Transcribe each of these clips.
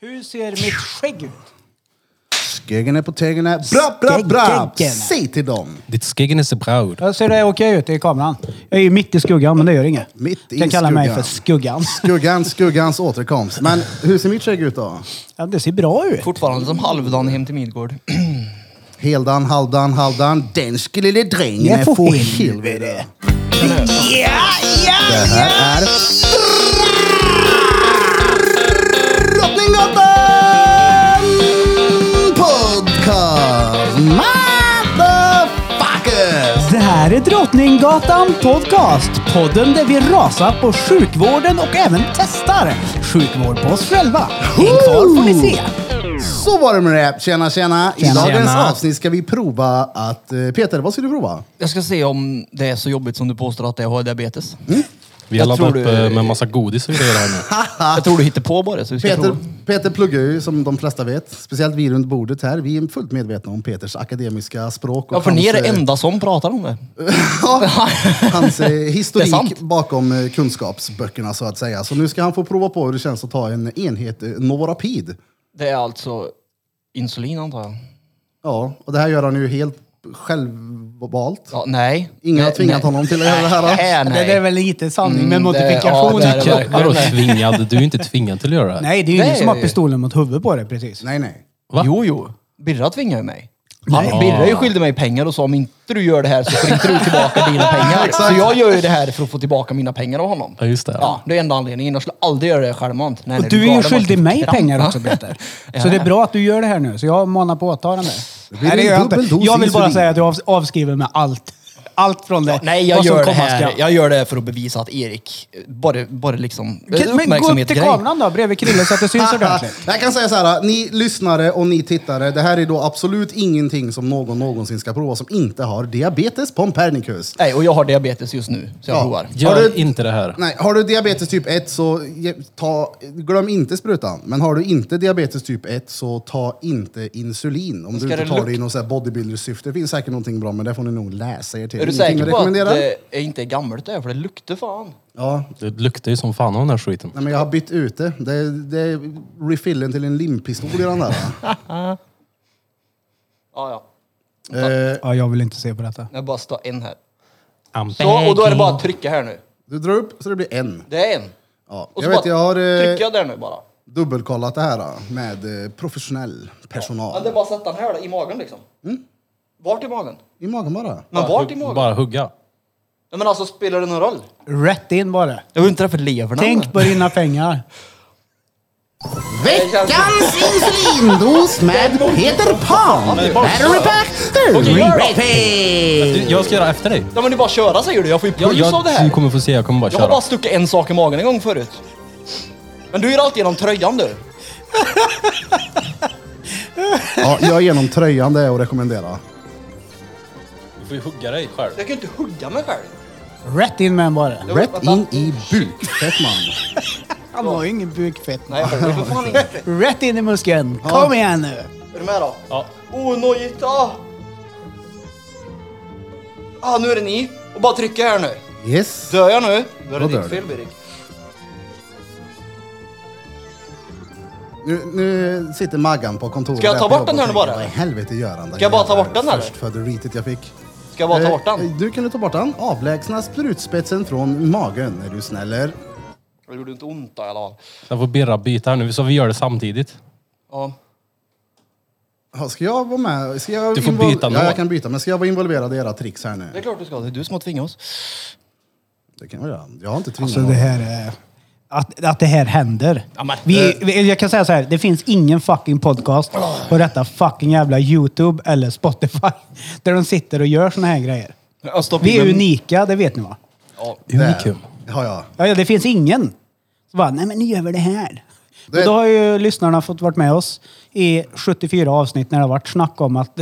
Hur ser mitt skägg ut? Skäggen är på teggen. Bra, bra, bra! Skäggen. Säg till dem! Ditt skäggen är så bra ut. Jag ser det okej ut i kameran. Jag är ju mitt i skuggan, men det gör inget. Mitt i jag kallar mig för skuggan. skuggan. Skuggan, skuggans återkomst. Men hur ser mitt skägg ut då? Ja, det ser bra ut. Fortfarande som halvdan hem till Midgård. Heldan, halvdan, halvdan. Den skulle lille drängen Jag är får få helvete. helvete. Det här är Drottninggatan Podcast Motherfuckers! Det här är Drottninggatan Podcast. Podden där vi rasar på sjukvården och även testar sjukvård på oss själva. Häng kvar får ni se. Så var det med det. Tjena, tjena. I Tjena. dagens Tjena. avsnitt ska vi prova att... eh, Peter, vad ska du prova? Jag ska se om det är så jobbigt som du påstår att jag har diabetes. Vi har Jag laddat tror upp du- eh, med massa godis och grejer här nu. Jag tror du hittar på bara så vi ska Peter, prova. Peter pluggar ju, som de flesta vet. Speciellt vi runt bordet här. Vi är fullt medvetna om Peters akademiska språk. Och Ja, för ni är det hans, eh, enda som pratar om det. Ja, hans eh, Det är historik sant. bakom eh, kunskapsböckerna så att säga. Så nu ska han få prova på hur det känns att ta en enhet eh, Novorapid. Det är alltså insulin antar jag. Ja, och det här gör han ju helt självvalt. Ja, nej. Ingen har Nej, tvingat nej. honom till att göra det här. då. Nej, Det där är nej. väl lite sanning Mm, med det- modifikation. ja, det är det eller? verkligen. Vadå tvingad? Du är inte tvingad till att göra det. här. Nej, det är ju ingen Nej. som har pistolen mot huvudet på dig precis. Nej, nej. Va? Jo, jo. Birra tvingar ju mig. Nej. Han, Birra ju skyldig mig pengar och sa om inte du gör det här så får inte du tillbaka dina pengar. Så jag gör ju det här för att få tillbaka mina pengar av honom. Ja, just det. Ja, det är enda anledningen. Jag skulle aldrig göra det självmant. Nej, Och nej, du är ju galen, skyldig Martin. mig Kramp, pengar va? också Peter. Så det är bra att du gör det här nu. Så jag manar på att ta den där. blir Nej, det en gör jag, dubbel inte. dos jag vill bara insulin. säga att jag avs- avskriver mig allt. Allt från det. Nej, jag vad som gör, det komma här, skall. jag gör det här för att bevisa att Erik, eh, bara, bara liksom... eh, Men gå upp till uppmärksamhet-grej. kameran då, bredvid Krille, så att det syns ordentligt. Ah, Jag kan säga så här, ah, ni lyssnare och ni tittare, det här är då absolut ingenting som någon någonsin ska prova som inte har diabetes pompernicus. Nej, och jag har diabetes just nu, så jag Ja. provar. Gör Har du- inte det här. Nej, har du diabetes typ 1 så ge- ta, glöm inte sprutan. Men har du inte diabetes typ 1 så ta inte insulin. Om du Ska inte det tar det i luk- något så här bodybuilder-syfte. Det finns säkert någonting bra, men det får ni nog läsa er till. Är du Ingenting säker jag på att rekommenderar. det är inte är gammalt det här? För det luktar fan. Ja, Det luktar ju som fan av den här skiten. nej, men jag har bytt ut det. Det, det är refillen till en limpistol i den där. Ja, ja. eh, Ja, jag vill inte se på detta. Jag bara står en här. I'm Så, och då är det begging. bara att trycka här nu. du drar upp så det blir en. Det är en. Ja. Och Jag så vet, bara jag har eh, trycka där nu bara. dubbelkollat det här då, med eh, professionell personal. Ja, det är bara att sätta den här då, i magen liksom. Vart i magen? I magen bara. Men vart i Hugg- magen? Bara hugga. Ja, men alltså spelar det någon roll? Rätt in bara. Jag vill inte träffa leverna. Tänk på dina pengar. Veckans insulindos med Peter Pan! Battery pack Okej, gör det. Du, therapy! jag ska göra efter dig. Ja men det är bara att köra säger du. Jag får ju Jag, puls av det jag, här. du kommer få se, jag kommer bara Jag har köra. bara stuckit en sak i magen en gång förut. Men du gör alltid genom tröjan du. Ja, jag är genom tröjan, det är att rekommendera. Du får ju hugga dig själv. Jag kan ju inte hugga mig själv. Rätt in med en bara. Rätt in i bukfett man. Han har ju ingen bukfett. Nej jag håller för fan inte. Rätt in i muskeln. Kom igen nu. Är du med då? Ja. Oh nojita! Ah nu är det ni. Och bara trycka här nu. Yes. Dör jag nu? Då är det Då dör ditt fel Birgit. Nu, nu sitter Maggan på kontoret. Ska jag där ta på bort jobbet den här och nu tänker, bara? Vad i helvete gör han? Ska jag bara ta bort den här? Först ritet jag fick. Ska jag bara ta bort den? Eh, Du kan du ta bort den. Avlägsna sprutspetsen från magen är du snäller. Det gjorde inte ont då, i alla fall. Jag får Birra byta här nu, så vi gör det samtidigt. Ja. Ja, Ska jag vara med? Ska jag Du får invol- byta Ja, nål. jag kan byta. Men ska jag vara involverad i era tricks här Det är nu? klart du ska. Det är du som har tvingat oss. Det kan jag göra. Jag har inte tvingat Alltså, Så Alltså, det någon. här är... Att, att det här händer. Ja, men- eh. vi, vi, jag kan säga så här, det finns ingen fucking podcast på detta fucking jävla YouTube eller Spotify där de sitter och gör såna här grejer. Jag stoppar Vi in är en- unika, det vet ni va? Ja. Unikum. Där har jag. Ja, ja, det finns ingen. Så bara, nej men nu gör vi det här. Det- Och då har ju lyssnarna fått varit med oss i 74 avsnitt när det har varit snack om att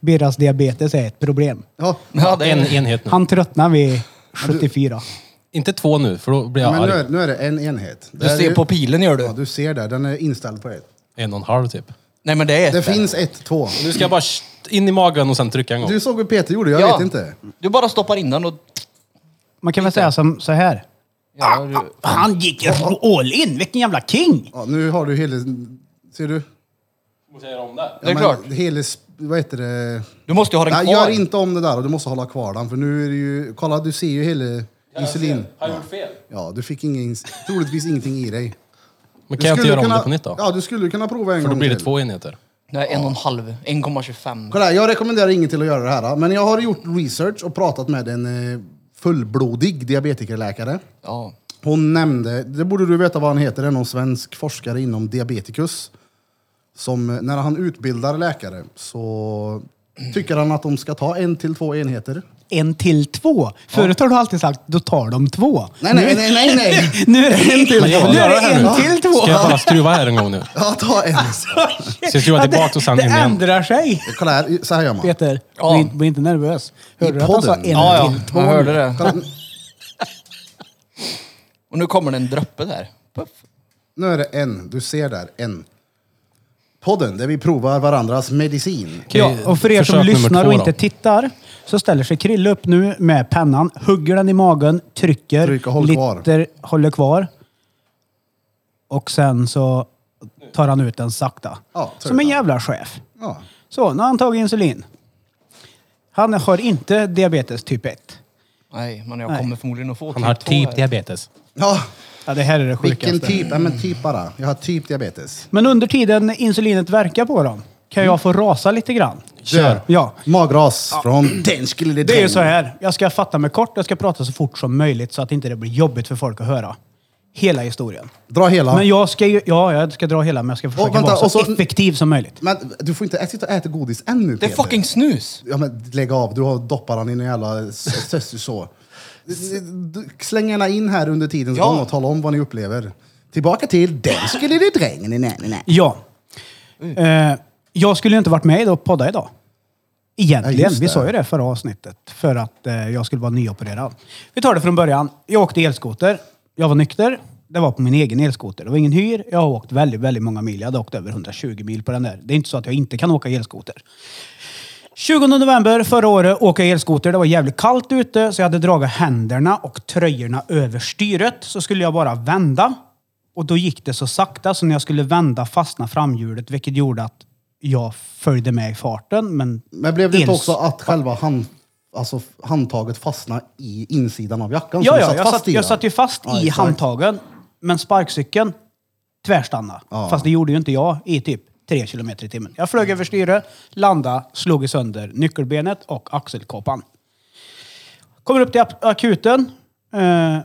Birras diabetes är ett problem. Ja, Ja, det är En enhet nu. Han tröttnar vid 74. Inte två nu, för då blir jag men nu är, arg. nu är det en enhet. Du Där ser är- på pilen gör Ja, du. du ser där. Den är inställd på ett. En och en halv typ. Nej men det är ett Det där. finns ett, två. Nu ska jag bara sh- in i magen och sen trycka en gång. Du såg hur Peter gjorde, jag Ja. vet inte. Du bara stoppar in den och... Man kan väl säga som, så här. Ja, du- Han gick ju all in, vilken jävla king! Ja, nu har du hela... Ser du? Måste jag göra om det? det är men klart. Hela... sp- Vad heter det? Du måste ju ha den Nej, kvar. gör inte om det där och du måste hålla kvar den för nu är det ju... Kolla, du ser ju hela insulin. Har jag gjort fel? Ja, du fick ingen, troligtvis ingenting i dig. Men Du kan jag inte skulle göra om kunna, det på nytt då? Ja, du skulle kunna prova en För då gång blir det till. två enheter. Nej, en och en halv. 1,25. Kolla här, jag rekommenderar ingen till att göra det här. Men jag har gjort research och pratat med en eh, fullblodig diabetikerläkare. Ja. Hon nämnde, det borde du veta vad han heter, det är någon svensk forskare inom diabetikus. Som eh, när han utbildar läkare så tycker han att de ska ta en till två enheter. En till två. Förut har du alltid sagt, då tar de två. Nej, nej, nej, nej, nej. Nu är det en till Men jag två. vill Nu är göra det det här en nu. till två. Ska jag bara skruva här en gång nu? Ja, ta en. Ska jag skruva Ja, tillbaka och sen det in igen? ändrar sig. Kolla här, så här gör man. Peter, Ja. bli, inte- bli inte nervös. Hörde I du att han sa en podden? Ja, ja. till två? Jag hörde det. Kolla, Och nu kommer det en droppe där. Puff. nu är det en, du ser där, en. Podden där vi provar varandras medicin. Ja, och för er som försök nummer lyssnar två och då. inte tittar så ställer sig Krille upp nu med pennan, hugger den i magen, trycker, Tryck och håll liter, håller kvar. Och sen så tar han ut den sakta. Ja, tar som ut en den. jävla chef. Ja. Så, nu har han tagit insulin. Han har inte diabetes typ 1. Nej, men jag Nej. kommer förmodligen att få Han har två här. typ diabetes. ja, Ja, det här är det sjukaste. vilken typ? Ja, men typ bara. Jag har typ diabetes. Men under tiden insulinet verkar på dem kan Mm. jag få rasa lite grann. Kör. Ja. Magras från den skulle Det är ju så här. Jag ska fatta mig kort. Jag ska prata så fort som möjligt så att inte det blir jobbigt för folk att höra. Hela historien. Dra hela. Men jag ska ju... Ja, jag ska dra hela, men jag ska försöka vänta, vara och så, så- effektiv som möjligt. Men du får inte ä- sitta och äta godis ännu Det är Peter. fucking snus! Ja men lägg av, du har doppat han i någon jävla s- söster så. Du- Släng gärna in här under tidens Ja. gång och tala om vad ni upplever. Tillbaka till den skulle det drängen i nä, nä, nä. Ja. Mm. Eh, jag skulle ju inte varit med och podda idag. Ja, Egentligen. just vi det. sa ju det förra avsnittet. För att eh, jag skulle vara nyopererad. Vi tar det från början. Jag åkte elskoter. Jag var nykter. Det var på min egen elskoter. Det var ingen hyr. Jag har åkt väldigt, väldigt många mil. Jag hade åkt över 120 mil på den där. Det är inte så att jag inte kan åka elskoter. 20 november förra året åkte jag elskoter. Det var jävligt kallt ute så jag hade dragit händerna och tröjorna över styret. Så skulle jag bara vända. Och då gick det så sakta så när jag skulle vända fastnade framhjulet vilket gjorde att jag följde med i farten. Men, Men blev det inte els- också att själva hand, alltså handtaget fastnade i insidan av jackan? så Ja, du ja, jag, fast satt, i jag den? satt ju fast Ja, i exakt. handtagen. Men sparkcykeln tvärstannade. Ja. Mm. Fast det gjorde ju inte jag i typ tre kilometer i timmen. Jag flög över styret, landade, slog i sönder nyckelbenet och axelkåpan. Kommer upp till ap- akuten. Eh,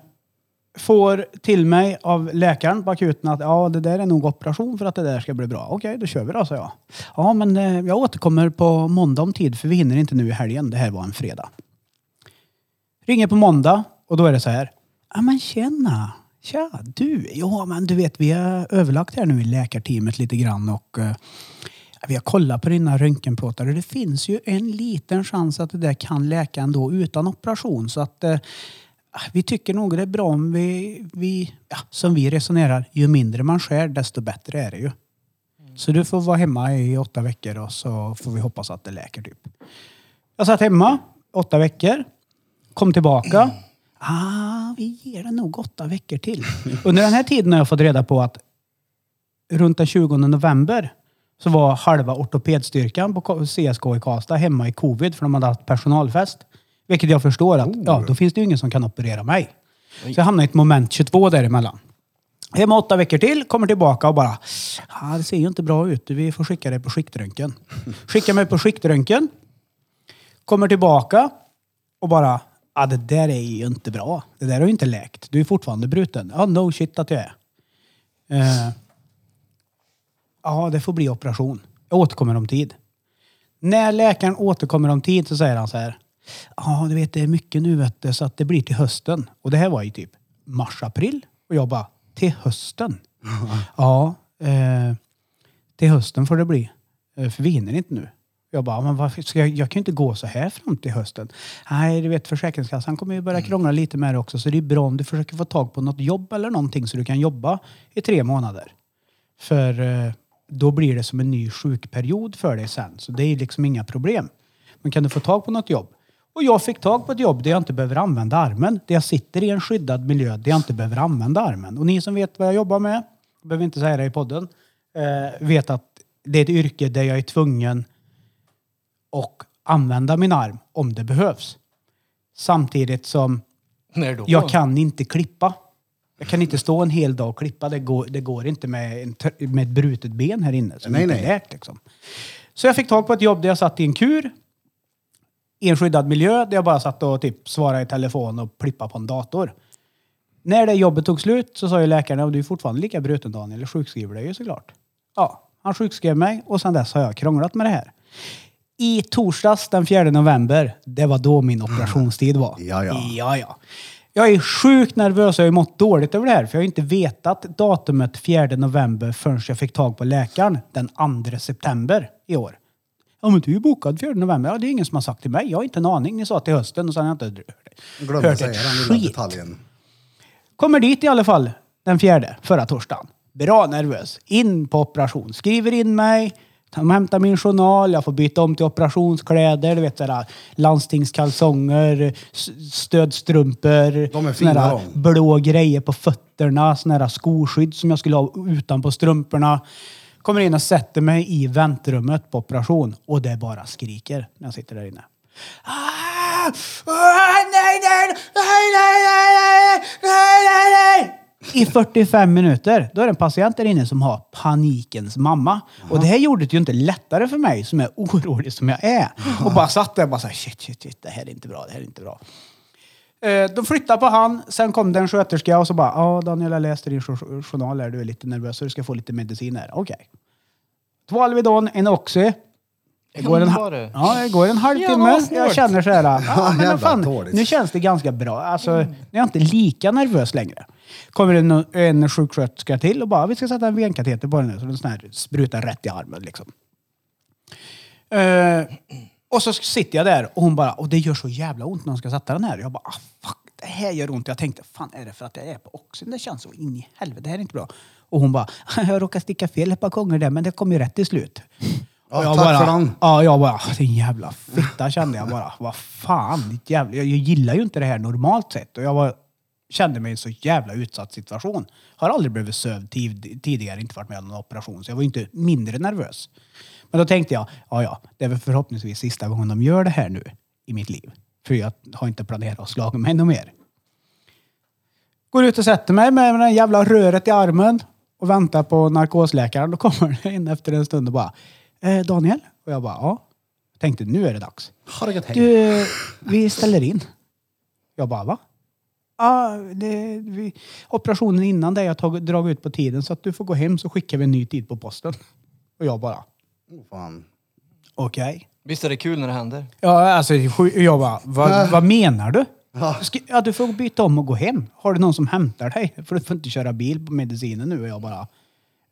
får till mig av läkaren på akuten att ja, det där är nog operation för att det där ska bli bra. Okej, då kör vi då, sa jag. Ja, men eh, jag återkommer på måndag om tid för vi hinner inte nu i helgen. Det här var en fredag. Ringer på måndag och då är det så här. Ja men tjena. Tja du. Ja men du vet vi har överlagt här nu i läkarteamet lite grann och eh, vi har kollat på dina röntgenplåtar och det finns ju en liten chans att det där kan läka ändå utan operation så att eh, vi tycker nog det är bra om vi, vi ja, som vi resonerar, ju mindre man skär desto bättre är det ju. Så du får vara hemma i åtta veckor och så får vi hoppas att det läker typ. Jag satt hemma åtta veckor. Kom tillbaka. Ah, vi ger det nog åtta veckor till. Under den här tiden har jag fått reda på att runt den 20 november så var halva ortopedstyrkan på K- CSK i Karlstad hemma i covid för de hade haft personalfest. Vilket jag förstår att, ja, då finns det ju ingen som kan operera mig. Så jag hamnade i ett moment 22 däremellan. Hemma åtta veckor till, kommer tillbaka och bara, ah, det ser ju inte bra ut, vi får skicka dig på skiktröntgen. Skicka mig på skiktröntgen kommer tillbaka och bara, ah, det där är ju inte bra. Det där har ju inte läkt. Du är fortfarande bruten. Ja, no shit att jag är. Eh, Ja, det får bli operation. Jag återkommer om tid. När läkaren återkommer om tid så säger han så här. Ja, du vet det är mycket nu vet du, så att det blir till hösten. Och det här var ju typ mars-april. Och jag bara, till hösten? ja, eh, till hösten får det bli. Eh, För vi hinner inte nu. Jag bara, men varför ska jag, jag kan ju inte gå så här fram till hösten. Nej, du vet Försäkringskassan kommer ju börja krångla lite med det också. Så det är bra om du försöker få tag på något jobb eller någonting så du kan jobba i tre månader. För eh, då blir det som en ny sjukperiod för dig sen. Så det är liksom inga problem. Men kan du få tag på något jobb? Och jag fick tag på ett jobb där jag inte behöver använda armen. Där jag sitter i en skyddad miljö där jag inte behöver använda armen. Och ni som vet vad jag jobbar med, jag behöver inte säga det i podden, eh, vet att det är ett yrke där jag är tvungen att använda min arm om det behövs. Samtidigt som När då? jag kan inte klippa. Jag kan inte stå en hel dag och klippa. Det går, det går inte med, en, tr- med ett brutet ben här inne som Nej, inte nej. är lärt. Liksom. Så jag fick tag på ett jobb där jag satt i en kur i en skyddad miljö där jag bara satt och typ svarade i telefon och plippade på en dator. När det jobbet tog slut så sa ju läkaren att du är fortfarande lika bruten Daniel, jag sjukskriver dig ju såklart. Ja, han sjukskrev mig och sedan dess har jag krånglat med det här. I torsdags den 4 november, det var då min operationstid var. Ja, ja. ja, ja. Jag är sjukt nervös, jag har ju mått dåligt över det här för jag har ju inte vetat datumet 4 november förrän jag fick tag på läkaren den 2 september i år. Ja men du är ju bokad 4 november. Ja det är ingen som har sagt till mig. Jag har inte en aning. Ni sa till hösten och sen har jag inte hört, Glömde hört säga ett den lilla skit. detaljen. Kommer dit i alla fall den fjärde, förra torsdagen. Bra nervös. In på operation. Skriver in mig. De hämtar min journal, jag får byta om till operationskläder, du vet sådär landstingskalsonger, s- stödstrumpor, De är fina, såna där de. blå grejer på fötterna, sådana där skoskydd som jag skulle ha utanpå strumporna. Kommer in och sätter mig i väntrummet på operation och det bara skriker när jag sitter där inne. Ah! Ah, nej, nej, nej, nej, nej, nej, nej, nej, nej. I 45 minuter, då är det en patient där inne som har panikens mamma. Och det här gjorde det ju inte lättare för mig som är orolig som jag är. Och bara satt där och bara så här, shit, shit, shit, det här är inte bra, det här är inte bra. Eh, De flyttade på han, sen kom den sköterska och så bara ja Daniel jag läste din jour- journal här, du är lite nervös så du ska få lite medicin här. Okej. Två Alvedon, en Oxy. Det går en, ha- Var det? ja, det går en Ja, halvtimme, vad snålt. jag känner så här, ja, men jävla vad fan, dåligt. nu känns det ganska bra. Alltså, nu är jag inte lika nervös längre. Kommer en, en sjuksköterska till och bara, vi ska sätta en venkateter på den nu, så den sån här sprutar rätt i armen liksom. Eh, och så sitter jag där och hon bara, och det gör så jävla ont när hon ska sätta den här. Jag bara, ah, fuck, det här gör ont. Jag tänkte, fan är det för att jag är på oxen? Det känns så in i helvete, det här är inte bra. Och hon bara, jag råkade sticka fel ett par gånger där, men det kom ju rätt till slut. Ja, Och jag tack bara, för den. Ja, jag bara, "Ah, din jävla fitta kände jag bara. Vad fan, ditt jävla, jag, jag gillar ju inte det här normalt sett. Och jag var, kände mig i en så jävla utsatt situation. Har aldrig blivit sövd tid, tidigare, inte varit med om någon operation, så jag var ju inte mindre nervös. Men då tänkte jag, ja ja, det är väl förhoppningsvis sista gången de gör det här nu i mitt liv. För jag har inte planerat att slaga mig något mer. Går ut och sätter mig med det där jävla röret i armen och väntar på narkosläkaren. Då kommer det in efter en stund och bara eh, Daniel? Och jag bara ja. Tänkte nu är det dags. Har det gått hem? Du, vi ställer in. Jag bara va? Ja, det, vi, operationen innan det jag har tagit- dragit ut på tiden så att du får gå hem så skickar vi en ny tid på posten. Och jag bara Åh, Fan. okej. Visst är det kul när det händer? Ja, alltså sju- jag bara, vad, vad menar du? Ska, ja, du får byta om och gå hem. Har du någon som hämtar dig? För du får inte köra bil på medicinen nu. Och jag bara,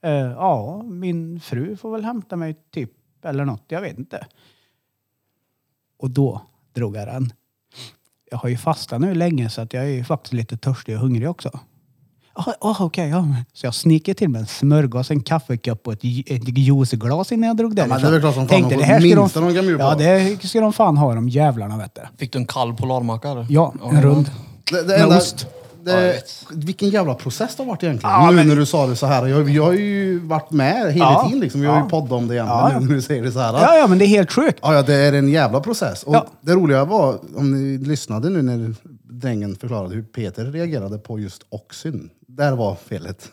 eh, ja, min fru får väl hämta mig typ, eller något, jag vet inte. Och då drog jag den. Jag har ju fastat nu länge så att jag är ju faktiskt lite törstig och hungrig också. Ja, oh, okej. ja. Så jag sniker till mig en smörgås, en kaffekopp och ett, ju- ett juiceglas innan jag drog men det är därifrån. väl klart som fan Tänkte, de det får här ska minsta de kan bjuda på. ja, det ska de fan ha de jävlarna vet du. Fick du en kall polarmacka eller? Ja, en rund. Det, det Med enda, ost. Det, Ja, jag vet. vilken jävla process det har varit egentligen. Ja, nu men- när du sa det så här. Jag, jag har ju varit med hela Ja. tiden. Liksom. Vi har Ja. ju poddat om det egentligen Ja, ja. nu när du säger det så här. Ja, ja, men det är helt sjukt. Ja, ja, det är en jävla process. Och Ja. Det roliga var, om ni lyssnade nu när drängen förklarade hur Peter reagerade på just oxyn. Där var felet.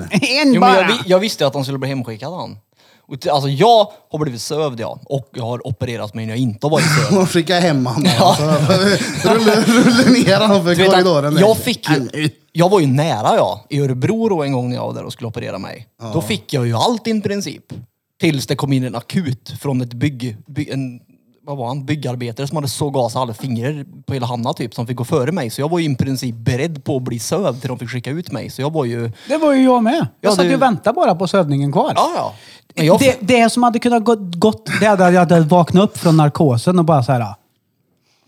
en Jo, men bara! jag, vi- jag visste ju att han skulle bli hemskickad han. Och, t- alltså jag har blivit sövd ja. Och jag har opererat mig när jag inte har varit sövd. De skickade hem honom. Alltså. Rullade, rullade ner honom för Du vet att korridoren. jag fick Äh, ju... Jag var ju nära ja. I Örebro då en gång när jag var där och skulle operera mig. Då fick jag ju allt i princip. Tills det kom in en akut från ett bygg... by- en, vad var han? Byggarbetare som hade såg av sig alla fingrar på hela handen typ. Som fick gå före mig. Så jag var ju i princip beredd på att bli sövd till de fick skicka ut mig. Så jag var ju... Det var ju jag med. Jag Ja, satt ju det- och väntade bara på sövningen kvar. Ja, ja. Men jag, Det, det som hade kunnat gå, gått, det hade jag hade vaknat upp från narkosen och bara så här.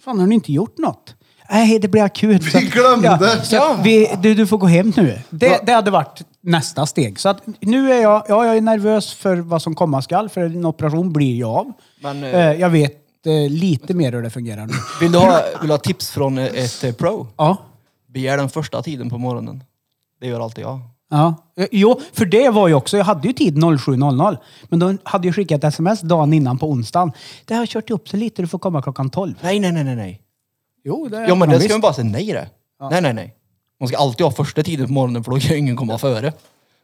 Fan, har ni inte gjort något? Nej, det blir akut. Så, Vi glömde. Ja, så Ja. vi, du, du får gå hem nu. Det, det hade varit nästa steg. Så att nu är jag, ja, jag är nervös för vad som komma skall, för en operation blir jag av. Men, eh, eh, jag vet förstått eh, lite mer hur det fungerar nu. Vill du ha, vill du ha tips från eh, ett eh, pro? Ja. Begär den första tiden på morgonen. Det gör alltid jag. Ja. Eh, Jo, för det var ju också, jag hade ju tid 07.00. Men de hade ju skickat sms dagen innan på onsdagen. Det har kört ihop sig lite, du får komma klockan 12. Nej, nej, nej, nej, nej. Jo, det Ja, men de det ska visst. man bara säga nej det. Nej, nej, nej. Man ska alltid ha första tiden på morgonen för då kan ju ingen komma före.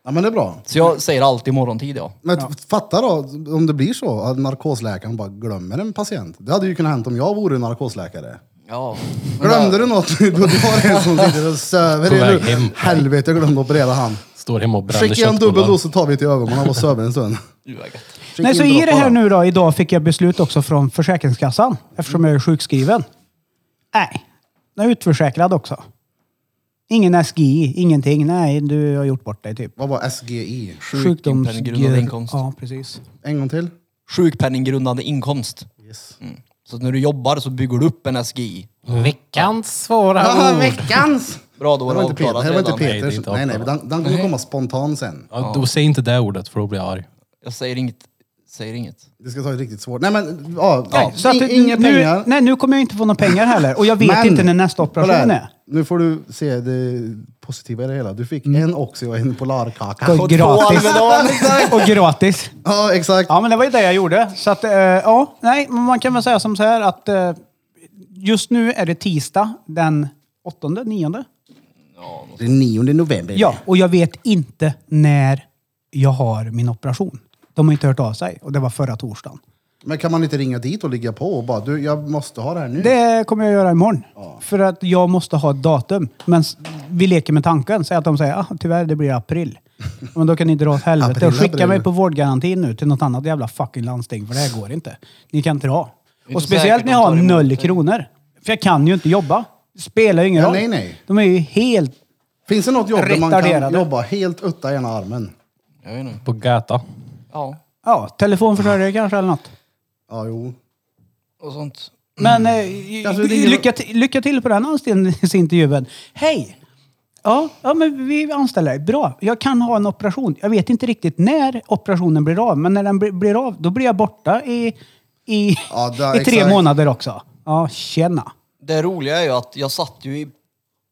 Ja, men det är bra. Så jag säger alltid morgontid ja. Men fatta då, om det blir så att narkosläkaren bara glömmer en patient. Det hade ju kunnat hänt om jag vore narkosläkare. Ja. Glömde du något nu? Du har en som sitter och söver På i väg nu. hem. Helvete, jag glömde operera han. Står hemma och bränner Skicka en dubbel köttbullar. dos så tar vi till ögonen och söver en stund. Skicka Nej, så in i det här dropparna. nu då, idag fick jag beslut också från Försäkringskassan eftersom jag är sjukskriven. Nej, jag är utförsäkrad också. Ingen SGI, ingenting. Nej, du har gjort bort dig typ. Vad var SGI? Sjukpenninggrundande inkomst. Ja, precis. En gång till? Sjukpenninggrundande inkomst. Mm. Yes. Så att när du jobbar så bygger du upp en SGI. Veckans svåra Ah, ord. veckans! Bra, då Det var var det inte Peter, avklarat det var inte redan. Nej, det är Peters. inte Nej, nej, avklarat. den, den kommer komma spontan sen. Ja, då säg inte det ordet för då blir jag arg. Jag säger inget. Säger inget. Det ska ta ett riktigt svårt. Nej men, ja. Nej, så att In- det- Inga nu, pengar. Nej, nu kommer jag inte få några pengar heller. Och jag vet Men- inte när nästa operation Kolla är. här. Nu får du se det positiva i det hela. Du fick en Oxy och en Polarkaka. Och Mm. gratis. Och gratis. Ja, exakt. Ja, men det var ju det jag gjorde. Så att, eh, ja, nej, men man kan väl säga som så här att eh, just nu är det tisdag den åttonde, nionde. Det är 9 november. Ja, och jag vet inte när jag har min operation. De har inte hört av sig och det var förra torsdagen. Men kan man inte ringa dit och ligga på och bara, du, jag måste ha det här nu. Det kommer jag göra imorgon. För att jag måste ha ett datum. Men s- vi leker med tanken. Säg att de säger ah, tyvärr det blir april. Men då kan ni dra åt helvete. April, Skicka april. mig på vårdgarantin nu till något annat jävla fucking landsting. För det här går inte. Ni kan dra. är Och inte säkert speciellt när jag de har tar emot noll dig. kronor. För jag kan ju inte jobba. Det spelar ju ingen Ja, roll. nej, nej. De är ju helt... Finns det något jobb där man kan Retarderade. jobba helt utta ena armen? Jag vet inte. På gata. Ja, Ja, telefonförsörjare kanske eller något. Ja, jo. och sånt. Men eh, Kanske ly- ringer- lycka, ti- lycka till på den anställningsintervjun. Hej! Ja, ja, men vi anställer dig. Bra. Jag kan ha en operation. Jag vet inte riktigt när operationen blir av, men när den blir, blir av, då blir jag borta i, i, Ja, där, i tre exakt. månader också. Ja, tjena. Det roliga är ju att jag satt ju i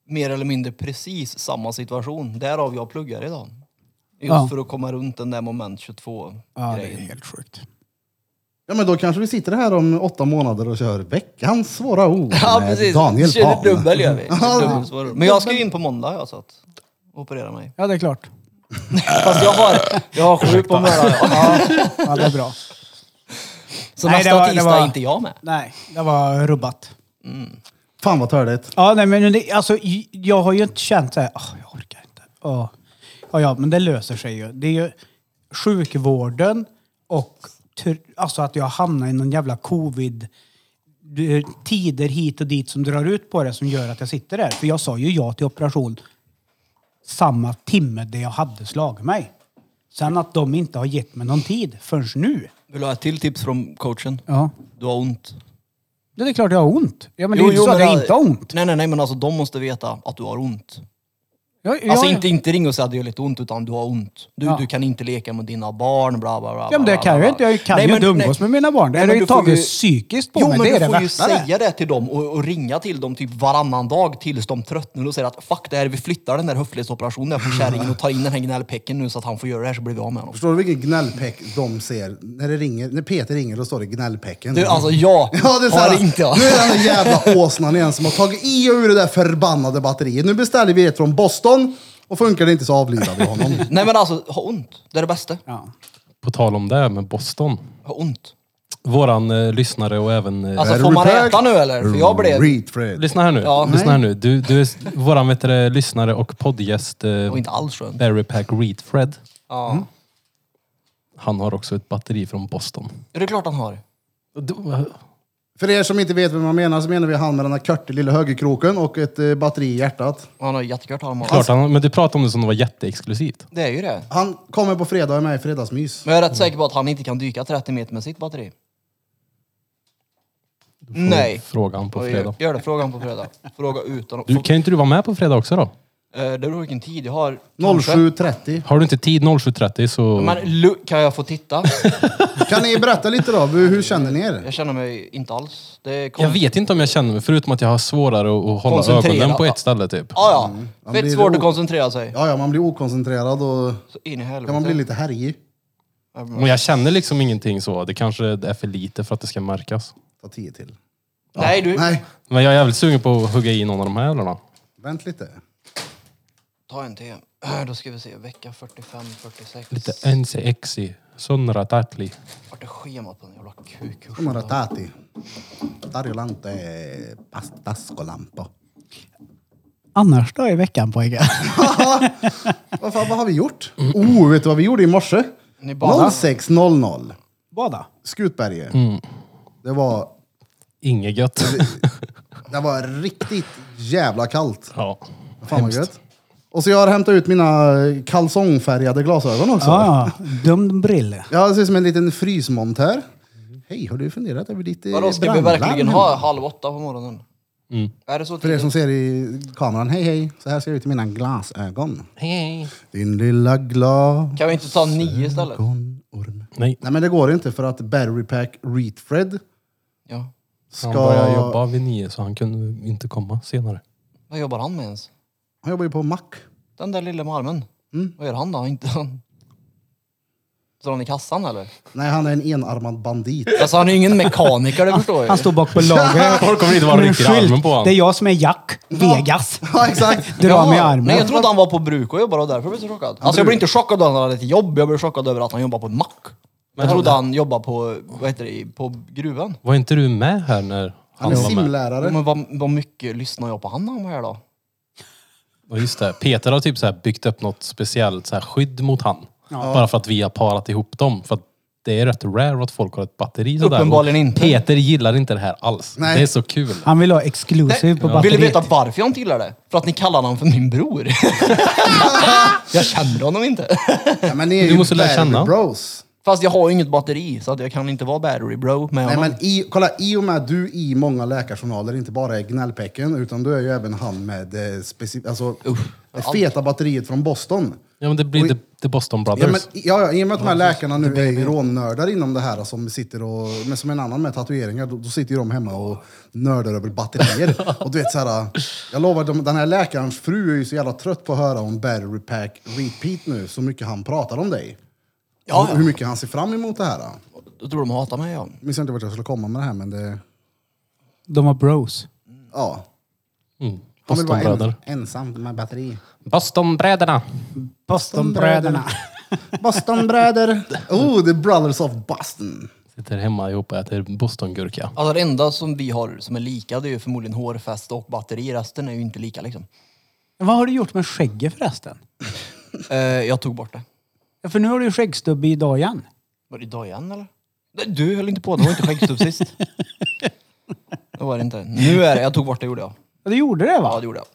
mer eller mindre precis samma situation. Därav jag pluggar idag. Just Ja. för att komma runt den där moment 22 grejen. helt sjukt. Ja, men då kanske vi sitter här om åtta månader och kör veckans svåra ord Ja med precis. Daniel Kör Pan. det dubbel gör vi. Ja. Dubbel svarar. Men jag ska ju in på måndag jag så att operera mig. Ja, det är klart. Fast jag har, jag har sju på morgonen. Ja. Ja, det är bra. Så Nej, nästa det var- det tisdag var- är inte jag med. Nej, det var rubbat. Fan vad törligt. Ja, nej, men det, alltså, j- jag har ju inte känt så här, "Åh, jag orkar inte. Åh. Ja, ja, men det löser sig ju. Det är ju sjukvården och tur, alltså att jag hamnar i någon jävla covid du- tider hit och dit som drar ut på det som gör att jag sitter där. För jag sa ju ja till operation samma timme där jag hade slagit mig. Sen att de inte har gett mig någon tid förrän nu. Vill du ha ett till tips från coachen? Ja. Du har ont. Det är klart jag har ont. Ja, men det är ju inte så att jag inte har ont. Nej, nej, nej, men alltså de måste veta att du har ont. Jag, jag, Alltså inte, inte ringa och säga att det gör lite ont, utan du har ont. Du, Ja. du kan inte leka med dina barn, bla bla bla. Ja, men det kan bla, bla, jag ju bla. inte. Jag kan Nej, ju men- inte umgås nej. med mina barn. Det Nej, har men ju du får tagit psykiskt på jo, mig. men Det är det du får ju värsta. det. säga det till dem och, och ringa till dem typ varannan dag tills de tröttnar och säger att fuck det här, vi flyttar den där höftledsoperationen där på kärringen och tar in den här gnällpäcken nu så att han får göra det här så blir vi av med honom. Förstår du vilken gnällpäck de ser? När, det ringer, när Peter ringer då står det gnällpäcken. Du, alltså jag ja, det är så har här, ringt ja. Nu är det den där jävla åsnan igen som har tagit i och ur det där förbannade batteriet. Nu beställer vi ett från Boston och funkar det inte så avlivar vi honom. Nej men alltså, ha ont. Det är det bästa. Ja. På tal om det med Boston. Ha ont. Våran eh, lyssnare och även... Eh, Alltså Är får du man bög? äta nu eller? För jag blev... Read Fred. Lyssna här nu. Ja. lyssna här nu. Du, du är s- våran vet du, det, lyssnare och poddgäst eh, Och inte alls skön. Barry Pack Reed Fred. Ja. Han har också ett batteri från Boston. Är det klart han har? Och du- För er som inte vet vad man menar så menar vi han med den där korta lilla högerkroken och ett eh, batteri i hjärtat. Han har jättekört har han. Klart, han, men du pratade om det som det var jätteexklusivt. Det är ju det. Han kommer på fredag med i fredagsmys. Men jag är rätt säker på att han inte kan dyka 30 meter med sitt batteri. Nej. Frågan på Oj, fredag. Gör det, fråga honom på fredag. Fråga utan att... Du, kan ju inte du vara med på fredag också då? Eh, Det beror på vilken tid jag har. Kanske. 07.30. Har du inte tid 07.30 så... Men lu- kan jag få titta? Kan ni berätta lite då? Hur hur känner ni er? Jag känner mig inte alls. Det är kon- Jag vet inte om jag känner mig, förutom att jag har svårare att- att hålla Koncentrera. ögonen på ett ställe typ. Ah, ja, Ja, men det Fett är svårt det- att koncentrera sig. Ja, ja, man blir okoncentrerad och Så in i ja, helvete. Mm. man blir lite härjig. Men jag känner liksom ingenting så. Det kanske är för lite för att det ska märkas. Ta tio till. Nej du, Nej, Men jag är jävligt sugen på att hugga i någon av de här jävlarna. vänt lite. ta en till. Eh, Då ska vi se, vecka 45, 46. Lite NCXi, Sunratatli. Vart är schemat på den jävla kukkursen? Kommer att äta. Tarjolante pastascolampo. Annars då i veckan pojkar? Vad fan, vad har vi gjort? Oh, vet du vad vi gjorde i morse? Ni badade. Mm. 06.00. Båda. Skutberget. Det, var, Inget gött. det var riktigt jävla kallt. ja. Fan vad gött. Och så jag har hämtat ut mina kalsongfärgade glasögon också. Ah, Ja, dum Ah, brille. Jag ser ut som en liten frysmontör. Hej, har du funderat över ditt eh, Vadå, ska vi brandlarm verkligen hemma? ha halv åtta på morgonen? Mm. Är det så För er tidigt? som ser i kameran, hej hej, så här ser jag ut i mina glasögon. Din lilla glasögon. Kan vi inte ta nio istället? orm. Nej, Nej men det går inte för att Battery Pack Reetfred Ja. ska... han började jobba vid nio så han kunde inte komma senare. Vad jobbar han med ens? Han jobbar ju på Mac. Den där lille malmen. Mm. Vad gör han då? Inte han... Står han i kassan eller? Nej, han är en enarmad bandit. Alltså han är ju ingen mekaniker, det förstår jag Han ju. stod bak på lager. Folk kommer inte vara Med en riktigt i armen skylt. på Det är honom. jag som är Jack. Vegas. ja, exakt. Dra mig i Ja, armen. Nej, jag trodde han var på bruk och jobbade och därför blev jag så chockad. Alltså jag blev inte chockad över att han hade ett jobb, jag blev chockad över att han jobbar på en mack. Jag trodde han jobbade på, vad heter det, på gruvan. Var inte du med här när Han han är var med? Ja, simlärare. Men vad, vad mycket lyssnar jag på han när han var här då? Ja, just det. Peter har typ så här byggt upp något speciellt så här skydd mot han. Bara för att vi har parat ihop dem. För att det är rätt rare att folk har ett batteri sådär. Uppenbarligen Och inte. Peter gillar inte det här alls. Nej. Det är så kul. Han vill ha exclusive på Vill du batteriet. veta varför jag inte gillar det? För att ni kallar honom för min bror. jag känner honom inte. Ja, men ni är Du ju måste lära Battery känna. Bros. Fast jag har ju inget batteri så att jag kan inte vara battery bro med Nej, honom. men i, kolla, i och med att du i många läkarjournaler inte bara är gnällpäcken, utan du är ju även han med eh, speci- alltså, det feta batteriet från Boston. Ja men det blir Och i- The, the Boston Ja, Brothers. men, ja, ja, I och med att de här läkarna nu är ju rånördar inom det här som sitter och, men som en annan med tatueringar, då, då sitter ju de hemma och nördar över batterier. och du vet så här, jag lovar, de, den här läkarens fru är ju så jävla trött på att höra om battery pack repeat nu, så mycket han pratar om dig. Ja. Och hur mycket han ser fram emot det här. Jag Då tror de hatar mig ja. minns inte vart jag skulle komma med det här, men det, De har bros. ja. mm. Han vill vara Bostonbröder. en, ensam med batteri. Bostonbröderna. Bostonbröderna. Bostonbröder! Oh, the brothers of Boston. Sitter hemma ihop och äter bostongurka. Alltså det enda som vi har som är lika det är ju förmodligen hårfäste och batteri. Resten är ju inte lika liksom. Vad har du gjort med skägget förresten? Eh, jag tog bort det. Ja, För nu har du ju skäggstubbe idag igen. Var det idag igen eller? Nej, Du höll inte på, det var inte skäggstubb sist. Det var det inte. Nu är det, jag tog bort det gjorde jag. Ja, du gjorde det va? Ja, det gjorde jag.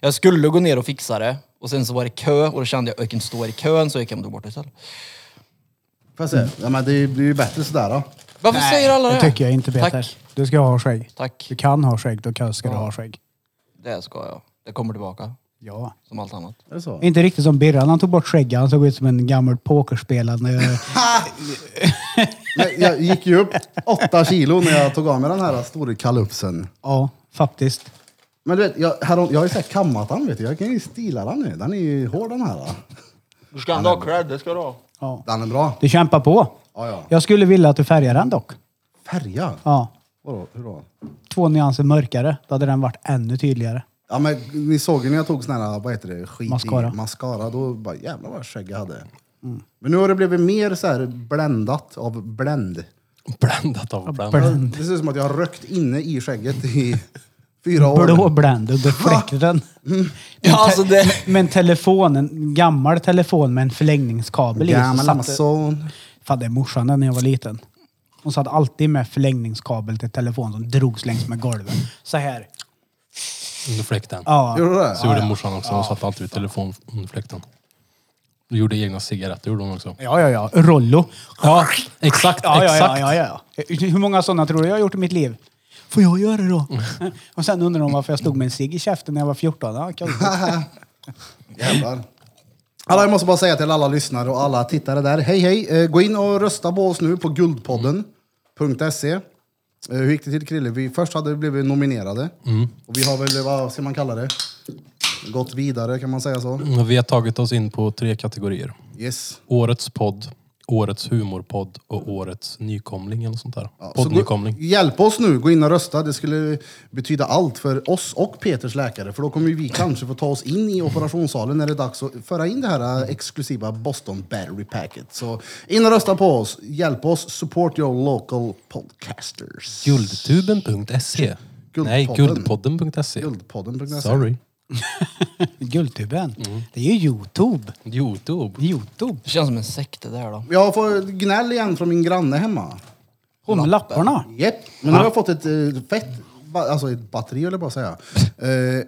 Jag skulle gå ner och fixa det och sen så var det kö och då kände jag att jag kan inte stå här i kön så jag kan ta bort det istället. Får jag se? Ja, men det blir ju bättre sådär då. Varför säger alla det? Det tycker jag inte Peter. Tack. Du ska ha skägg. Tack. Du kan ha skägg, då kan- ska du ha skägg. Det ska jag. Det kommer tillbaka, Ja. som allt annat. Är det så? Inte riktigt som Birran, han tog bort skägget. Han såg ut som en gammal pokerspelande. Men jag gick ju upp åtta kilo när jag tog av mig den här stora kalufsen. ja, faktiskt. Men du vet, jag, härom, jag har ju såhär kammat den vet du. Jag kan ju stila den nu. Den är ju hård den här. Du ska ändå ha cred, det ska du ha. Ja. Den är bra. Du kämpar på. Ja, ja. Jag skulle vilja att du färgar den dock. Färga? Ja. Vadå? Hur då? Två nyanser mörkare. Då hade den varit ännu tydligare. Ja men ni såg ju när jag tog sån här, vad heter det, skit Mascara. i mascara. Då bara jävlar vad skägg jag hade. Mm. Men nu har det blivit mer så här bländat av bländ. Blandat av Blå bland. Det ser ut som att jag har rökt inne i skägget i fyra år. Blå bländ under fläkten. Mm. Ja, alltså det... Men telefonen, en gammal telefon med en förlängningskabel i. så Gammal satte- alltså. Amazon. Fan, det är morsan när jag var liten. Hon satt alltid med förlängningskabel till telefonen som drogs längs med golvet. Så här. Under fläkten. Ja. Gjorde du det? Så gjorde morsan också. Hon satt alltid vid telefon under fläkten. Och gjorde egna cigaretter gjorde hon också. Ja, ja, ja. Rollo. Ja, exakt, Ja, ja, ja, exakt. ja, ja, ja. Hur många sådana tror du jag har gjort i mitt liv? Får jag göra det då? Och sen undrar de varför jag stod med en cigg i käften när jag var 14. Ja, kul. Jävlar. Alla, jag måste bara säga till alla lyssnare och alla tittare där, hej hej! Eh, Gå in och rösta på oss nu på guldpodden.se. Eh, Hur gick det till Krille? Vi, först hade vi blivit nominerade. Och vi har väl, vad ska man kalla det? Gått vidare, kan man säga så? Mm, Vi har tagit oss in på tre kategorier. Yes. Årets podd, Årets humorpodd och Årets nykomling eller sånt där. Ja, så gå, Poddnykomling. hjälp oss nu, gå in och rösta. Det skulle betyda allt för oss och Peters läkare. För då kommer ju vi kanske få ta oss in i operationssalen när det är dags att föra in det här eh, exklusiva Boston Battery Packet. Så in och rösta på oss, hjälp oss, support your local podcasters. Guldtuben.se. E. Nej, Guldpodden. guldpodden.se. Guldpodden.se. E. Sorry. Guldtuben. Det är ju Youtube. Youtube. Youtube. Det känns som en sekt det där då. Jag får gnäll igen från min granne hemma. Hon med lapparna. Japp, men nu har jag fått ett eh, fett, ba- alltså ett batteri eller bara säga, eh,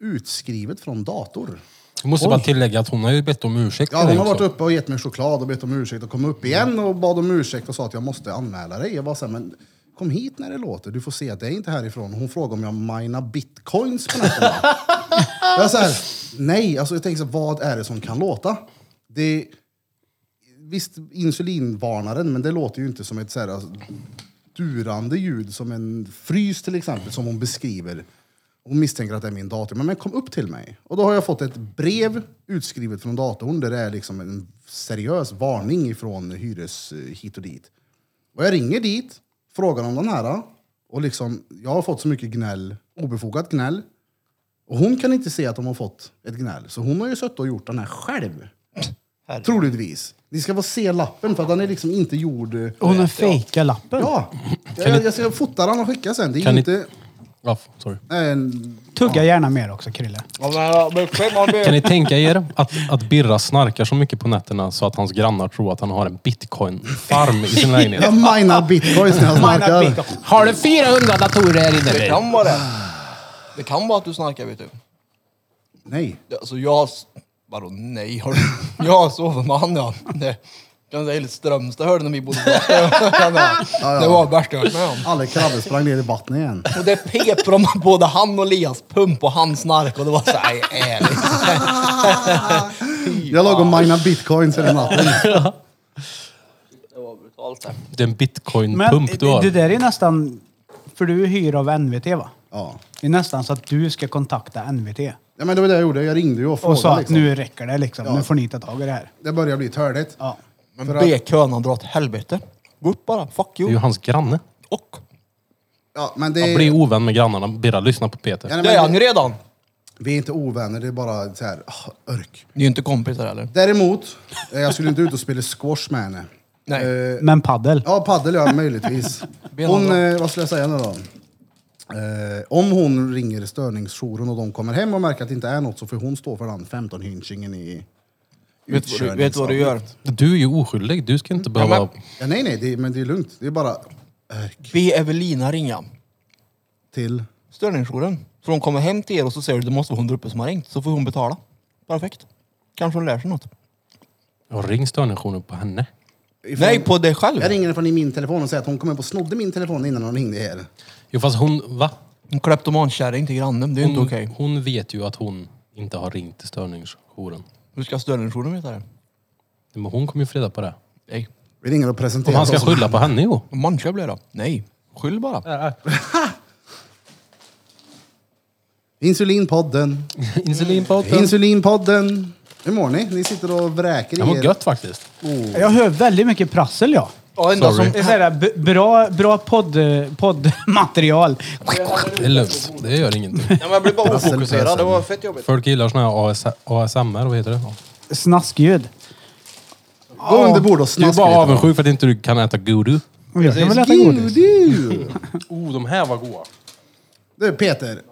utskrivet från dator. Jag måste bara tillägga att hon har ju bett om ursäkt Ja, för hon dig har varit också. uppe och gett mig choklad och bett om ursäkt och kom upp igen och bad om ursäkt och sa att jag måste anmäla dig. Jag bara så här, men kom hit när det låter. Du får se att det är inte härifrån. Hon frågade om jag minar bitcoins på nätterna. jag så här, nej, alltså jag tänker så här, vad är det som kan låta? Det visst, insulinvarnaren, men det låter ju inte som ett så här, alltså, durande ljud, som en frys till exempel, som hon beskriver. Hon misstänker att det är min dator. Men, men kom upp till mig. Och då har jag fått ett brev utskrivet från datorn där det är liksom en seriös varning från hyres eh, hit och dit. Och jag ringer dit, frågar om den här. Och liksom, jag har fått så mycket gnäll, obefogat gnäll. Och hon kan inte se att de har fått ett gnäll. Så hon har ju suttit och gjort den här själv. Troligtvis. Ni ska få se lappen för att den är liksom inte gjord... eh, Hon är fejka lappen. Ja! Jag, jag ska fota den och skicka sen. Det är Kan ju ni- inte... Ja, f- sorry. Nej, en- Tugga gärna mer också, Krille. Kan ni tänka er att, att Birra snarkar så mycket på nätterna så att hans grannar tror att han har en bitcoin-farm i sin lägenhet? jag minar bitcoins när jag Mina snarkar. bitcoin. Har du 400 datorer här inne? Det nu? kan vara det. Det kan vara att du snarkar vet du. Nej. Det- Alltså jag... Vadå nej? Har du... Jag sover med han ja. Det kan säga helt Strömstad hörde när vi bodde där. Det var det värsta jag varit med om. Alla krabbe sprang ner i vattnet igen. Och det pep från både han och Elias pump och han snark och det var såhär, ärligt. Jag låg och minade bitcoins hela natten. Det var brutalt Det är en Men bitcoin-pump du det, det har. där är nästan... För du hyr av NVT va? Ja. Det är nästan så att du ska kontakta NVT. ja, men det var det jag gjorde. Jag ringde ju och Och sa frågade. att Liksom. nu räcker det liksom. Nu får ni ta tag i det här. Det börjar bli törligt. Ja. För Men att- be kön dra åt helvete. Gå upp bara, fuck Det är ju you. hans granne. Och. Ja, men det, Han blir ovän med grannarna. Birra, lyssna på Peter. ja, nej, Det är men han ju redan. vi är inte ovänner, det är bara så här, ah, örk. Ni är ju inte kompisar heller. Däremot, eh, jag skulle inte ut och spela squash med henne. Nej. Eh, Men paddel. Ja, padel ja, möjligtvis. Hon, eh, vad skulle jag säga nu då? Eh, om hon ringer störningsjouren och de kommer hem och märker att det inte är något så får hon stå för den 15 hynchingen i Vet vad du, vet vad du gör? Du är ju oskyldig. Du ska inte behöva... men- Ja, nej, nej, det, men det är lugnt. Det är bara örk Be Evelina ringa. till... Störningsjouren. Så de kommer hem till er och så säger du det måste vara hon där uppe som har ringt. Så får hon betala. Perfekt. Kanske hon lär sig något. Jag ring störningsjouren på henne. ifrån- Nej, på dig själv. Jag ringer henne från i min telefon och säger att hon kom upp och snodde min telefon innan hon ringde er. Jo fast hon, va? En kleptomankärring till grannen, det är ju inte Hon, okej. hon vet ju att hon inte har ringt till störningsjouren. Hur ska störningsjouren veta det? Men hon kommer ju få reda på det. Nej. Vi ringer och Om presenterar han ska oss. skylla på henne jo. Manköp blir det då? Nej. Skyll bara. Insulinpodden. Insulinpodden. Insulinpodden. Hur mår ni? Ni sitter och vräker Det i var er. gött faktiskt. Jag hör väldigt mycket prassel ja. Ja, enda Sorry. som... Det är så här, b- bra bra podd, poddmaterial. Det är lugnt. Det gör ingenting. Ja, men jag blev bara Prassel, prassel. ofokuserad, det var fett jobbigt. Folk gillar såna här AS, ASMR, vad heter det? Snaskljud. Gå under bord och Du är snaska bara avundsjuk för att inte du kan äta guru. Jag kan väl äta godis. godis. Oh, de här var goda. Du Peter,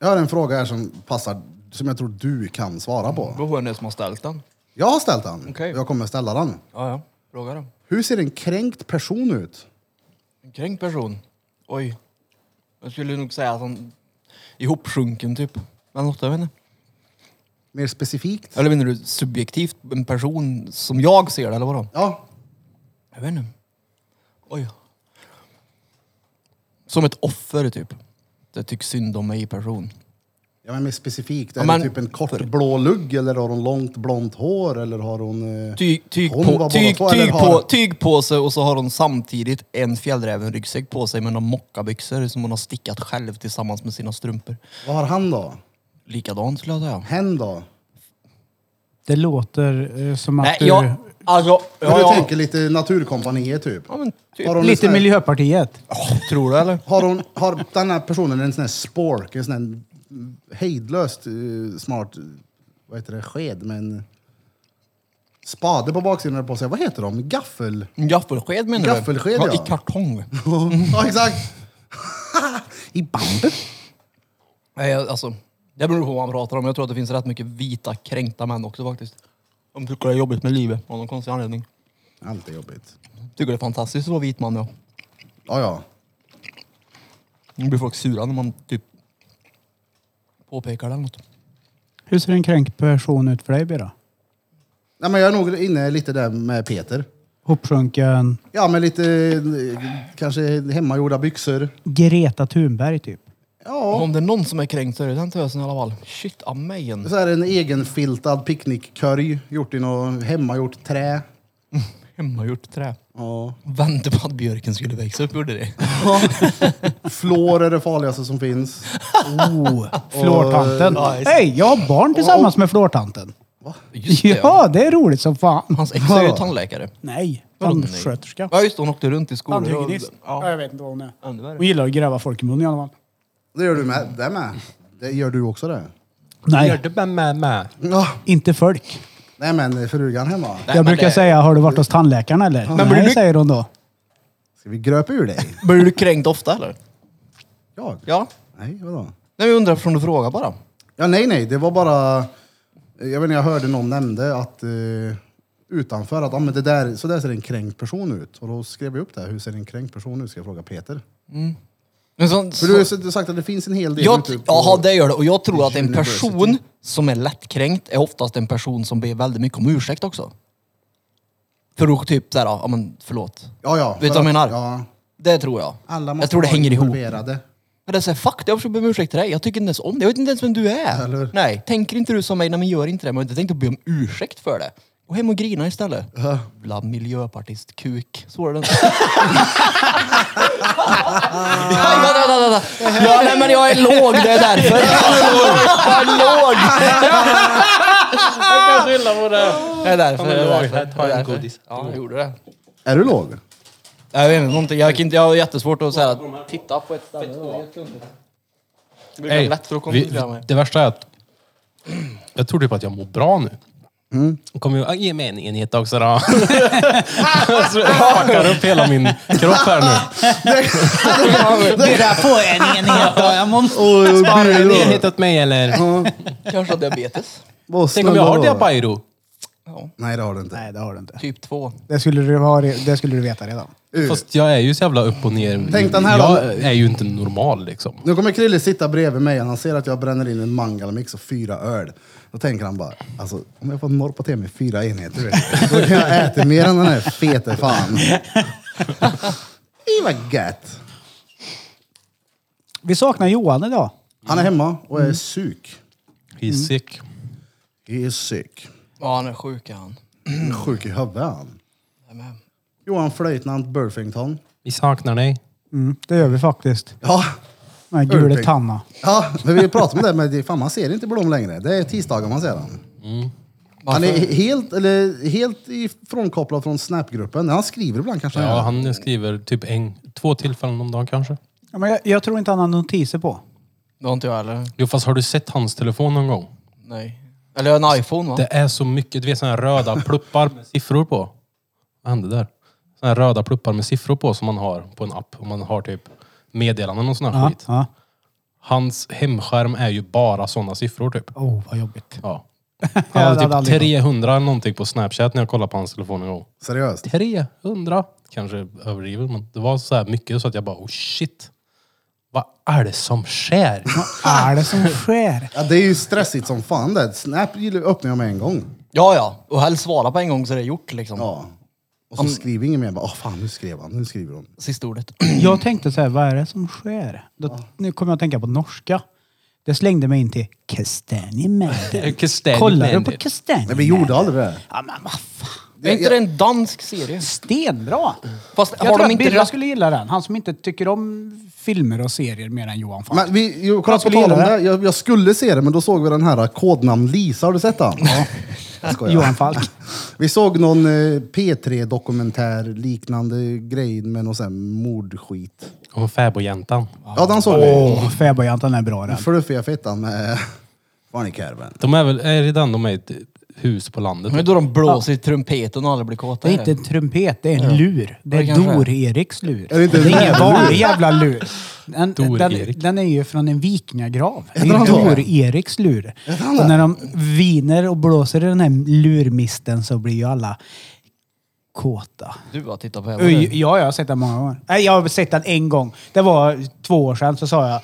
jag har en fråga här som passar, som jag tror du kan svara på. Då var det den som har ställt den. Jag har ställt den, Okej. jag kommer ställa den. Ja, ja. Fråga då. Hur ser en kränkt person ut? En kränkt person. Oj. Jag skulle nog säga att han... Ihopsjunken typ. Men något, jag vet inte. Mer specifikt? Eller menar du subjektivt en person som jag ser det, eller vadå? Ja, Jag vet inte. Oj. Som ett offer typ. Det tycks synd om mig person. Ja, men mer specifikt. Är Ja, men- det typ en kort blå lugg eller har hon långt blont hår eller har hon... eh, Tyg, tyg, hon var på, båda tyg, två, tyg, eller har- på, tyg på sig och så har hon samtidigt en fjällräven-ryggsäck på sig med några mockabyxor som hon har stickat själv tillsammans med sina strumpor. Vad har han då? Likadant skulle jag säga. Hen då? Det låter eh, som att Nej, du... jag... Alltså... Men Ja, du ja. tänker lite Naturkompaniet typ? ja men, typ. Har hon en Lite sån här- Miljöpartiet. Tror du eller? Har, hon, har den här personen en sån här spork, en sån här hejdlöst eh, smart, eh, vad heter det, sked med en spade på baksidan eller på sig. Vad heter de? Gaffel? En Gaffelsked menar du? Gaffelsked, ja. I kartong. ja, exakt! I bambu? Nej, alltså, det beror på vad man pratar om. Jag tror att det finns rätt mycket vita kränkta män också faktiskt. De tycker det är jobbigt med livet av någon konstig anledning. Alltid jobbigt. Tycker det är fantastiskt att vara vit man ja. Ja, ja. Nu blir folk sura när man typ påpekar det eller något. Hur ser en kränkt person ut för dig, Bira? Nej, men jag är nog inne lite där med Peter. Hopsjunken Ja, med lite eh, kanske hemmagjorda byxor. Greta Thunberg, typ. Ja, Om det är någon som är kränkt så är det den tösen i alla fall. Shit, amen. så här en egenfiltad picknickkörj gjort i något hemmagjort trä. Hemmagjort trä. Ja. Vände på att björken skulle växa upp, gjorde det. Flår är det farligaste som finns. Oh, flårtanten. Oh, nice. Hej, jag har barn tillsammans med flårtanten. Just det ja. Ja, det är roligt som fan. Hans ex är ju tandläkare. Nej, Vadå nej? tandsköterska. Ja just det, hon åkte runt i skolor. och- Tandhygienist. Ja, Ja. jag vet inte vad hon är. Ännu värre. Hon gillar att gräva folk i munnen i alla fall. Det gör du med. Det med. Det gör du också det. Gör Nej, det med med med. Ja. inte folk. Nej men frugan hemma. Nej, jag men brukar det- säga, har du varit hos tandläkaren eller? Nej, blir du- säger hon då. Ska vi gröpa ur dig? Blir du kränkt ofta eller? Jag? Ja. Nej, vadå? Nej, jag undrar från du frågar bara. Ja, nej, nej. Det var bara... Jag vet inte, jag hörde någon nämnde att eh, utanför att ah, men det där, så där ser en kränkt person ut. Och då skrev jag upp det här. Hur ser en kränkt person ut? Ska jag fråga Peter. Men så, För du har ju s- du har sagt att det finns en hel del jag, ute på- jaha, det gör det. Och jag tror att en University. person som är lättkränkt är oftast en person som ber väldigt mycket om ursäkt också. För att typ såhär, ja men förlåt. Ja, ja. Vet du för vad jag att- menar? Ja. Det tror jag. Alla måste jag tror det vara hänger ihop. involverade. Men det är såhär, fuck det, jag försöker be om ursäkt till dig. Jag tycker inte ens om det. Jag vet inte ens vem du är. Eller hur? Nej, tänker inte du som mig? Nej men gör inte det. Men jag tänkte be om ursäkt för det. Gå hem och grina istället. Jävla miljöpartist-kuk. Så är det. Nej, vänta, vänta, vänta. Ja, nej, men jag är låg, det är därför. Jag är låg. Jag kan skylla på det. Det är därför. Ja, men det är det var ju- därför, här, ta en det är därför. godis. Ja, jag gjorde det. Är du låg? Jag vet inte, någonting. jag, kan inte, jag har jättesvårt att säga titta på ett ställe. Det blir lätt för vi, att koncentrera mig. det värsta är att jag tror typ att jag mår bra nu. Mm. Kommer ju, "Ah, ge mig en enhet också då. så jag fuckar upp hela min kropp här nu. Bjuda på en enhet då. Jag måste... Sparar du en enhet åt mig eller? Kanske har diabetes. Vad Tänk om jag snälla har då. det Bairo? Ja, Nej, det har du inte. Nej, det har du inte. typ två. Det skulle du, ha, re- det skulle du veta redan. Ur. Fast jag är ju så jävla upp och ner. Tänk den här jag då. är ju inte normal liksom. Nu kommer Krille sitta bredvid mig och han ser att jag bränner in en mangalmix och fyra öl. Då tänker han bara, alltså om jag får norpa till mig fyra enheter, vet du, då kan jag äta mer än den här fete fan. Det var gött. Vi saknar Johan idag. Han är hemma och Mm. är sjuk. He's Mm. sick. He is sick. Ja, han är sjuk är han. Han är Sjuk i huvudet han. Nej, men- Johan Flöjtnant Burfington. Vi saknar dig. Mm, det gör vi faktiskt. Ja, Den här gule Ursäkt. Tanna. ja men vi pratade om det, men det, fan man ser inte Blom längre. Det är tisdagar man ser han. Han är helt, eller, helt ifrånkopplad från Snapgruppen. Han skriver ibland kanske. Ja, gör. han skriver typ en, två tillfällen om dagen kanske. Ja, men jag, jag tror inte han har notiser på. Det har inte jag heller. Jo, fast har du sett hans telefon någon gång? Nej. Eller jag har en iPhone va? Det är så mycket, du vet sådana här röda pluppar med siffror på. Vad hände där? Sådana här röda pluppar med siffror på som man har på en app. Om man har typ meddelanden och sån här Ja, skit. ja. Hans hemskärm är ju bara sådana siffror typ. Oh, vad jobbigt. Ja. det Han hade hade typ aldrig gått. 300 eller någonting på Snapchat när jag kollade på hans telefon en gång. Seriöst. 300! Kanske överdrivet, men det var så här mycket så att jag bara oh shit. Vad är det som sker? Vad är det som sker? Ja, det är ju stressigt som fan det. Snap gillar- öppnar jag med en gång. Ja, ja. Och helst svara på en gång så är det gjort liksom. Ja. Och så skriver ingen mer. Bara, Åh fan, nu skrev han. Nu skriver hon. Sista ordet. Jag tänkte så här, vad är det som sker? Då, nu kommer jag att tänka på norska. Det slängde mig in till Kastanjemännen. Kastanjemännen. Kollar du på Kastanjemännen? Nej, vi gjorde aldrig det. Ja, men vad fan. Är inte det en dansk serie? Stenbra! Fast Jag har tror de att inte... Birra rapp- skulle gilla den. Han som inte tycker om filmer och serier mer än Johan Falk. Men vi, jo, kolla Jag på skulle tal om gilla det. det. Jag, jag skulle se det, men då såg vi den här äh, kodnamn Lisa. Har du sett den? Ja. Jag skojar. Johan Falk. Vi såg någon eh, P3-dokumentär liknande grej med någon sån här mordskit. Om fäbodjäntan. Ja, den såg vi. Åh, Fäbodjantan är bra den. Fluffiga fittan med äh, barnkarven. De är väl, är det den de är i ett hus på landet? Men det är då de blåser i trumpeten och alla blir kåta. Det är inte en trumpet, det är en lur. Det Ja, det är kanske är. Dor-Eriks lur. Är det inte en ingen jävla lur? vanlig jävla lur. Den, den, Dor-Erik. den är ju från en vikingagrav. Det är den ju så? Dor-Eriks lur. den Och när de viner och blåser i den här lurmisten så blir ju alla kåta. Du har tittat på det. här, Oj, var det? Ja, jag har sett den många gånger. Nej, jag har sett den en gång. Det var två år sedan, så sa jag.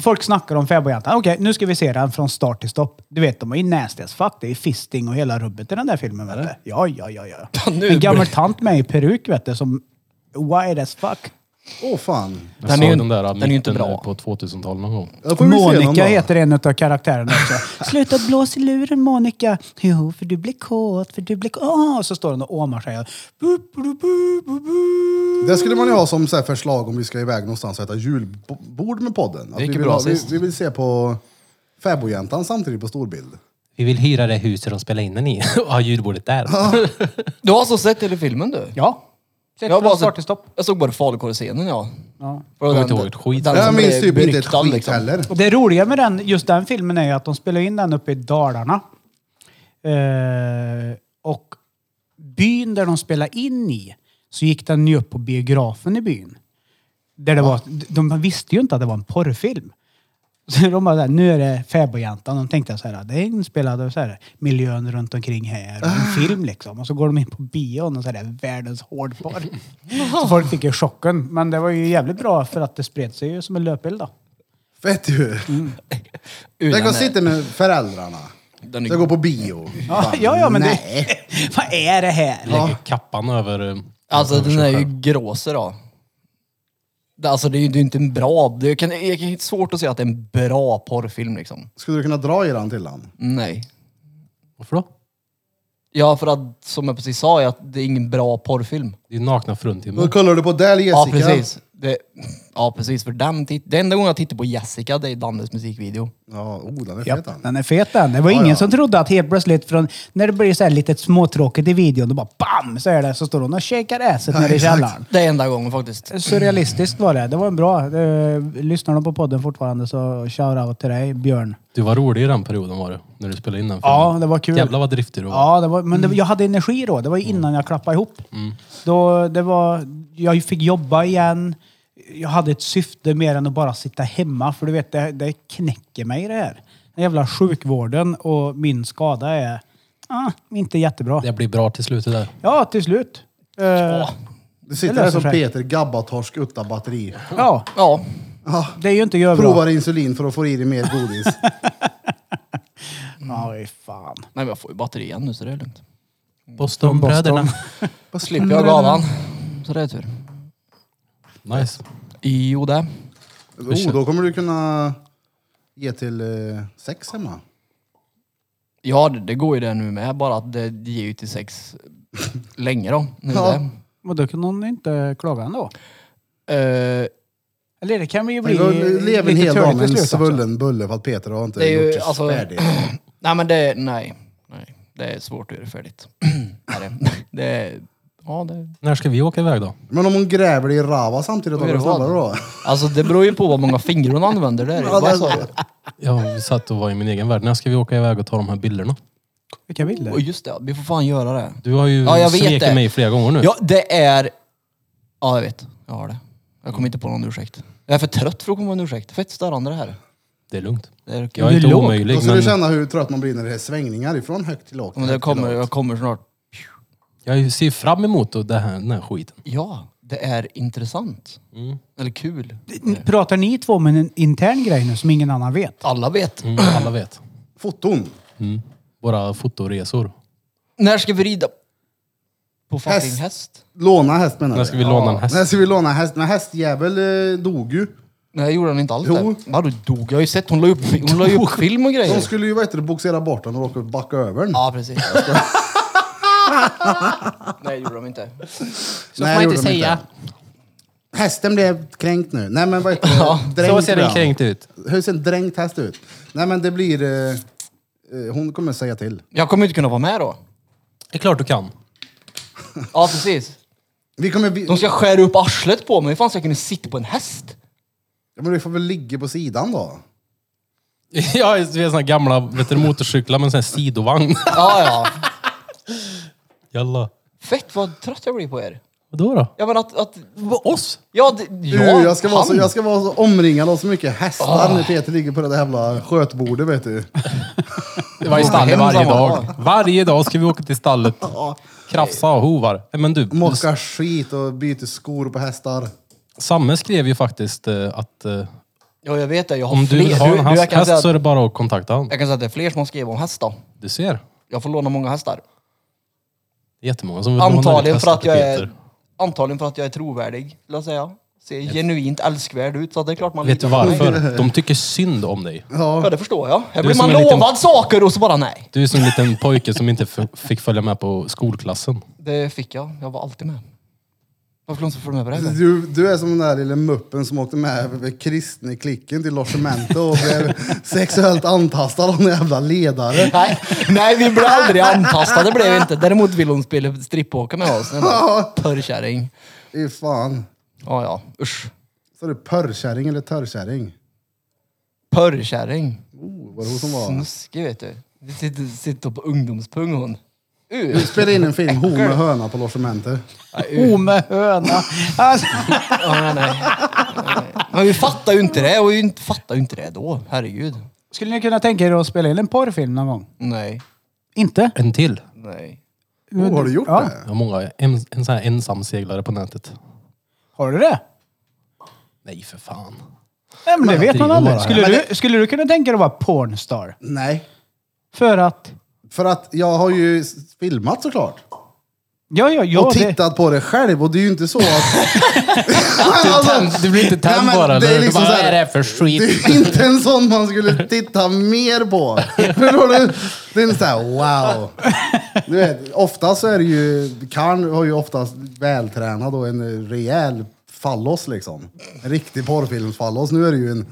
Folk snackar om Fäbodjäntan. Okej, nu ska vi se den från start till stopp. Du vet, de är ju nasty as fuck. Det är fisting och hela rubbet i den där filmen. Vet du? Ja, ja, ja. ja. nu en gammal tant med i peruk, vet du, som wide as fuck. Åh fan. Jag Den den såg är ju- den där den är ju inte mitten bra. på 2000-talet någon gång. Då får vi se någon Monica dag. heter en av karaktärerna också. Sluta blåsa i luren Monica. Jo, för du blir kåt, för du blir kåt. Åh, så står hon och åmar sig. Bu, bu, bu, bu, bu, bu. Det skulle man ju ha som så här förslag om vi ska iväg någonstans och äta julbord med podden. Att vi, gick ju vill bra ha, vi, sist. vi vill se på Fäbodjäntan samtidigt på storbild. Alltså, Vi vill hyra det huset de spelar in den i och ha ljudbordet där. Du har alltså sett hela filmen du? Ja. Sett Jag har från bara start sett- till stopp. Jag såg bara falukorvscenen ja. Ja. Var det Kommer inte ihåg ett skit. den Jag som minns blev typ inte ett ryktad, skit liksom. heller. Och det roliga med den, just den filmen är ju att de spelar in den uppe i Dalarna. Eh, och byn där de spelar in i, så gick den ju upp på biografen i byn. Där det var, de visste ju inte att det var en porrfilm. Så de bara såhär, nu är det Fäbodjäntan. De tänkte såhär, det är inspelad av såhär, miljön runt omkring här och en film liksom. Och så går de in på bion och så är det världens hårdporr. så folk fick ju chocken. Men det var ju jävligt bra för att det spred sig ju som en löpeld då. Fett ju! Mm. Unan Tänk att är- sitta med föräldrarna. Den är Ska gå på bio. Ja, Fan, ja, ja men Nej. det, vad är det här? Lägger kappan över... eh, Alltså över den sig är ju själv. gråser då. Det- Alltså det är ju det är ju inte en bra, det kan, jag kan, det är svårt att säga att det är en bra porrfilm liksom. Skulle du kunna dra i den till han? Nej. Varför då? Ja för att, som jag precis sa, är att det är ingen bra porrfilm. Det är ju nakna Då fruntimmer. kollar du på Dell Jessica. Mm. Ja precis. Det, ja precis, för den, tit- det enda gången jag tittar på Jessica, det är Dannes musikvideo. Ja, oh, den är Ja, fet han. den är fet den. Det var ingen som trodde att helt plötsligt från, när det blir så här lite småtråkigt i videon, då bara BAM! Så är det, så står hon och shakar asset nere i exakt. källaren. Det är enda gången faktiskt. Surrealistiskt var det. Det var en bra. eh, Lyssnar de på podden fortfarande så shout-out till dig, Björn. Du var rolig i den perioden var du, när du spelade in den filmen. Ja, det var kul. Jävlar vad driftig du var. Ja, det var, men det, jag hade energi då. Det var ju innan jag klappade ihop. Då, det var, jag fick jobba igen. Jag hade ett syfte mer än att bara sitta hemma. För du vet, det, det knäcker mig det här. Den jävla sjukvården och min skada är ah, inte jättebra. Det blir bra till slutet där. Ja, till slut. Eh, Du sitter det där löser som sig. Peter Gabbatorsk utan batteri. ja, Ja, det är ju inte görbra. Provar insulin för att få i dig mer godis. Aj, fan. nej men jag får ju batteri igen nu så det är lugnt. Bostonbröderna. Då slipper jag galan. Så det är tur. Nice. Jo det. oh, då kommer du kunna ge till eh, sex hemma. Ja, det, det går ju det nu med. Bara att det ger ju till sex länge då. Nu Ja. det. Och då kunde hon inte klaga ändå. Eh, Eller det kan ju bli Lev en lite hel dag törligt med i en slutet. också. svullen bulle för att Peter har inte Det är ju, gjort det alltså- färdigt. nej men det, nej. nej. Det är svårt att göra färdigt. är det. det är, ja det. När ska vi åka iväg då? Men om hon gräver dig i rava samtidigt, vad Vad gör är det du vad? snabbare då? Alltså det beror ju på vad många fingrar hon använder. Det är det. Ja, Vad det- sa du? Jag satt och var i min egen värld. När ska vi åka iväg och ta de här bilderna? Vilka bilder? Och just det, vi får fan göra det. Du har ju Ja, jag vet svekit det. mig flera gånger nu. Ja, det är... Ja, jag vet. Jag har det. Jag kommer inte på någon ursäkt. Jag är för trött för att komma på en ursäkt. Fett störande det här. Det är lugnt. Det är Jag är Du inte är låg. omöjlig, Då ska men du känna hur trött man blir när det är svängningar ifrån högt till lågt. Men det högt till kommer, lågt. jag kommer snart. jag ser fram emot det här, den här skiten. Ja, det är intressant. Eller kul. Pratar ni två om en intern grej nu som ingen annan vet? Alla vet. Mm, alla vet. Foton. Mm. Våra fotoresor. När ska vi rida på fucking Häst. häst? Låna häst menar När du? ska vi låna en häst? När ska vi låna häst? Men hästjävel eh, dog ju. Nej, gjorde hon inte alls Jo. det? Vadå dog? Jag har ju sett, hon la ju upp, hon la ju upp film och De grejer. skulle ju vad heter det, boxera bort den och råkade backa över den. Ja, precis. Nej, gjorde de inte. Så får man gjorde inte de säga. Hästen blev kränkt nu. Nej men vad heter det? Så Dränkt ser blev den han. kränkt ut. Hur ser en dränkt häst ut? Nej men det blir... Eh, eh, hon kommer säga till. Jag kommer inte kunna vara med då. Det är klart du kan. Ja, precis. Vi kommer... Vi, De ska skära upp arslet på mig. Hur fan ska jag kunna sitta på en häst? ja, men vi får väl ligga på sidan då. Ja, vi har såna gamla vet du, motorcyklar med en sån här sidovagn. Ja, ja. Jalla. Fett vad trött jag blir på er. Vadå då? Ja, men att... att Oss? ja, det, Du, ja, jag, ska vara så, han. Ah. jag ska vara så omringad av så mycket hästar när Peter ligger på det där jävla skötbordet vet du. Det var i stallet Hem varje samma dag. Varje dag ska vi åka till stallet. Krafsa och hovar. Nej, Men du, Mockar skit och byter skor på hästar. Samme skrev ju faktiskt eh, att eh, Ja, jag vet det. Jag har om du fler. vill ha en du, jag, häst, kan säga, häst så är det att- bara att kontakta honom. jag kan säga att det är fler som har skrivit om häst då. Du ser. Jag får låna många hästar. Det är jättemånga som vill låna ut Antagligen för hästar att till jag Peter. är, antagligen för att jag är trovärdig, låt jag säga. Ser genuint älskvärd ut, så det är klart man Vet du litar på mig. varför? De tycker synd om dig. Ja, det förstår jag. Här blir som man en liten- lovad saker och så bara nej. Du är som en liten pojke som inte f- fick följa med på skolklassen. Det fick jag. Jag var alltid med. Varför kunde jag inte följa med på det? här? Du, du är som den där lilla muppen som åkte med över kristne klicken till logementet och blev sexuellt antastad av en jävla ledare. Nej, nej, vi blev aldrig antastade, blev vi inte. Däremot ville hon spela strippåka med oss. Jag bara, Törrkärring. Fy fan. Ja, ja. Usch. Så du pörrkärring eller törrkärring? Pörrkärring. Oh, var det hon som var? Snuskig, vet du. Det sitter, sitter på ungdomspung hon. Uh. Vi spelade in en film, Hon med höna på logementet. Mm. Ome Oh, höna. Alltså, Ja, nej, nej. Men vi fattar ju inte det. Och vi inte- fattar ju inte det då. Herregud. skulle ni kunna tänka er att spela in en porrfilm någon gång? Nej. Inte? En till. Nej. Oh, har du gjort Ja. det? Jag har många. En, en sån här ensamseglare på nätet. Har du det? Nej för fan. Nej, men det vet man driver aldrig. bara. Skulle du, skulle du kunna tänka dig att vara pornstar? Nej. För att... För att jag har ju s- filmat såklart. Ja, ja, ja. och det- tittat på det själv och det är ju inte så att... alltså, Du blir inte Nej, tänd men bara det är eller? liksom du bara, så här- vad är det här för det skit? är inte en sån man skulle titta mer på. Förstår du? Det är en sån här wow. Du vet, oftast så är det ju... Karn har ju oftast vältränad och en rejäl fallos liksom. En riktig porrfilmsfallos. Nu är det ju en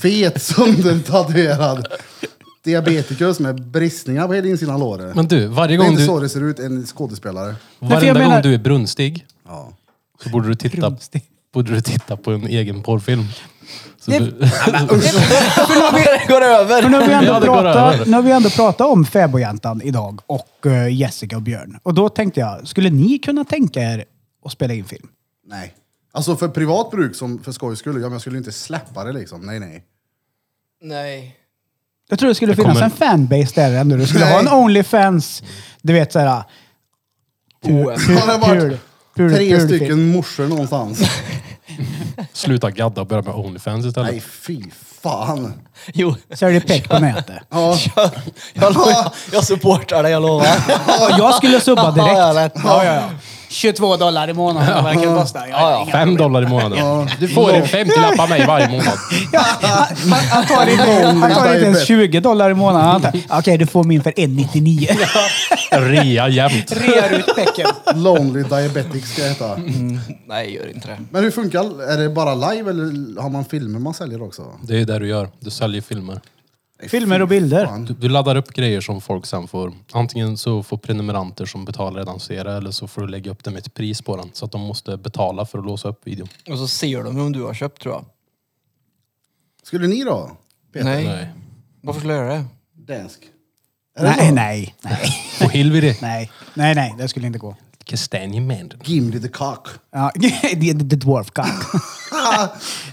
fet söndertatuerad diabetiker med bristningar på hela insidan av låret. Men du, varje Det är gång inte du, så det ser ut, en skådespelare. Nej, för jag varenda menar- gång du är brunstig Ja. så borde du titta, Brunstig. borde du titta på en egen porrfilm. Så Det- du, Det går För över. nu har vi ändå, Ja, det går över. pratat, nu har vi ändå pratat om fäbodjäntan idag och eh, Jessica och Björn. Och då tänkte jag, skulle ni kunna tänka er att spela in film? Nej. Alltså för privat bruk, som för skojs skull, ja, men jag skulle inte släppa det liksom. Nej, nej. Nej. Jag tror det skulle finnas kommer- en fanbase där ändå. Du skulle Nej. ha en Onlyfans, du vet ah, såhär... Oh, Har det varit tre stycken morsor någonstans? sluta gadda och börja med Onlyfans istället. Nej, fy fan. Jo. Säljer peck på nätet. Ja, Jag, jag, lovar, jag supportar dig, jag lovar. Ja, jag skulle subba direkt. Ja, jag vet. Ja, ja, ja. 22 dollar i månaden eller vad det kan kosta. Jag har Ja, inga Fem problem. dollar i månaden. Du får en 50-lapp av mig varje månad. Ja, han, han tar inte, han tar inte ens 20 dollar i månaden. Han tar, Okej, du får min för 1,99. Rea jämt. Rear ut pecken. Lonely Diabetic ska jag heta. Nej, gör inte det. Men hur funkar Är det bara live eller har man filmer man säljer också? Det är ju det du gör. Du säljer filmer. Filmer och bilder. Du, du laddar upp grejer som folk sen får. Antingen så får prenumeranter som betalar redan se det eller så får du lägga upp det med ett pris på den. Så att de måste betala för att låsa upp videon. Och så ser de om du har köpt, tror jag. Skulle ni då? Peter? Nej. Nej. Varför skulle jag göra det? Dansk. Nej, nej, nej, Och Hilviri. nej. Nej, nej, det skulle inte gå. Kastanjemän. Gimli the cock. Ja, the, the dwarf cock.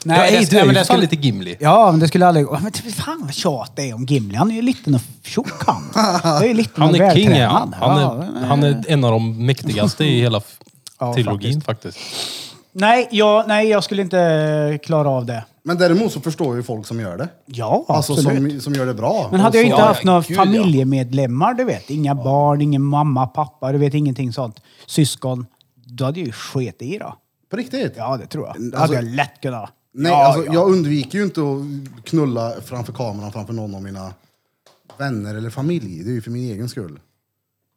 Nej, det- du är men ju det fan skulle- lite Gimli. Ja, men det skulle aldrig gå. Men typ, fan vad tjat det är om Gimli. Han är ju liten och tjock han. Det är ju liten Han och är king är han. vältränad. Han Ja, är, han är en av de mäktigaste i hela f- Ja, trilogin faktiskt. Nej, jag, nej, jag skulle inte klara av det. Men däremot så förstår ju folk som gör det. Ja, Alltså absolut. som, som gör det bra. Men hade Och jag inte så- ja, haft ja, några gud, ja. familjemedlemmar, du vet. Inga barn, ingen mamma, pappa, du vet ingenting sånt. Syskon. Då hade jag ju sket i då. På riktigt? Ja, det tror jag. Det Alltså- hade jag lätt kunnat. Nej, Ja, alltså, ja. jag undviker ju inte att knulla framför kameran framför någon av mina vänner eller familj. Det är ju för min egen skull.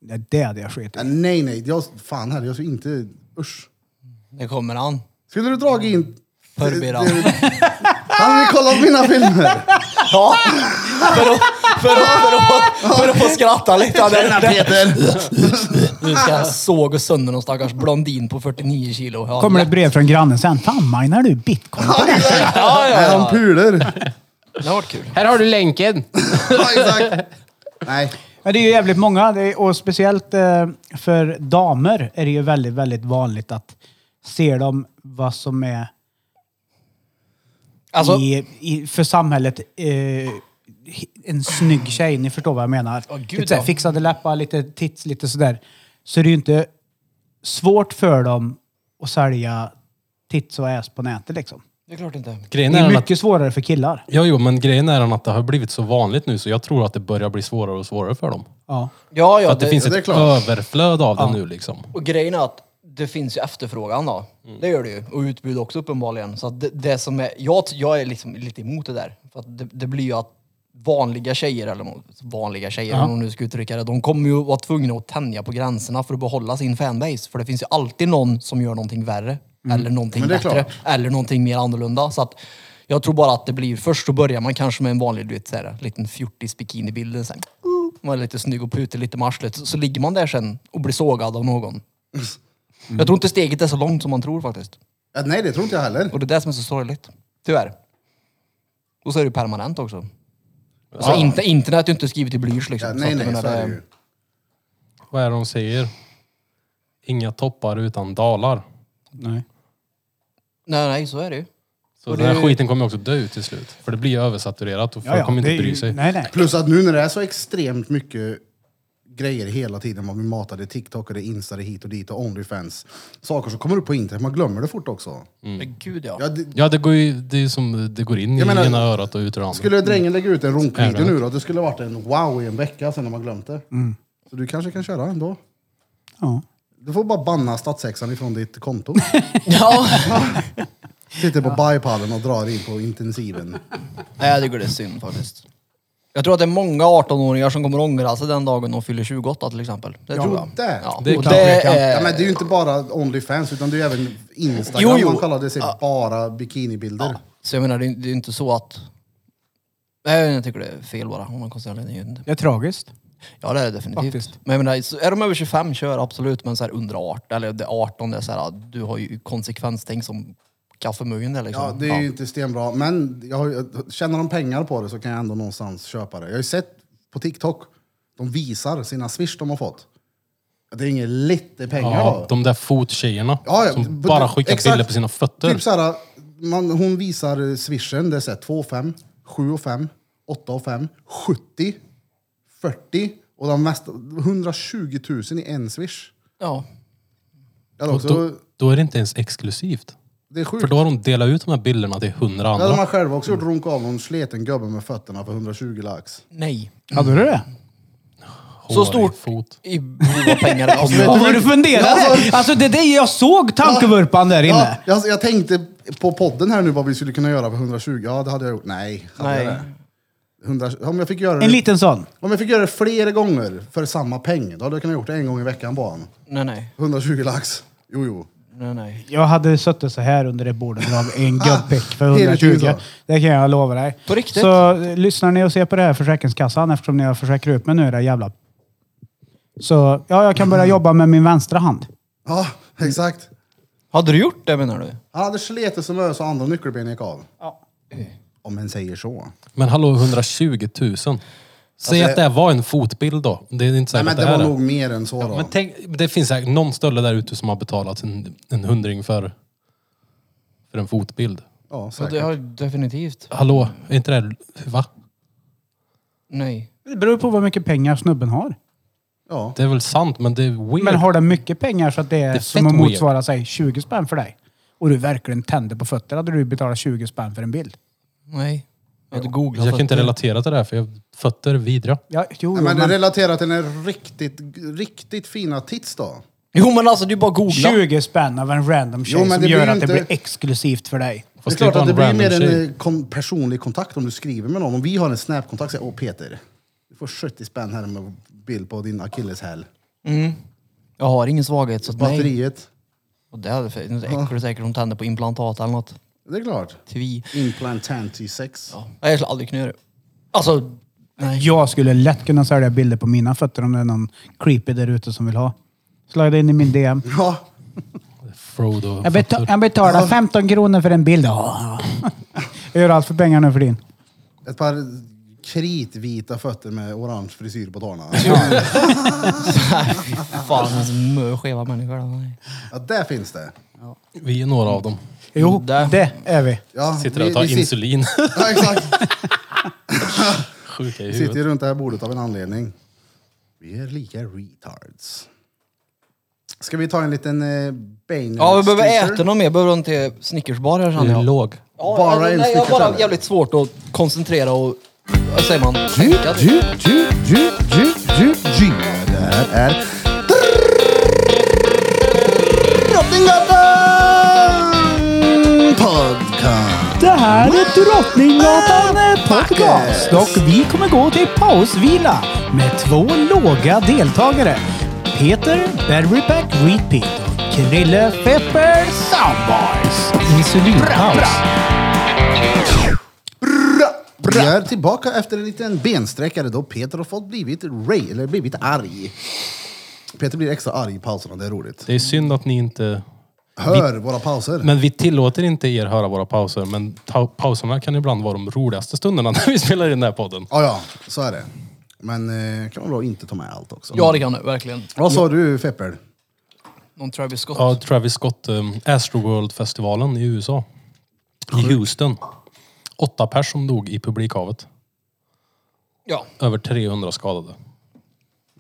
Nej, det hade jag skitit Äh, i. Nej, nej. Jag, fan här, jag ska inte... Usch. Det kommer han. Skulle du dragit in... Förr blir han. det- Han vill kolla på mina filmer! Ja, för att, för att, för att, för att få skratta lite. Ja, det- det- Nu ska jag såga sönder någon stackars blondin på 49 kilo. Ja, Kommer det lätt. ett brev från grannen sen. Fan minar du bitcoin på det? Ja, ja, Är ja. han puler? Det har varit kul. Här har du länken. Ja, exakt. Nej. Men det är ju jävligt många det är, och speciellt eh, för damer är det ju väldigt, väldigt vanligt att se dem vad som är Alltså, i, i, för samhället eh, en snygg tjej. Ni förstår vad jag menar. Åh, gud, lite såhär, ja. fixade läppar, lite tits, lite sådär. Så det är ju inte svårt för dem att sälja tits och ass på nätet liksom. det är klart inte. Grejen Det är är den att, mycket svårare för killar. ja, jo, men grejen är den att det har blivit så vanligt nu så jag tror att det börjar bli svårare och svårare för dem. Ja. Ja, För ja. att det, Det, finns det är ett klart. överflöd av det nu liksom. Och grejen är att det finns ju efterfrågan då. Mm. Det gör det ju. Och utbud också uppenbarligen. Så att det, det som är, jag, jag är liksom lite emot det där. För att det, det blir ju att vanliga tjejer, eller vanliga tjejer om man nu ska uttrycka det, de kommer ju vara tvungna att tänja på gränserna för att behålla sin fanbase. För det finns ju alltid någon som gör någonting värre, eller någonting Men det är bättre, klart. eller någonting mer annorlunda. Så att jag tror bara att det blir, först så börjar man kanske med en vanlig, du vet, så här, liten fjortis bikinibilden. Så här, "Ooh", uh, man är lite snygg och puter lite med arslet. Så, så ligger man där sen och blir sågad av någon. Mm. Jag tror inte steget är så långt som man tror faktiskt. Ja, Nej, det tror inte jag heller. Och det är det som är så sorgligt. Tyvärr. Och så är det permanent också. Alltså, inte, internet är ju inte skrivet i blyerts liksom. Ja, Så nej, att jag nej, menar, så är det ju. Vad är det de säger? Inga toppar utan dalar. Nej. Nej, nej, så är det ju. Så Och den här det- skiten kommer också dö ut till slut. För det blir ju översaturerat och folk kommer det inte är ju- bry sig. Nej, nej. Plus att nu när det är så extremt mycket grejer hela tiden, man blir matad i TikTok och det är Insta, det är hit och dit och Onlyfans. Saker som kommer upp på internet, man glömmer det fort också. Men gud ja. Ja, det, Ja, det går ju det är ju som det går in Jag i menar, ena örat och ut ur andra. skulle drängen lägga ut en runkvideo Även. nu då, det skulle ha varit en wow i en vecka sen när man glömt det. Mm. Så du kanske kan köra ändå. Ja. Du får bara banna statssexan ifrån ditt konto. ja. Sitter på bipallen och drar in på intensiven. Eh. Nej, jag tycker det är synd faktiskt. Jag tror att det är många 18-åringar som kommer ångra sig den dagen de fyller 28 till exempel. Det tror jag. det- ja. det och kanske det kan. är... Ja, men det är ju inte bara Onlyfans, utan det är ju även Instagram Jo, jo. man kollar. Det ser bara bikinibilder. Så jag menar, det är det är inte så att... Nej, jag tycker det är fel bara. Om man konstaterar det. är ju inte- Det är tragiskt. Ja, det är det definitivt. Faktiskt. Men jag menar, så är de över 25, kör absolut. Men så här under 18, eller det är 18, det är så här, du har ju konsekvenstänk som kaffemuggen där liksom. Ja, det är ju inte stenbra. Men jag har, ju- tjänar de pengar på det så kan jag ändå någonstans köpa det. Jag har ju sett på TikTok, de visar sina swish de har fått. Det är inget lite pengar Ja, då. de där fottjejerna Ja, ja, som på- bara skickar exakt. bilder på sina fötter. Typ såhär, man, hon visar swishen, det är såhär 2 och 5, 7 och 5, 8 och 5, 70, 40 och de mesta, 120 000 i en swish. Ja. Ja, det, är och då, också, då är det inte ens exklusivt. det är sjukt. För då har de delat ut de här bilderna till hundra Ja, de har andra. själva också gjort runk av någon sleten gubbe med fötterna för 120 lax. Nej. Hade du det? Hårig stort. Fot. I behov av pengar. det kommer ju- Ja, vad du funderade? Alltså, det där, jag såg tankevurpan där Ja, inne. jag, jag tänkte på podden här nu vad vi skulle kunna göra för 120. Ja, det hade jag gjort. Nej. hade Nej. jag det? 100, om, jag fick göra En det, liten sån. om jag fick göra det flera gånger för samma peng, då hade jag kunnat gjort det en gång i veckan bara. Nej, nej. 120 lax. Jo, jo. Nej, nej. Jag hade suttit så här under det bordet och dragit en gubbpick för Hela tiden 120. så. Det kan jag lova dig. På riktigt? Så eh, lyssnar ni och ser på det här Försäkringskassan eftersom ni har försäkrat upp mig nu era jävla... Så ja, jag kan börja jobba med min vänstra hand. Ja, exakt. Hade du gjort det menar du? Han hade slitit som ös och andra nyckelben gick av. Om man säger så. Men hallå, 120 000. Säg att det var en fotbild då. Det är Alltså, inte Nej, säkert men att det det är var det. nog mer än så Men då. tänk, det finns säkert någon stölle där ute som har betalat en, en hundring för, för en fotbild. Ja, Ja, det säkert. har jag definitivt. Hallå, är inte det... Va? Nej. Det beror på vad mycket pengar snubben har. Ja. Det är väl sant, men det är weird. Men har den mycket pengar så att det är, Det är som fett att motsvara sig 20 spänn för dig. Och du verkligen tänder på fötter hade du betalat 20 spänn för en bild. Nej. Jag hade googlat. jag kan inte det. relatera till det här, för jag, fötter är vidriga. Ja, jo, Nej, jo, men det men relaterar till den riktigt, riktigt fina tits då. Jo men alltså du bara googla. 20 spänn av en random tjej Jo, men som det gör blir att det inte- blir exklusivt för dig. Det är Fast det, klart att det var blir en mer en random tjej. eh, kon- personlig kontakt om du skriver med någon. Om vi har en snapkontakt, säger åh Peter, du får 70 spänn här med bild på din akilleshäl. Jag har ingen svaghet så att nej. Batteriet, Och det hade för- det är äckligt säkert om tänder på implantat eller något. det är klart. Tvi. Implantantisex. Ja. Nej, Jag skulle aldrig kunna göra det. Alltså, nej. Jag skulle lätt kunna sälja bilder på mina fötter om det är någon creepy där ute som vill ha. Slida in i min DM. Ja. Frodo. Jag, beta- jag betalar 15 kronor för en bild. Ja. Jag gör allt för pengar nu för din. Ett par kritvita fötter med orange frisyr på tårna. Fan, det är så mö skeva människor. där, Nej. Ja, där finns det. Vi är några av dem. Jo, Där. det är vi. Ja, Sitter där och tar sit- insulin. Ja, exakt. Sjuka i Vi sitter ju huvudet. runt det här bordet av en anledning. Vi är lika retards. Ska vi ta en liten eh, Bane Ja, vi behöver sticker? äta något mer. Behöver du inte Snickersbar här Du känner är jag. låg. Ja, Bara alltså, en nej, jag har Snickers, bara eller? jävligt svårt att koncentrera och... Vad säger man? Tänka. Ju, ju, ju, ju, ju, ju. Det här är Drottninggatan Podcast. Det här är Äh, Drottninggatan Podcast och vi kommer gå till pausvila med två låga deltagare. Peter Berryback Repeat och Krille Pepper Soundbars. Insulinpaus. Vi är tillbaka efter en liten bensträckare då Peter har fått blivit, ray, eller blivit arg. Peter blir extra arg i pauserna, det är roligt. Det är synd att ni inte... Hör våra pauser. Men vi tillåter inte er höra våra pauser. Men ta- pauserna kan ibland vara de roligaste stunderna när vi spelar in den här podden. Ja, ja, så är det. Men eh, kan man då inte ta med allt också. Ja, det kan du verkligen. Vad sa du Fepper? Någon Travis Scott. Ja, Travis Scott, um, Astroworld-festivalen i USA. I Houston. Åtta personer som dog i publikhavet. Ja. Över 300 skadade.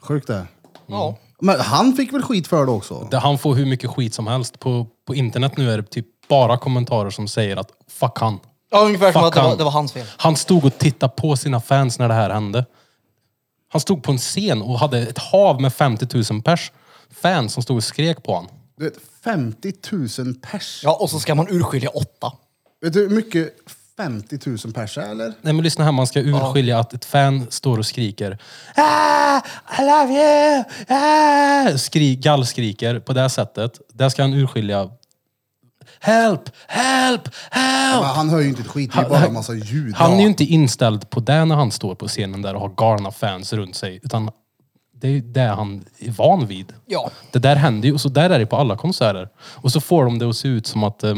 Sjukt det. ja. Men han fick väl skit för det också? Där han får hur mycket skit som helst. På, på internet nu är det typ bara kommentarer som säger att fuck han. Ja, ungefär som Fuck att det var, han. det var hans fel. Han stod och tittade på sina fans när det här hände. Han stod på en scen och hade ett hav med 50 000 pers. Fans som stod och skrek på honom. Du vet, 50 000 pers. Ja, och så ska man urskilja åtta. Vet du hur mycket 50 000 pers är eller? Nej men lyssna här, man ska urskilja att ett fan står och skriker ah, I love you! Ah! Skri gallskriker på det här sättet. Där ska han urskilja Help! Help! Men Help! han hör ju inte ett skit, det är bara en massa ljud. Han är Ja. ju inte inställd på det när han står på scenen där och har galna fans runt sig. Utan det är ju det han är van vid. Ja. Det där händer ju och så där är det på alla konserter. Och så får de det att se ut som att, eh,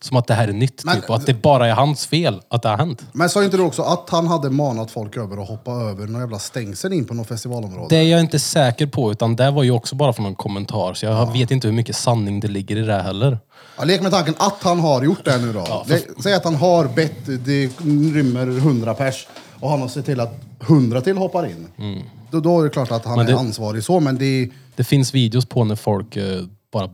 som att det här är nytt. Men- typ, och att det bara är hans fel att det har hänt. Men sa inte du också att han hade manat folk över att hoppa över några jävla stängsel in på något festivalområde? Det är jag inte säker på, utan det var ju också bara från en kommentar. Så jag vet inte hur mycket sanning det ligger i det heller. Ja, lek med tanken att han har gjort det nu då. Det- Säg att han har bett, det rymmer 100 pers och han har sett till att 100 till hoppar in. Då, då är det klart att han Mm. Men är det- ansvarig så, men det är... Det finns videos på när folk eh, bara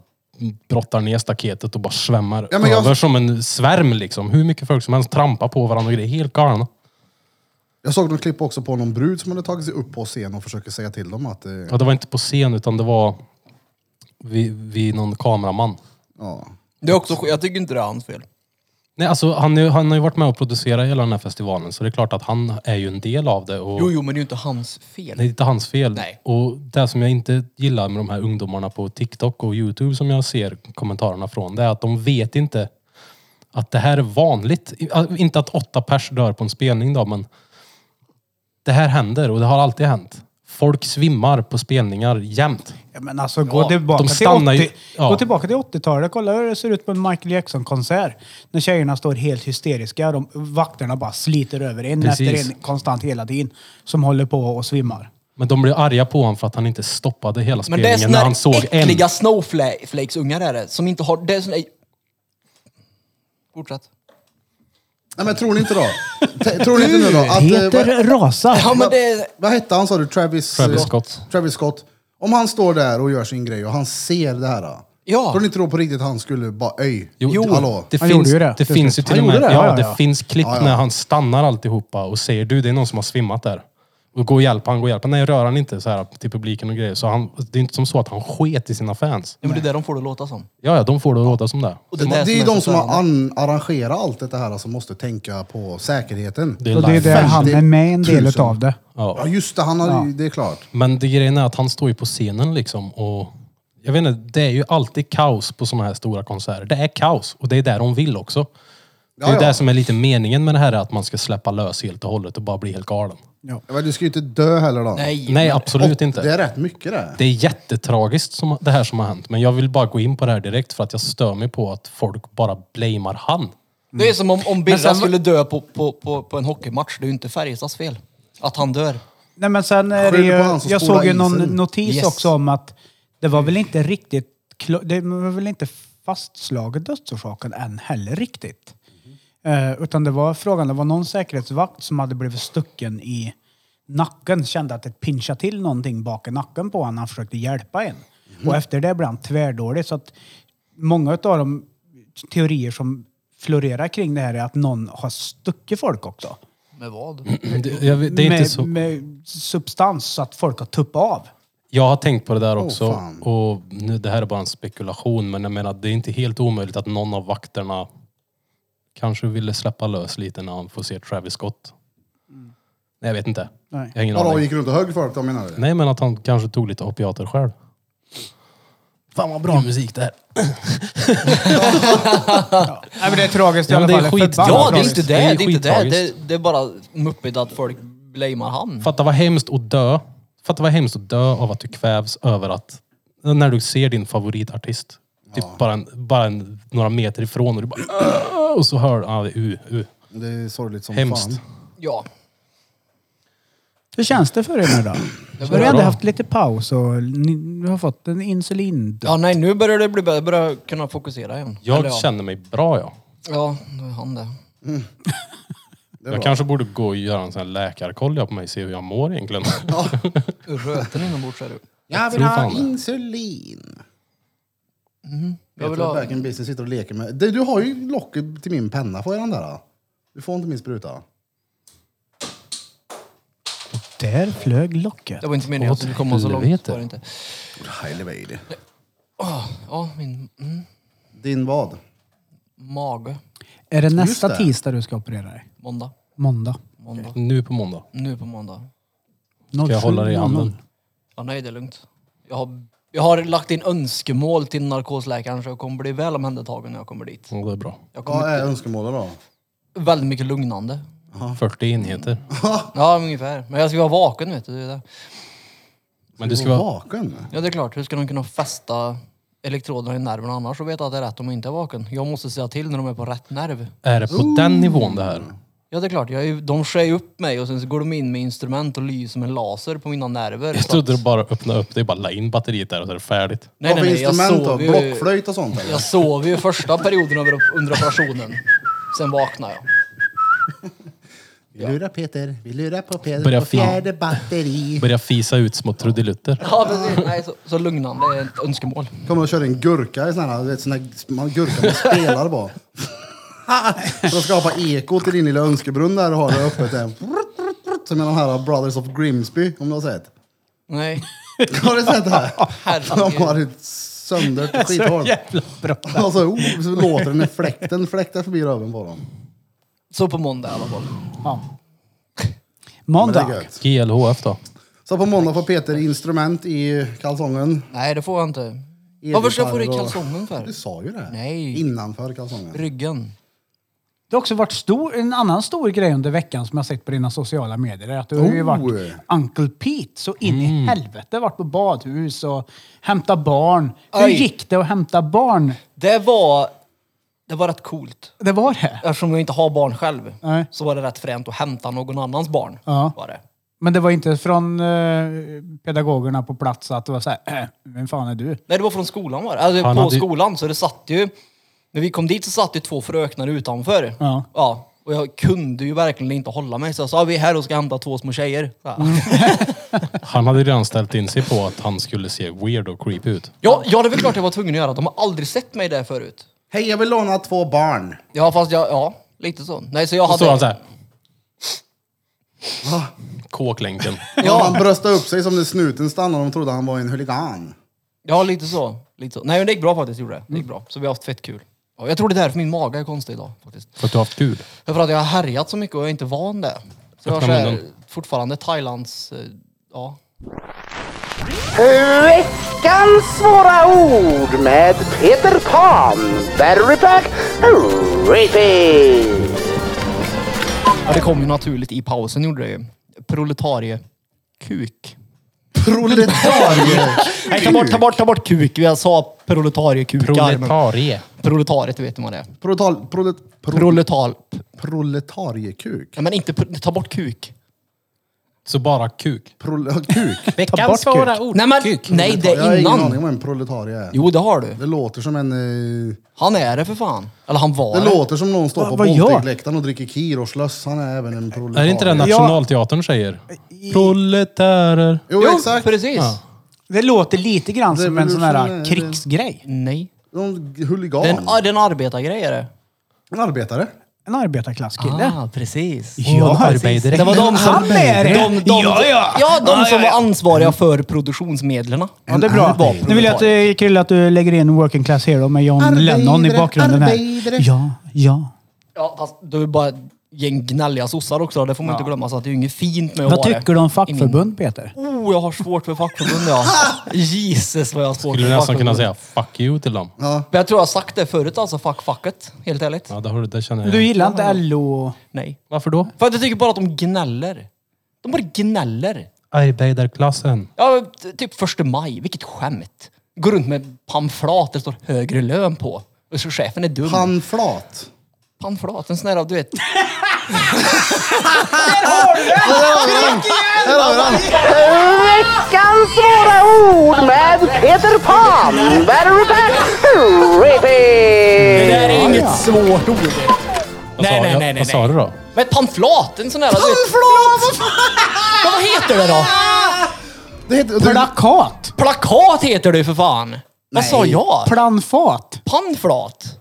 brottar ner staketet och bara svämmar Ja, men jag- över som en svärm liksom. Hur mycket folk som helst trampar på varandra och grejer. Helt galna. Jag såg någon klipp också på någon brud som hade tagit sig upp på scen och försöker säga till dem att... Eh, Ja, det var inte på scen utan det var vid, vid någon kameraman. ja. Det är också, sk- jag tycker inte det är hans fel. Nej, alltså, han, är- han har ju varit med och producerat hela den här festivalen så det är klart att han är ju en del av det. Och... Jo, jo, men det är ju inte hans fel. Det är inte hans fel. Nej. Och det som jag inte gillar med de här ungdomarna på TikTok och YouTube som jag ser kommentarerna från, det är att de vet inte att det här är vanligt. alltså, Inte att åtta pers dör på en spelning då, men det här händer och det har alltid hänt. Folk svimmar på spelningar jämt. Ja, men alltså, gå, tillbaka de till stannar 80, ju- ja. gå tillbaka till 80-talet. Kolla hur det ser ut på en Michael Jackson-konsert. När tjejerna står helt hysteriska. De, vakterna bara sliter över en Precis. efter en konstant hela tiden. Som håller på och svimmar. Men de blev arga på honom för att han inte stoppade hela Men det är spelningen såna när han här såg en. äckliga snowflakes-ungar är det, som inte har... Det är såna... Fortsätt. Nej men tror ni inte då? T- tror ni inte nu då? Att, eh, vad, Peter rasar! Ja, men det... vad hette han sa du? Travis, Travis eh, Scott. Travis Scott. Om han står där och gör sin grej och han ser det här. Då, Ja. Tror ni inte då på riktigt han skulle bara öj? Jo, hallå? det Han finns gjorde ju ju det, det. till finns ju slut. till och Han med, gjorde ja, det, ja, ja, det ja. finns klipp Ja, ja. när han stannar alltihopa och säger du, det är någon som har svimmat där. Och gå och hjälp han, gå och hjälp han. Nej, rör han inte så här till publiken och grejer. Så han, det är inte som så att han sket i sina fans. Ja, men det är det de får det att låta som. Ja, ja, de får det att låta som det. Och Det, är ju så de som har störande. an- arrangerat allt det här som måste tänka på säkerheten. Det är Och det är live. där han är med en del 50 000. av det. Ja Ja. just det, han har, ju- det är klart. Men det grejen är att han står ju på scenen liksom och... Jag vet inte, det är ju alltid kaos på sådana här stora konserter. Det är kaos och det är där de vill också. Det är Ja, ju ja. det som är lite meningen med det här, att man ska släppa lös helt och hållet och bara bli helt galen. Men du ska ju inte dö heller då. Nej. Nej, absolut Och Det inte. är rätt mycket det. Det är jättetragiskt som, det här som har hänt, men jag vill bara gå in på det här direkt för att jag stör mig på att folk bara blamear han. Det är som om, om Birra Men sen- skulle dö på, på, på, på en hockeymatch. Det är ju inte Färjestads fel att han dör. Nej, men sen är det Skyll på han ju, som jag spolar såg ju isen. någon notis Yes. också om att det var väl inte riktigt klo- det var väl inte fastslaget dödsorsaken än heller riktigt. Eh, utan det var frågan, det var någon säkerhetsvakt som hade blivit stucken i nacken, kände att det pinchade till någonting bak i nacken på honom. Han försökte hjälpa en. Mhm. Och efter det blev han tvärdålig. Så att många av de teorier som florerar kring det här är att någon har stuckit folk också Med vad? Det, jag, vet- det är inte med, så... med substans så att folk har tuppat av. Jag har tänkt på det där också. fan. och nu, det här är bara en spekulation, men jag menar, det är inte helt omöjligt att någon av vakterna kanske ville släppa lös lite när han får se Travis Scott. Nej, jag vet inte. Nej. Jag har ingen Vadå, aning. gick runt och högg folk då menar du? Nej, men att han kanske tog lite opiater själv. Fan vad bra musik det här. Nej, men det är tragiskt i Ja, alla men det är fall. skit- Förbannat Ja, det är tragiskt. inte det. Det är Det är, inte det. skittragiskt. det. Det är bara muppigt att folk blamear han. Fatta vad hemskt att dö. Fatta vad hemskt att dö av att du kvävs över att... När du ser din favoritartist. Typ bara, en, bara en, några meter ifrån och du bara... "Åh!" Och så hör du... Ah, det är u, u. Det är sorgligt som Hemskt. fan. Ja. Hur känns det för er nu då? Du har bra. ändå haft lite paus och ni, du har fått en insulin. ja, nej nu börjar det bli bättre. Jag börjar kunna fokusera igen. Jag Eller ja. känner mig bra ja. Ja, nu är han det. är jag kanske borde gå och göra en sån här läkarkoll jag på mig och se hur jag mår egentligen. Röten inombords är du. Jag vill tror ha fan det. insulin. Jag Jag vill tror Mm-hmm. att ha... Back in Business sitter och leker med... Du, du har ju locket till min penna, får jag den där? då? Du får inte min spruta. Där flög locket. Det var inte meningen att du skulle komma så långt. helvete. Var det inte. Helvete. Ja, min mm, Din vad? mage. Är det nästa det. tisdag du ska operera dig? Måndag. Måndag? Måndag. nu på måndag. Nu på måndag. Ska jag hålla dig i handen? Ja, nej, det är lugnt. Jag har, jag har lagt in önskemål till narkosläkaren så jag kommer bli väl omhändertagen när jag kommer dit. Ja, det är bra. Jag kommer Vad är önskemålen då? väldigt mycket lugnande. 40 enheter. Ja, ungefär. Men jag ska vara vaken vet du. det är det. Men du ska vara... vaken. Ja, det är klart. Hur ska de kunna fästa elektroderna i nerven annars och veta att det är rätt om jag inte är vaken? Jag måste säga till när de är på rätt nerv. Är det på den nivån det här? Ja, det är klart. Jag är, ju- de skär ju upp mig och sen så går de in med instrument och lyser med en laser på mina nerver. Jag så trodde att- det bara öppna upp, det är bara la in batteriet där och så är det färdigt. Nej, nej, Vad för nej. Jag instrument då? sov ju, Blockflöjt och sånt eller? jag sov ju första perioden under- under operationen. Sen vaknade jag. Vi lurar Peter, vi lurar på Peter Börja fin- batteri. Börja fisa ut små trudelutter. Ja, precis. Nej, så, så lugnande är ett önskemål. Kommer och kör en gurka i sån här, du vet, sån här man, gurka man spelar på. För att skapa eko till din lilla önskebrunn där du har det öppet. där. Som i de här Brothers of Grimsby, om du har sett. Nej. Har du sett det här? Herregud. De har ett sönder till skithål. Jävla bra. Och så, oh, så låter den i fläkten, fläktar förbi röven på dem. Så på måndag i alla fall. Ja. Men det är Måndag. gött. GLHF då? Så på måndag får Peter instrument i kalsongen. Nej, det får jag inte. Varför ska jag få det i kalsongen för? Du sa ju det. Nej. Innanför kalsongen. Ryggen. Det har också varit stor, en annan stor grej under veckan som jag sett på dina sociala medier. Är att du har ju Oh. varit Uncle Pete så in i helvete. Varit på badhus och hämta barn. Hur Aj. gick det att hämta barn? Det var... Det var rätt coolt. Det var det. Eftersom jag inte har barn själv Nej. så var det rätt fränt att hämta någon annans barn. Ja. Var det. Men det var inte från eh, pedagogerna på plats att det var så här, äh, vem fan är du? Nej, det var från skolan var det. Alltså, Han på hade ju- skolan. Så det satt ju... När vi kom dit så satt ju två fröknar utanför. Ja. Och jag kunde ju verkligen inte hålla mig. Så jag sa, vi är här och ska hämta två små tjejer. Så här. Mm. Han hade redan ställt in sig på att han skulle se weird och creepy ut. Ja, ja, det är väl klart jag var tvungen att göra. De har aldrig sett mig där förut. Hej, jag vill låna två barn. Ja, fast jag... Ja, lite så. Nej, så jag Och så var han hade... såhär. Va? Kåklänken. Ja. Han bröstade upp sig som när snuten stannade och de trodde han var en huligan. Ja, lite så. Lite så. Nej, men det gick bra faktiskt. Gjorde det. Mm. det gick bra. Så vi har haft fett kul. Ja, jag tror det är därför min mage är konstig idag. Faktiskt. För att du har haft kul. För att jag har härjat så mycket och jag är inte van det. Så jag har så Öppna här, munnen. fortfarande Thailands... eh, Ja. Veckans svåra ord med Peter Pan. Battery pack repeat. ja, det kom ju naturligt i pausen gjorde det ju. Proletarie-kuk. Proletarier! Nej, ta bort, ta bort, ta bort kuk. Jag sa proletarie-kuk. Proletarie. Proletariet vet man det. Proletal, prolet, pro, Proletal... proletariekuk? Ja, men inte... pro- Ta bort kuk. Så bara kuk. Prole, kuk? bort Veckans svåra kuk. ord. Nej, men, nej det Jag har är ingen aning innan. om vad en proletarie är. Jo, det har du. Det låter som en... eh, Han är det för fan. Eller han var Det det. låter som någon står Va- på vad gör? Boltic-läktaren och dricker Kiroslöss. Han är även en proletarier. Är det inte det Nationalteatern säger? Proletärer. Jo, Jo, exakt. precis. Det låter lite grann som en sån här Revolutionär- krigsgrej. Nej. ah, Någon Det är en, huligan. det är en arbetargrej är det. En arbetare. En arbetarklasskille. Ah. precis. Ja, arbetare. Det var de som, Han är det. De, de, Ja, ja. de Ja, som ja, ja. var ansvariga för produktionsmedlen. Ja, det är bra. Nu vill jag att eh, Krille att du lägger in Working Class Hero med John Arbetare, Lennon i bakgrunden här. arbetare. Ja, ja. Ja, fast du är bara ett gäng gnälliga sossar också. Det får man inte glömma. Så att det är ju inget fint med att Vad vara tycker det. du om fackförbund, Peter? Oh, jag har svårt för fackförbund ja. Jesus vad jag har svårt Skulle du för nästan fackförbund. kunna säga fuck you till dem. Ja. Men jag tror jag har sagt det förut alltså. Fuck facket. Helt ärligt. Ja, det, har du, det känner jag. Du gillar inte LO? Nej. Varför då? För att jag tycker bara att de gnäller. De bara gnäller. Arbetarklassen. Ja, t- typ första maj. Vilket skämt. Går runt med pamflat det står högre lön på. Och så chefen är dum. Panflat. Pamflat, en sån där, du vet. Veckans svåra ord med Peter Pan. Battery pack Det repeat. där är inget svårt ord. Vad sa Nej, nej, jag- nej, nej, Vad sa du då? Men ett pamflat, en sån där, du vet. Pamflat! Men vad heter det då? Det heter... Du, Plakat! Plakat heter det ju för fan. Vad sa jag? Planfat! Pamflat.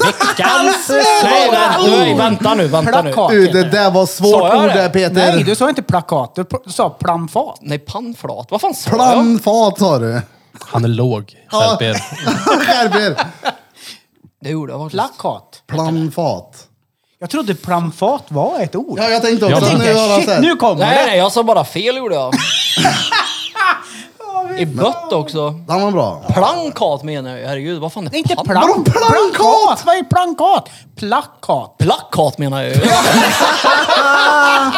Veckans Nej, svåra vänta, nej, vänta nu, vänta nu. Plakat du, heter det där var svårt Sa jag ord det? där Peter. Nej, du sa inte plakat. Du pr- sa planfat. Nej, pamflat. Vad fan sa jag? Planfat sa du. Han är låg. Skärp er. Skärp er. Det gjorde jag faktiskt. Plakat. Planfat. Jag trodde planfat var ett ord. Ja, jag tänkte också. Jag nu tänkte, har han Shit, sett. nu kommer Nej, det! nej, jag sa bara fel gjorde jag. I bött också. Den var bra. Plankat menar jag Herregud, vad fan är Det är inte pan- plan- plankat! Vad är plankat? Plakat! Plakat menar jag ju.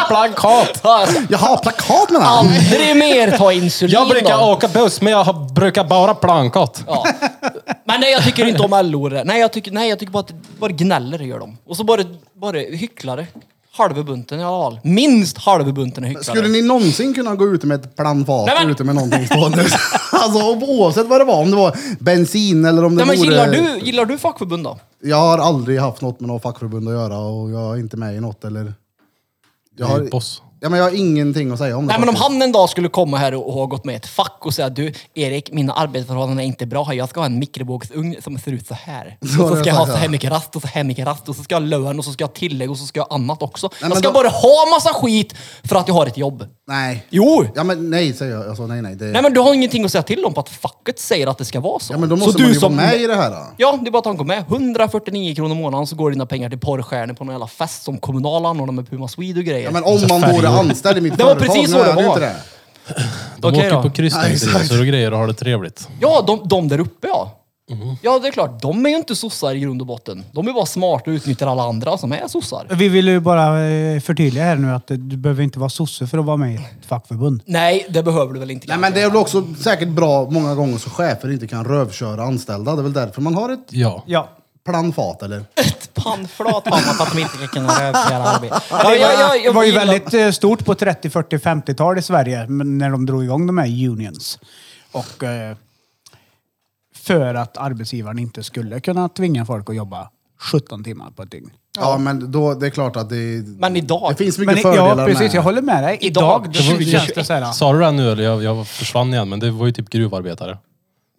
Plakat! Jaha, plakat menar han. Aldrig mer ta insulin Jag brukar då. åka buss, men jag har- brukar bara plankat. Ja. Men nej, jag tycker inte om LO. det. Nej, jag tycker, nej, jag tycker bara att det bara gnäller gör de. Och så bara, bara hycklare. Halva bunten i alla fall. Minst halva bunten är hycklare. Skulle ni någonsin kunna gå ut med ett planfat Nej, men- ute med någonting stående? alltså oavsett vad det var, om det var bensin eller om det nej, men vore... gillar, du, gillar du fackförbund då? Jag har aldrig haft något med något fackförbund att göra och jag är inte med i något eller... Jag Du är boss. Ja, men jag har ingenting att säga om det. Nej men om faktiskt. han en dag skulle komma här och och ha gått med i ett fack och säga du Erik, mina arbetsförhållanden är inte bra. Jag ska ha en mikrovågsugn som ser ut så här. Och har så jag ska jag ha sagt, så här ja. mycket rast och så här mycket rast och så ska jag ha lön och så ska jag ha tillägg och så ska jag ha annat också. jag men ska då- bara ha massa skit för att jag har ett jobb. Nej. Jo! Ja men nej säger jag. Alltså, nej nej. Det... Nej men du har ingenting att säga till om på att facket säger att det ska vara så. ja men då Så måste du man ju som- vara med i det här. Då. Ja, det är bara att han går med. 149 kronor i månaden så går dina pengar till porrstjärnor på någon jävla fest som kommunala anordnar med Puma Swede och grejer. Ja, men om man vore anställd i mitt Alltså, Det var företag, precis nu så är jag det ju var. inte det. De Okej åker då. på kryssningsresor och grejer och har det trevligt. Ja, de, de där uppe ja. Mhm. Ja, det är klart. De är ju inte sossar i grund och botten. De är bara smarta och utnyttjar alla andra som är sossar. Vi vill ju bara eh, förtydliga här nu att eh, du behöver inte vara sosse för att vara med i ett fackförbund. Nej, det behöver du väl inte. Nej men det kanske. är väl också säkert bra många gånger så chefer inte kan rövköra anställda. Det är väl därför man har ett Ja. Ja. planfat eller? Ett pannflat har man för att de inte ska kunna rövköra arbete. Ja, det var ju gillar- väldigt eh, stort på 30, 40, 50-tal i Sverige men när de drog igång de här unions. Och eh, för att arbetsgivaren inte skulle kunna tvinga folk att jobba 17 timmar på ett dygn. Ja, men då, det är klart att det, Men idag. det finns mycket Men, i- fördelar ja, precis. med Jag håller med dig. Idag, Idag, det var- det känns det så här... Sa du det nu eller jag, jag försvann igen, men det var ju typ gruvarbetare.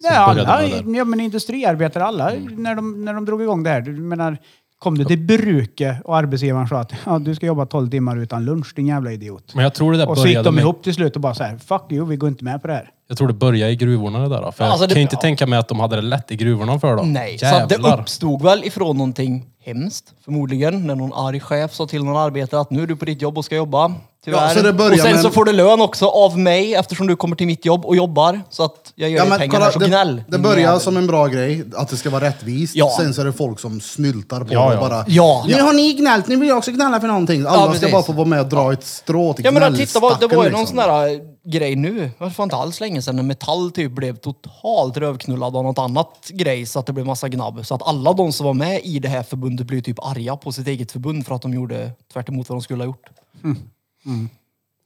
Nej, började alla, med det. Mm. ja, men industriarbetare, alla, när, de, när de drog igång det här. Du menar, Kom du till bruket och arbetsgivaren sa att ja, du ska jobba 12 timmar utan lunch, din jävla idiot. Men jag tror det där Och så gick började de med, ihop till slut och bara så här, fuck you, vi går inte med på det här. Jag tror det började i gruvorna det där. då. För Alltså, jag det- kan ju inte ja. tänka mig att de hade det lätt i gruvorna för då. Nej, så att det Jävlar. uppstod väl ifrån någonting hemskt förmodligen. När någon arg chef sa till någon arbetare att nu är du på ditt jobb och ska jobba. Tyvärr. Ja, så det börjar och sen med- så får du lön också av mig eftersom du kommer till mitt jobb och jobbar. Så att jag gör dig pengar här, så gnäll. Mm. det, det din börjar jävel. som en bra grej, att det ska vara rättvist. Ja. Sen så är det folk som snyltar på Ja, det ja. och bara Ja. Nu har ni gnällt, nu vill jag också gnälla för någonting. Alla ska precis. bara få vara med och dra ett strå till Ja men titta, gnällstacken, vad- det var ju någon liksom. sån där eh, grej nu, det var inte alls länge sedan, när Metall typ blev totalt rövknullad av något annat grej så att det blev massa gnabb. Så att alla de som var med i det här förbundet blev typ arga på sitt eget förbund för att de gjorde tvärt emot vad de skulle ha gjort.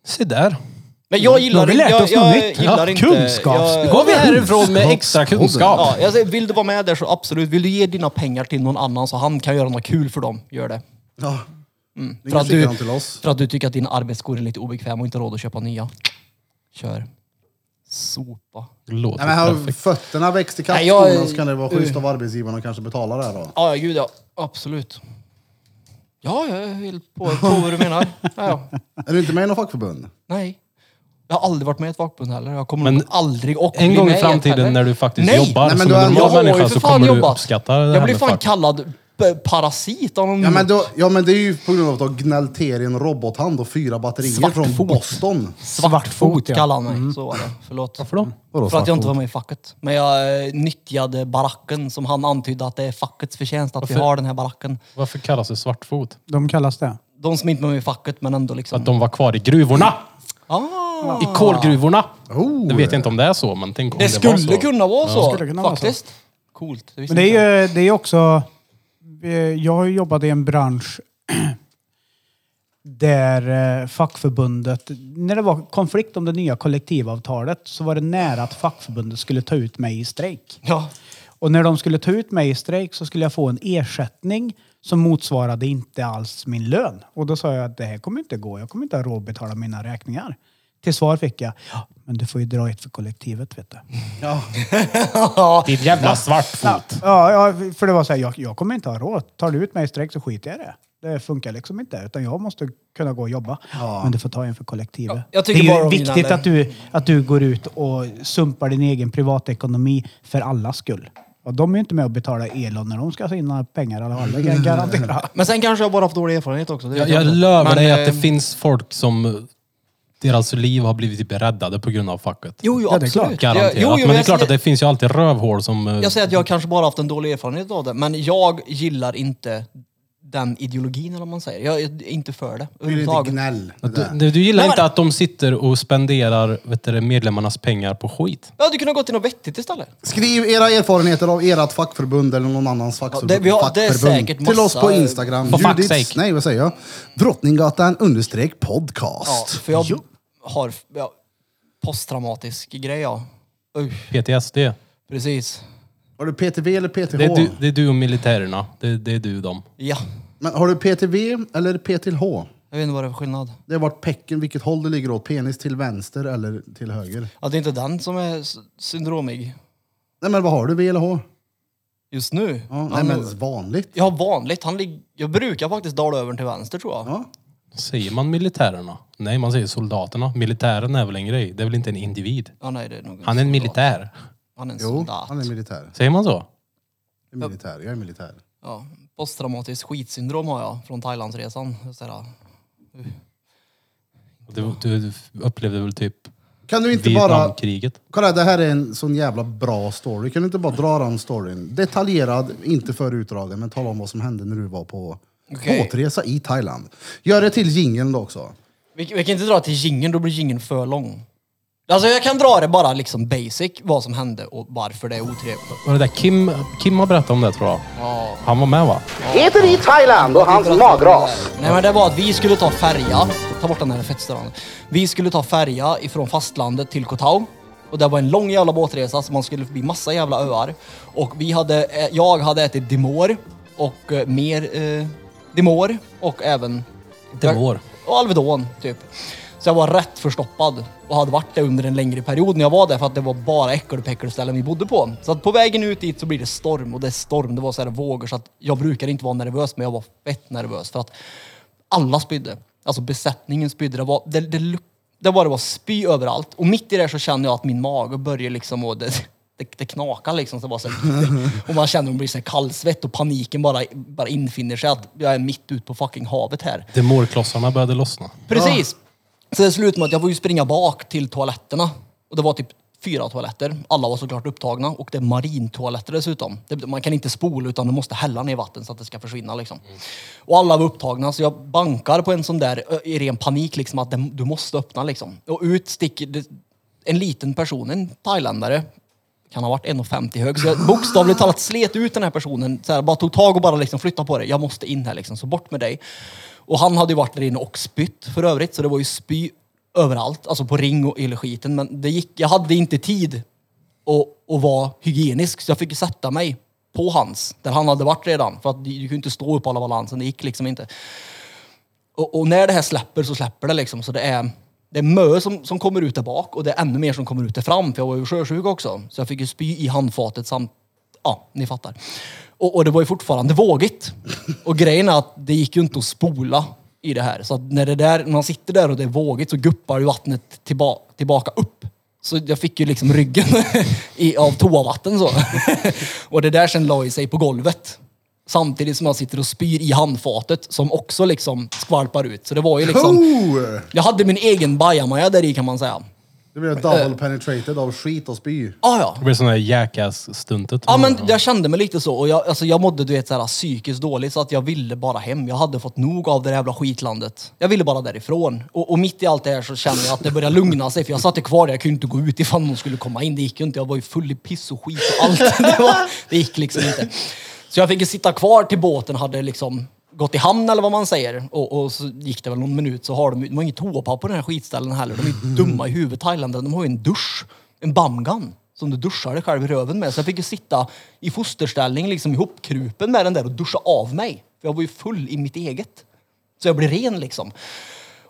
Se där. Men jag gillar, har vi lärt jag, oss jag, något nytt. gillar Ja, inte... kunskaps- jag- Nu går vi härifrån med extra kunskap. Ja, jag säger, vill du vara med där så absolut. Vill du ge dina pengar till någon annan så han kan göra något kul för dem, gör det. Ja. Det är Mm. För att, du, likadant till oss. för att du tycker att din arbetsskor är lite obekväm och inte har råd att köpa nya. Kör. Sopa. Låter Nej, men har perfekt. fötterna växt i Nej, jag- kappskorna så kan det vara schysst av arbetsgivaren att kanske betala det här då. Ja, ja, gud ja. Absolut. Ja, jag är helt på, på vad du menar. Ja, ja. Är du inte med i något fackförbund? Nej. Jag har aldrig varit med i ett fackförbund heller. Jag kommer Men nog aldrig och En bli gång i med ett heller. framtiden när du faktiskt Nej. jobbar Nej, men som du har- en jag normal har ju människa för så fan kommer du jobbat. uppskatta det Jag här blir med fan fack. kallad p- parasit av någon Ja men, då, ja men det är ju på grund av att du har gnällt till i en robothand och fyra batterier Svartfot. från Boston. Svartfot, ja. Mm. kallade han mig. Så var det. Förlåt. Varför då? Vadå, För att jag inte svartfot? var med i facket. Men jag eh, nyttjade baracken som han antydde att det är fackets förtjänst att vi Varför? har den här baracken. Varför kallas det svartfot? De kallas det. De som inte var med i facket men ändå liksom. Att de var kvar i gruvorna! Ah, I kolgruvorna! Oh. Det vet jag inte om det är så, men tänk om det, det var skulle så. kunna vara så. skulle kunna vara så. faktiskt. Coolt. Men det är ju det är ju också... eh, Jag har ju jobbat i en bransch där eh, fackförbundet... När det var konflikt om det nya kollektivavtalet så var det nära att fackförbundet skulle ta ut mig i strejk. Ja. Och när de skulle ta ut mig i strejk så skulle jag få en ersättning som motsvarade inte alls min lön. Och då sa jag att det här kommer inte gå. Jag kommer inte ha råd att betala mina räkningar. Till svar fick jag, ja, men du får ju dra ett för kollektivet vet du. Ditt jävla svartfot! Ja, ja för det var så här, jag, jag kommer inte ha råd. Tar du ut mig i strejk så skiter jag i det. Det funkar liksom inte, utan jag måste kunna gå och jobba. Men du får ta en för kollektivet. Ja, jag det tycker är bara ju om viktigt vinnare. att du, att du går ut och sumpar din egen privatekonomi för allas skull. Och de är ju inte med och betalar Elon när de ska ha sina pengar i alla fall, det kan jag garantera. Men sen kanske jag bara haft dålig erfarenhet också. det vet Jag, jag inte. lövar Men, dig att det eh, finns folk som eh, deras liv har blivit typ räddade på grund av facket. Jo, jo, Ja, det är klart. absolut. Garanterat. Jag- jo, jo, men det är jag- klart att det finns ju alltid rövhål som... Mm. eh, Jag säger att jag kanske bara haft en dålig erfarenhet av det, men jag gillar inte den ideologin eller vad man säger. Jag är inte för det Det är lite överhuvudtaget. gnäll. det där. Att Du, du gillar Nej, men- inte att de sitter och spenderar vet du, det, medlemmarnas pengar på skit? Jag hade kunnat gå till något vettigt istället. Skriv era erfarenheter av ert fackförbund eller någon annans fackförbund. Ja, det- vi har- det är fackförbund säkert Till oss massa- på Instagram. For fuck's Judiths- sake. nej vad säger jag? Drottninggatan understreck Ja, podcast. för jag har ja, posttraumatisk grej, ja. Usch, PTSD. Det precis. Har du PTV eller PTH? är, du, det är du och militärerna. Det, det är du och dem. Ja, Men har du PTV eller PTH? jag vet inte vad det är för skillnad. Det är vart pecken, vilket håll det ligger åt. Penis till vänster eller till höger. Ja, det är inte den som är s- syndromig Nej men vad har du? V eller H? just nu. Ja, nej Han- men vanligt. Jag har vanligt, han ligger... Jag brukar faktiskt dala över till vänster tror jag. Ja. Säger man militärerna? Nej, man säger soldaterna. Militären är väl en grej? Det är väl inte en individ? Ja, nej, det är nog Han är en soldat. militär. Han är en Jo, soldat. han är militär. Säger man så? Jag är militär. Jag är militär. Ja, posttraumatiskt skitsyndrom har jag från Thailandsresan. Just det där. Du, du upplevde väl typ Kan du inte bara... Vietnamkriget? Kolla, det här är en sån jävla bra story. Kan du inte bara dra den storyn? Detaljerad, inte för utdragen, men tala om vad som hände när du var på Okej. båtresa i Thailand. Gör det till jingeln då också. Vi, vi kan inte dra till gingen, då blir gingen för lång. Alltså jag kan dra det bara liksom basic, vad som hände och varför det är otrevligt. Var det där Kim, Kim har berättat om det tror jag. Han var med va? Peter i Thailand och hans magras. Nej men det var att vi skulle ta färja, ta bort den här fettstörande. Vi skulle ta färja ifrån fastlandet till Koh Tao. Och det var en lång jävla båtresa så man skulle förbi massa jävla öar. Och vi hade, eh, jag hade ätit Dimor och eh, mer eh, Dimor och även Demor. Och Alvedon, typ. Så jag var rätt förstoppad och hade varit det under en längre period när jag var där för att det var bara äckelpäckelställen vi bodde på. Så att på vägen ut dit så blir det storm och det är storm, det var så här vågor så att jag brukar inte vara nervös men jag var fett nervös för att alla spydde. Alltså besättningen spydde. Det var, det, det, luk- det bara var spy överallt. Och mitt i det här så känner jag att min mage börjar liksom och det, det, det knakar liksom. Så bara så här, och man känner att man blir så här kallsvett och paniken bara, bara infinner sig att jag är mitt ute på fucking havet här. Demorklossarna började lossna. Precis. Så det slutade med att jag får ju springa bak till toaletterna. Och det var typ fyra toaletter. Alla var såklart upptagna. Och det är marintoaletter dessutom. Det, man kan inte spola utan du måste hälla ner vatten så att det ska försvinna liksom. Och alla var upptagna så jag bankar på en sån där ö, i ren panik liksom att den, du måste öppna liksom. Och ut sticker det, en liten person, en thailändare. Kan ha varit 1,50 hög. Så jag bokstavligt talat slet ut den här personen. Så här, bara tog tag och bara liksom flyttade på det. Jag måste in här liksom, så bort med dig. Och han hade ju varit där inne och spytt för övrigt, så det var ju spy överallt. Alltså på ring och hela skiten. Men det gick, jag hade inte tid att, att vara hygienisk, så jag fick ju sätta mig på hans, där han hade varit redan. För att du kunde inte stå upp alla balansen, det gick liksom inte. Och, och när det här släpper så släpper det liksom. Så det är, det är mö som, som kommer ut där bak och det är ännu mer som kommer ut där fram. För jag var ju sjösjuk också. Så jag fick ju spy i handfatet samt... Ja, ni fattar. Och, och det var ju fortfarande vågigt. Och grejen är att det gick ju inte att spola i det här. Så att när, det där, när man sitter där och det är vågigt så guppar ju vattnet tillba, tillbaka upp. Så jag fick ju liksom ryggen i, av toavatten så. och det där sen la ju sig på golvet. Samtidigt som jag sitter och spyr i handfatet som också liksom skvalpar ut. Så det var ju liksom... Oh! Jag hade min egen bajamaja där i kan man säga. Det blev double penetrated av skit och spy. Ah, ja. Det blev sån där jackass-stuntet. Ja men jag kände mig lite så och jag, alltså, jag mådde du vet så här, psykiskt dåligt så att jag ville bara hem. Jag hade fått nog av det där jävla skitlandet. Jag ville bara därifrån. Och, och mitt i allt det här så kände jag att det började lugna sig för jag satt ju kvar där. Jag kunde inte gå ut ifall någon skulle komma in. Det gick ju inte. Jag var ju full i piss och skit och allt. Det, var, det gick liksom inte. Så jag fick ju sitta kvar till båten hade liksom gått i hamn eller vad man säger. Och, och så gick det väl någon minut så har de, ju- de har inget toapapper på den här skitställen heller. De är ju dumma i huvudet thailändarna. De har ju en dusch. En bamgan som du duschar dig själv i röven med. Så jag fick ju sitta i fosterställning liksom ihopkrupen med den där och duscha av mig. För jag var ju full i mitt eget. Så jag blev ren liksom.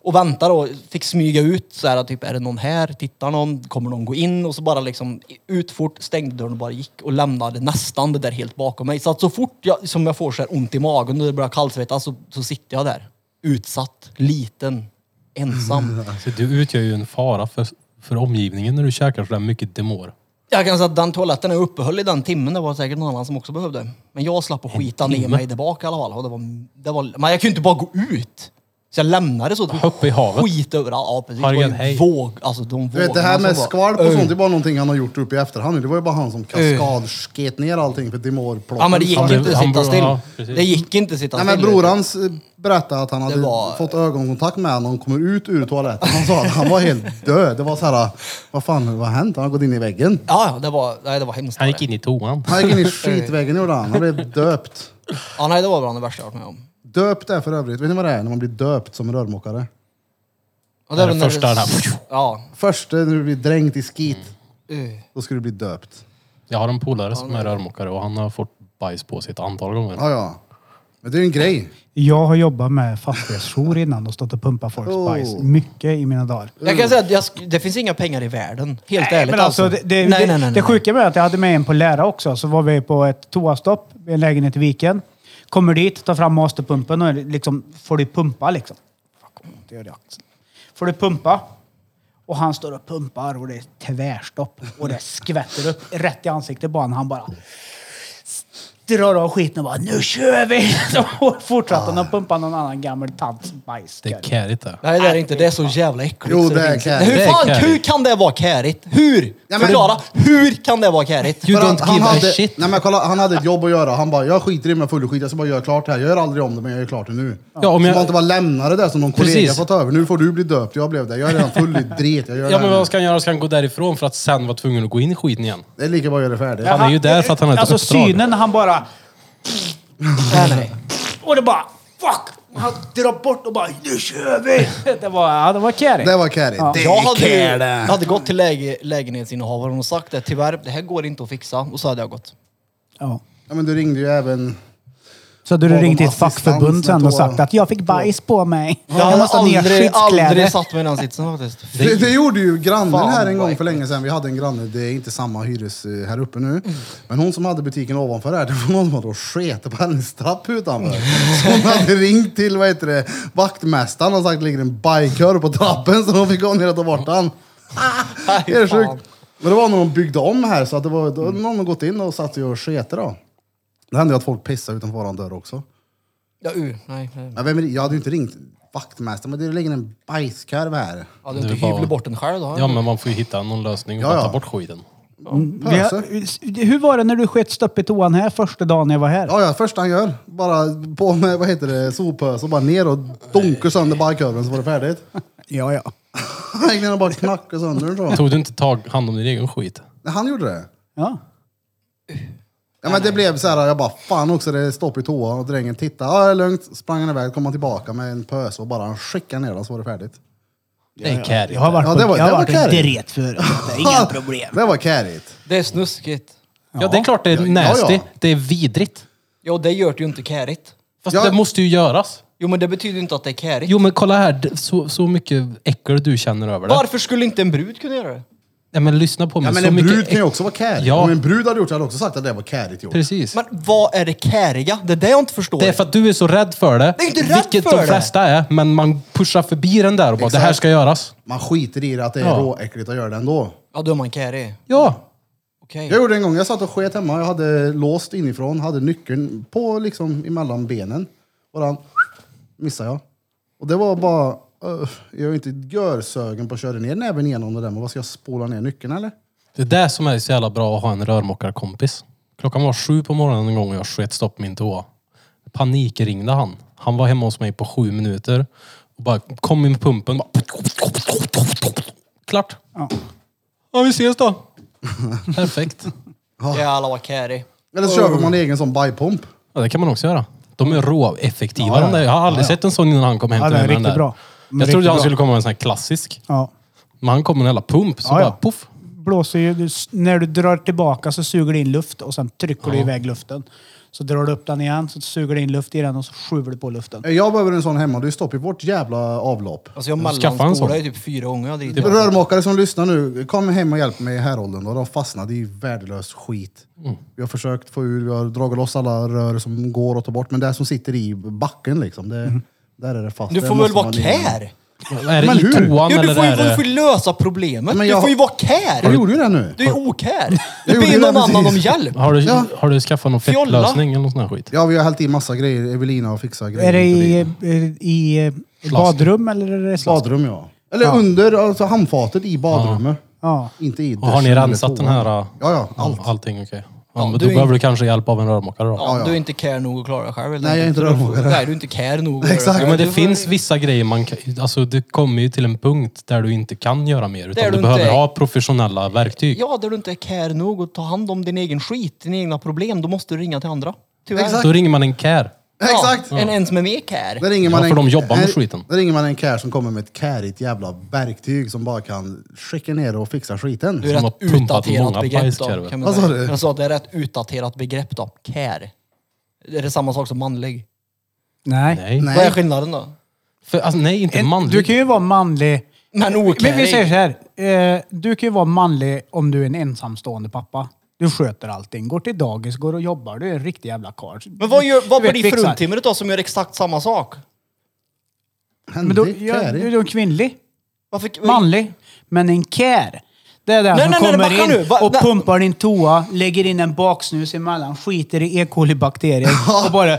Och väntar och fick smyga ut så här, typ är det någon här? Tittar någon? Kommer någon gå in? Och så bara liksom ut fort, stängde dörren och bara gick och lämnade nästan det där helt bakom mig. Så att så fort jag, som jag får så här ont i magen och det börjar kallsvettas så, så sitter jag där. Utsatt, liten, ensam. Så du utgör ju en fara för, för omgivningen när du käkar sådär mycket demor. Jag kan säga att den toaletten jag uppehöll i den timmen, det var säkert någon annan som också behövde. Men jag slapp att skita ner mig där bak i alla fall. Och det var, det var, men jag kunde inte bara gå ut. Så jag lämnade så. att Upp i havet. Skit överallt. Ja, precis. Hargen, Det var ju hej. våg, alltså de Du vet, det här med skvalp och sånt, det är bara någonting han har gjort upp i efterhand. Det var ju bara han som kaskadsket ner allting för Ja men det Dimor-plotten. gick Han inte blev- att han sitta blev- still. ja, precis. det gick inte att sitta Nej still. men brorans eh, berättade att han hade var- fått ögonkontakt med honom och kommer ut ur toaletten. Han sa att han var helt död. Det var så här, vad fan vad har hänt? Han har gått in i väggen. Ja, ja, det var, nej, det var hemskt. Han gick in i toan. Han gick in i skitväggen gjorde han. Han blev döpt. Ja, nej, det var bland det värsta jag varit med om. Döpt är för övrigt, vet ni vad det är när man blir döpt som rörmokare? Ja, Det är var det när första där. Ja. Först eh, när du blir dränkt i skit, Uh. då ska du bli döpt. Jag har en polare som är rörmokare och han har fått bajs på sig ett antal gånger. Ja, ja. Men det är ju en grej. Jag har jobbat med fastighetsjour innan och stått och pumpat folks bajs. Mycket i mina dagar. Jag kan säga att jag, sk- det finns inga pengar i världen. Helt ärligt men alltså, det, det, nej, det, nej, nej, nej. det sjuka med att jag hade med en på lära också. Så var vi på ett toastopp i en lägenhet i Viken. Kommer dit, tar fram masterpumpen och liksom, får du pumpa liksom. Fuck, vad ont det gör i axeln. Får du pumpa. Och han står och pumpar och det är tvärstopp. Och det skvätter upp rätt i ansiktet på honom. Han bara drar av skiten och bara nu kör vi! Och fortsatte han att pumpa någon annan gammal tants bajs. Ah. Det är kärigt det. Nej, det är det inte. Det är så jävla äckligt. Jo, så det är finns inte. kärigt. Det Hur är fan, kärigt. hur kan det vara kärigt? Hur? men- Förklara. Hur kan det vara kärigt? You För don't han give a hade, shit. Nej, men kolla, han hade ett jobb att göra. Han bara, jag skiter i mig full skit. Jag ska bara göra klart det här. Jag gör aldrig om det, men jag gör klart det nu. Ja, om så jag- man inte bara lämnar det där som någon Precis. kollega fått över. Nu får du bli döpt. Jag blev det. Jag är redan full i dret. Jag gör Ja det, men här vad nu. ska han göra? Ska han gå därifrån för att sen vara tvungen att gå in i skiten igen? det är lika bra att göra det färdigt. Han är ju där för att han har ett Alltså uppdrag. synen, han bara... Nej, nej. Och det bara fuck! Han drar bort och bara nu kör vi! Det var, ja, det var kärigt. Det var carry. Ja. Det Jag är hade, ju- carry. jag hade gått till läge, lägenhetsinnehavaren och sagt det. Tyvärr, det här går inte att fixa. Och så hade jag gått. Ja. Ja, men du ringde ju även... Så hade du Lagom ringt till ett assistans fackförbund sen med och tårar. sagt att jag fick bajs på mig. Jag har måste ha nya aldrig, skyddskläder. aldrig satt mig i den sitsen faktiskt. Det, det gjorde ju grannen Fan, här en vad gång för länge sedan. Vi hade en granne, det är inte samma hyres eh, här uppe nu. Men hon som hade butiken ovanför här, det var någon som hade och sket på hennes trapp utanför. Så hon hade ringt till vad heter det, vaktmästaren och sagt det ligger en bajkör på trappen så de fick gå ner och ta bort den. Det är fan. sjukt. Men det var när de byggde om här så att det var då hade någon gått in och satt sig och sket då. Det hände ju att folk pissade utanför våran dörr också. Ja, uh, nej. nej. Men vem, är det? jag hade ju inte ringt vaktmästaren, men det ligger en bajskorv här. Ja, du Det inte är bara- hyvlar bort den själv då. Ja, men man får ju hitta någon lösning och Ja, bara ja. ta bort skiten. Vi alltså. har- Hur var det när du sket stopp i toan här första dagen jag var här? Ja, ja, första han gör. Bara på med, vad heter det, soppös och bara ner och dunkar sönder barköven så var det färdigt. Ja, ja. Han bara knackade sönder den så. Tog du inte tag hand om din egen skit? Nej, Han gjorde det. ja. Ja, men det blev så här, jag bara fan också, det är stopp i toan och drängen tittade. Ja, det är lugnt. Sprang han iväg, kom han tillbaka med en pös och bara skickade ner den så var det färdigt. Det är carry. Jag har varit, Ja, det var- på, jag har det var varit en Karin. dret förut. Det är inga problem. Det var kärigt. Det är snuskigt. Ja, det är klart det är nasty. ja. Det är vidrigt. Ja, det gör det ju inte kärigt. Fast Ja. det måste ju göras. Jo, men det betyder ju inte att det är kärigt. Jo, men kolla här. Det- Så, så mycket äckel du känner över det. Varför skulle inte en brud kunna göra det? Nej, men lyssna på mig. Ja, men så en mycket brud kan ju äck- också vara kärigt. Ja. Om en brud hade gjort det hade jag också sagt att det var kärigt gjort. Precis. Men vad är det käriga? Det är det jag inte förstår. Det är för att du är så rädd för det. Jag är inte rädd vilket för de det. flesta är. Men man pushar förbi den där och bara, det här Exakt. ska göras. Man skiter i det att det är Ja. råäckligt att göra det ändå. Ja, då är man kärig. Ja. Okej. Jag gjorde det en gång, jag satt och sket hemma, jag hade låst inifrån, hade nyckeln på liksom emellan benen. Och den missade jag. Och det var bara, "Öh, jag är inte görsögen på att köra ner näven igenom det där, men vad ska jag spola ner nyckeln eller? Det är det som är så jävla bra att ha en rörmokarkompis. Klockan var sju på morgonen en gång och jag sket stopp min tå. Panikringde han. Han var hemma hos mig på sju minuter. Och bara kom in med pumpen. Bara... Klart. Ja. vi ses då. Perfekt. Jävlar vad kärig. Eller så köper man egen sån bajpump. Ja, det kan man också göra. De är råeffektiva. de där. Jag har aldrig sett en sån innan han kom hem Ja, till den är mig med den riktigt där. bra. Den är Jag trodde riktigt han bra. skulle komma med en sån här klassisk. Ja. Men han kom med en jävla pump. Så Ja, bara ja. poff. Blåser ju, du, när du drar tillbaka så suger det in luft och sen trycker du iväg luften. Så drar du upp den igen, så suger det in luft i den och så skjuver du på luften. Jag behöver en sån hemma, det är stopp i vårt jävla avlopp. Alltså jag skaffa en mellanspolar sån. ju typ fyra gånger. Jag Det driver. är Rörmakare som lyssnar nu, kom hem och hjälp mig i häråldern. då. De fastnade i värdelös skit. Vi har försökt få ur, vi har dragit loss alla rör som går att ta bort, men det som sitter i backen liksom, det, Mm. där är det fast. Du Det får väl måste vara man in- kär? Är det Men i hur? toan Jo, du eller får ju är du får det... ju lösa problemet. Men Du jag- får ju vara Jag kär. gjorde ju det nu. Du är okär. Jag Du ber gjorde ju det någon annan om precis. hjälp. Har du, Ja. har du skaffat någon Fjolla. fettlösning eller någon sån här skit? Ja, vi har hällt i massa grejer. Evelina har fixat grejer. Är det hit och i, dit. eh, i eh, badrum eller är det slask? badrum? ja. Eller under, alltså handfatet i badrummet. Ja. Inte i Och har ni duschen eller rensat den toan. här? Ja, äh, ja. Allt. Allting okej. Ja, men du då är behöver inte- du kanske hjälp av en rörmokare då. Ja, du är inte kär nog att klara dig själv helt Nej, jag är enkelt. inte rörmokare. Nej, du är inte kär nog. att Exakt. göra Jo, men det Du får- finns vissa grejer man kan... Alltså det kommer ju till en punkt där du inte kan göra mer. Utan Där du, du inte behöver är- ha professionella verktyg. Ja, där du inte är kär nog att ta hand om din egen skit, dina egna problem, då måste du ringa till andra. Tyvärr. Exakt. Då ringer man en care. Exakt! Ja, en en som är mer kär. Där ringer Ja, man för en, de jobbar med här- skiten. Där ringer man en kär som kommer med ett kärigt jävla verktyg som bara kan skicka ner och fixa skiten. Du är Som rätt har pumpat utdaterat många begrepp då. bajskorvar. Kan man Vad säga. sa du? Jag sa att det är rätt utdaterat begrepp då. Kär. Är det samma sak som manlig? Nej. Nej. Vad är Nej, skillnaden då? För, alltså, nej, inte En- manlig. Du kan ju vara manlig. Men Men vi säger så okär. här. Eh, du kan ju vara manlig om du är en ensamstående pappa. Du sköter allting. Går till dagis, går och jobbar. Du är en riktig jävla karl. Men vad, gör, vad Du vet, blir fixar. fruntimret då som gör exakt samma sak? Men då, händigt ja, du kärigt. är en kvinnlig. Varför, Manlig. Men en care. Det är den Nej, som nej, nej, kommer backa in nu. Va- och nej. pumpar din toa, lägger in en baksnus emellan, skiter i E. coli-bakterier och bara...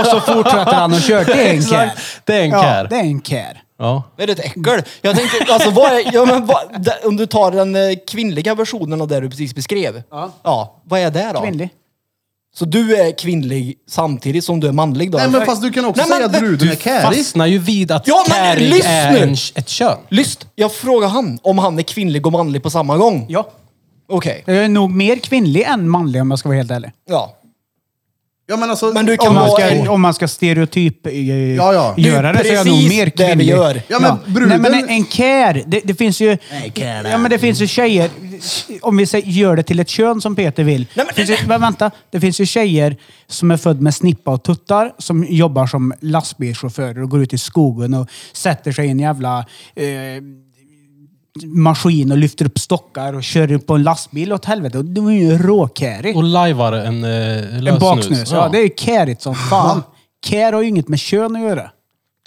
Och så fortsätter han och kör. Det är en care. Exakt. Det är en Ja, care. det är en care. Ja. Är det ett äckel? Jag tänkte, alltså vad är, ja, men vad, det- om du tar den eh, kvinnliga versionen av det du precis beskrev. Ja. vad är det då? Kvinnlig. Så du är kvinnlig samtidigt som du är manlig då? Nej, men fast du kan också Nej, men- säga att bruden är kärig. Fastnar ju vid att Ja, men caring lyssna är nu! en, ett kön. Lyssn, jag frågar han om han är kvinnlig och manlig på samma gång. Ja. Okej. Jag är nog mer kvinnlig än manlig om jag ska vara helt ärlig. Ja. Ja, men alltså, Men du kan om Om man man vara ska- ska, om man ska stereotyp eh, Ja, ja. Det är göra det, så är jag nog precis mer det vi kvinnlig. gör. Ja, men bruden- Nej, men en care. Det, det finns ju... care. Ja, men det finns ju tjejer... Om vi säger, gör det till ett kön som Peter vill. men- det finns ju, men vänta. Det finns ju tjejer som är född med snippa och tuttar som jobbar som lastbilschaufförer och går ut i skogen och sätter sig i en jävla... Eh, maskin och lyfter upp stockar och kör upp på en lastbil åt helvete. Och De är ju råkärig. Och lajvar en eh, lösnus. En baksnus, ja. Det är ju kärigt som fan. Kär har ju inget med kön att göra.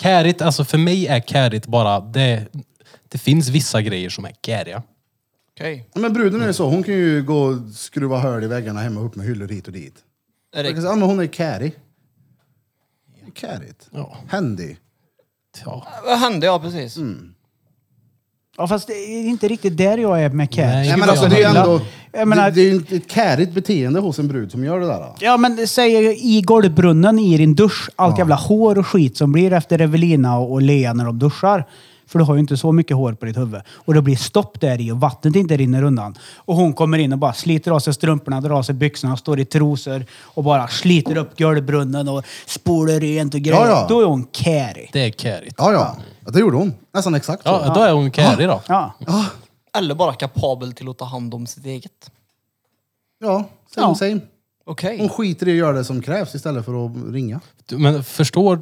Kärigt, alltså för mig är kärigt bara... Det, det finns vissa grejer som är käriga. Okej. Ja, men bruden är ju så, hon kan ju gå och skruva hål i väggarna hemma upp med hyllor hit och dit. Är Jag kan det- säga, Ja, men hon är carry. Carrigt. Ja. Handy. Ja. Vad hände? Ja, precis. Ja, fast det är inte riktigt där jag är med kär. Nej, Skulle Nej, men jag alltså, det är ju vilja. ändå... Jag menar, det, det är ju ett carrigt beteende hos en brud som gör det där. Då. Ja, men säg i golvbrunnen i din dusch. Allt jävla hår och skit som blir efter Evelina och och Lea när de duschar. För du har ju inte så mycket hår på ditt huvud. Och det blir stopp där i och vattnet inte rinner undan. Och hon kommer in och bara sliter av sig strumporna, drar av sig byxorna, står i trosor och bara sliter upp golvbrunnen och spolar rent och grejer. Ja, ja. Då är hon carry. Det är kärigt. Ja, ja. ja. Det gjorde hon. Nästan exakt så. Ja, då är hon kärig då. Ja. Eller bara kapabel till att ta hand om sitt eget. Ja, same, Ja. same. Okej. Hon skiter i att göra det som krävs istället för att ringa. Du, Men förstår...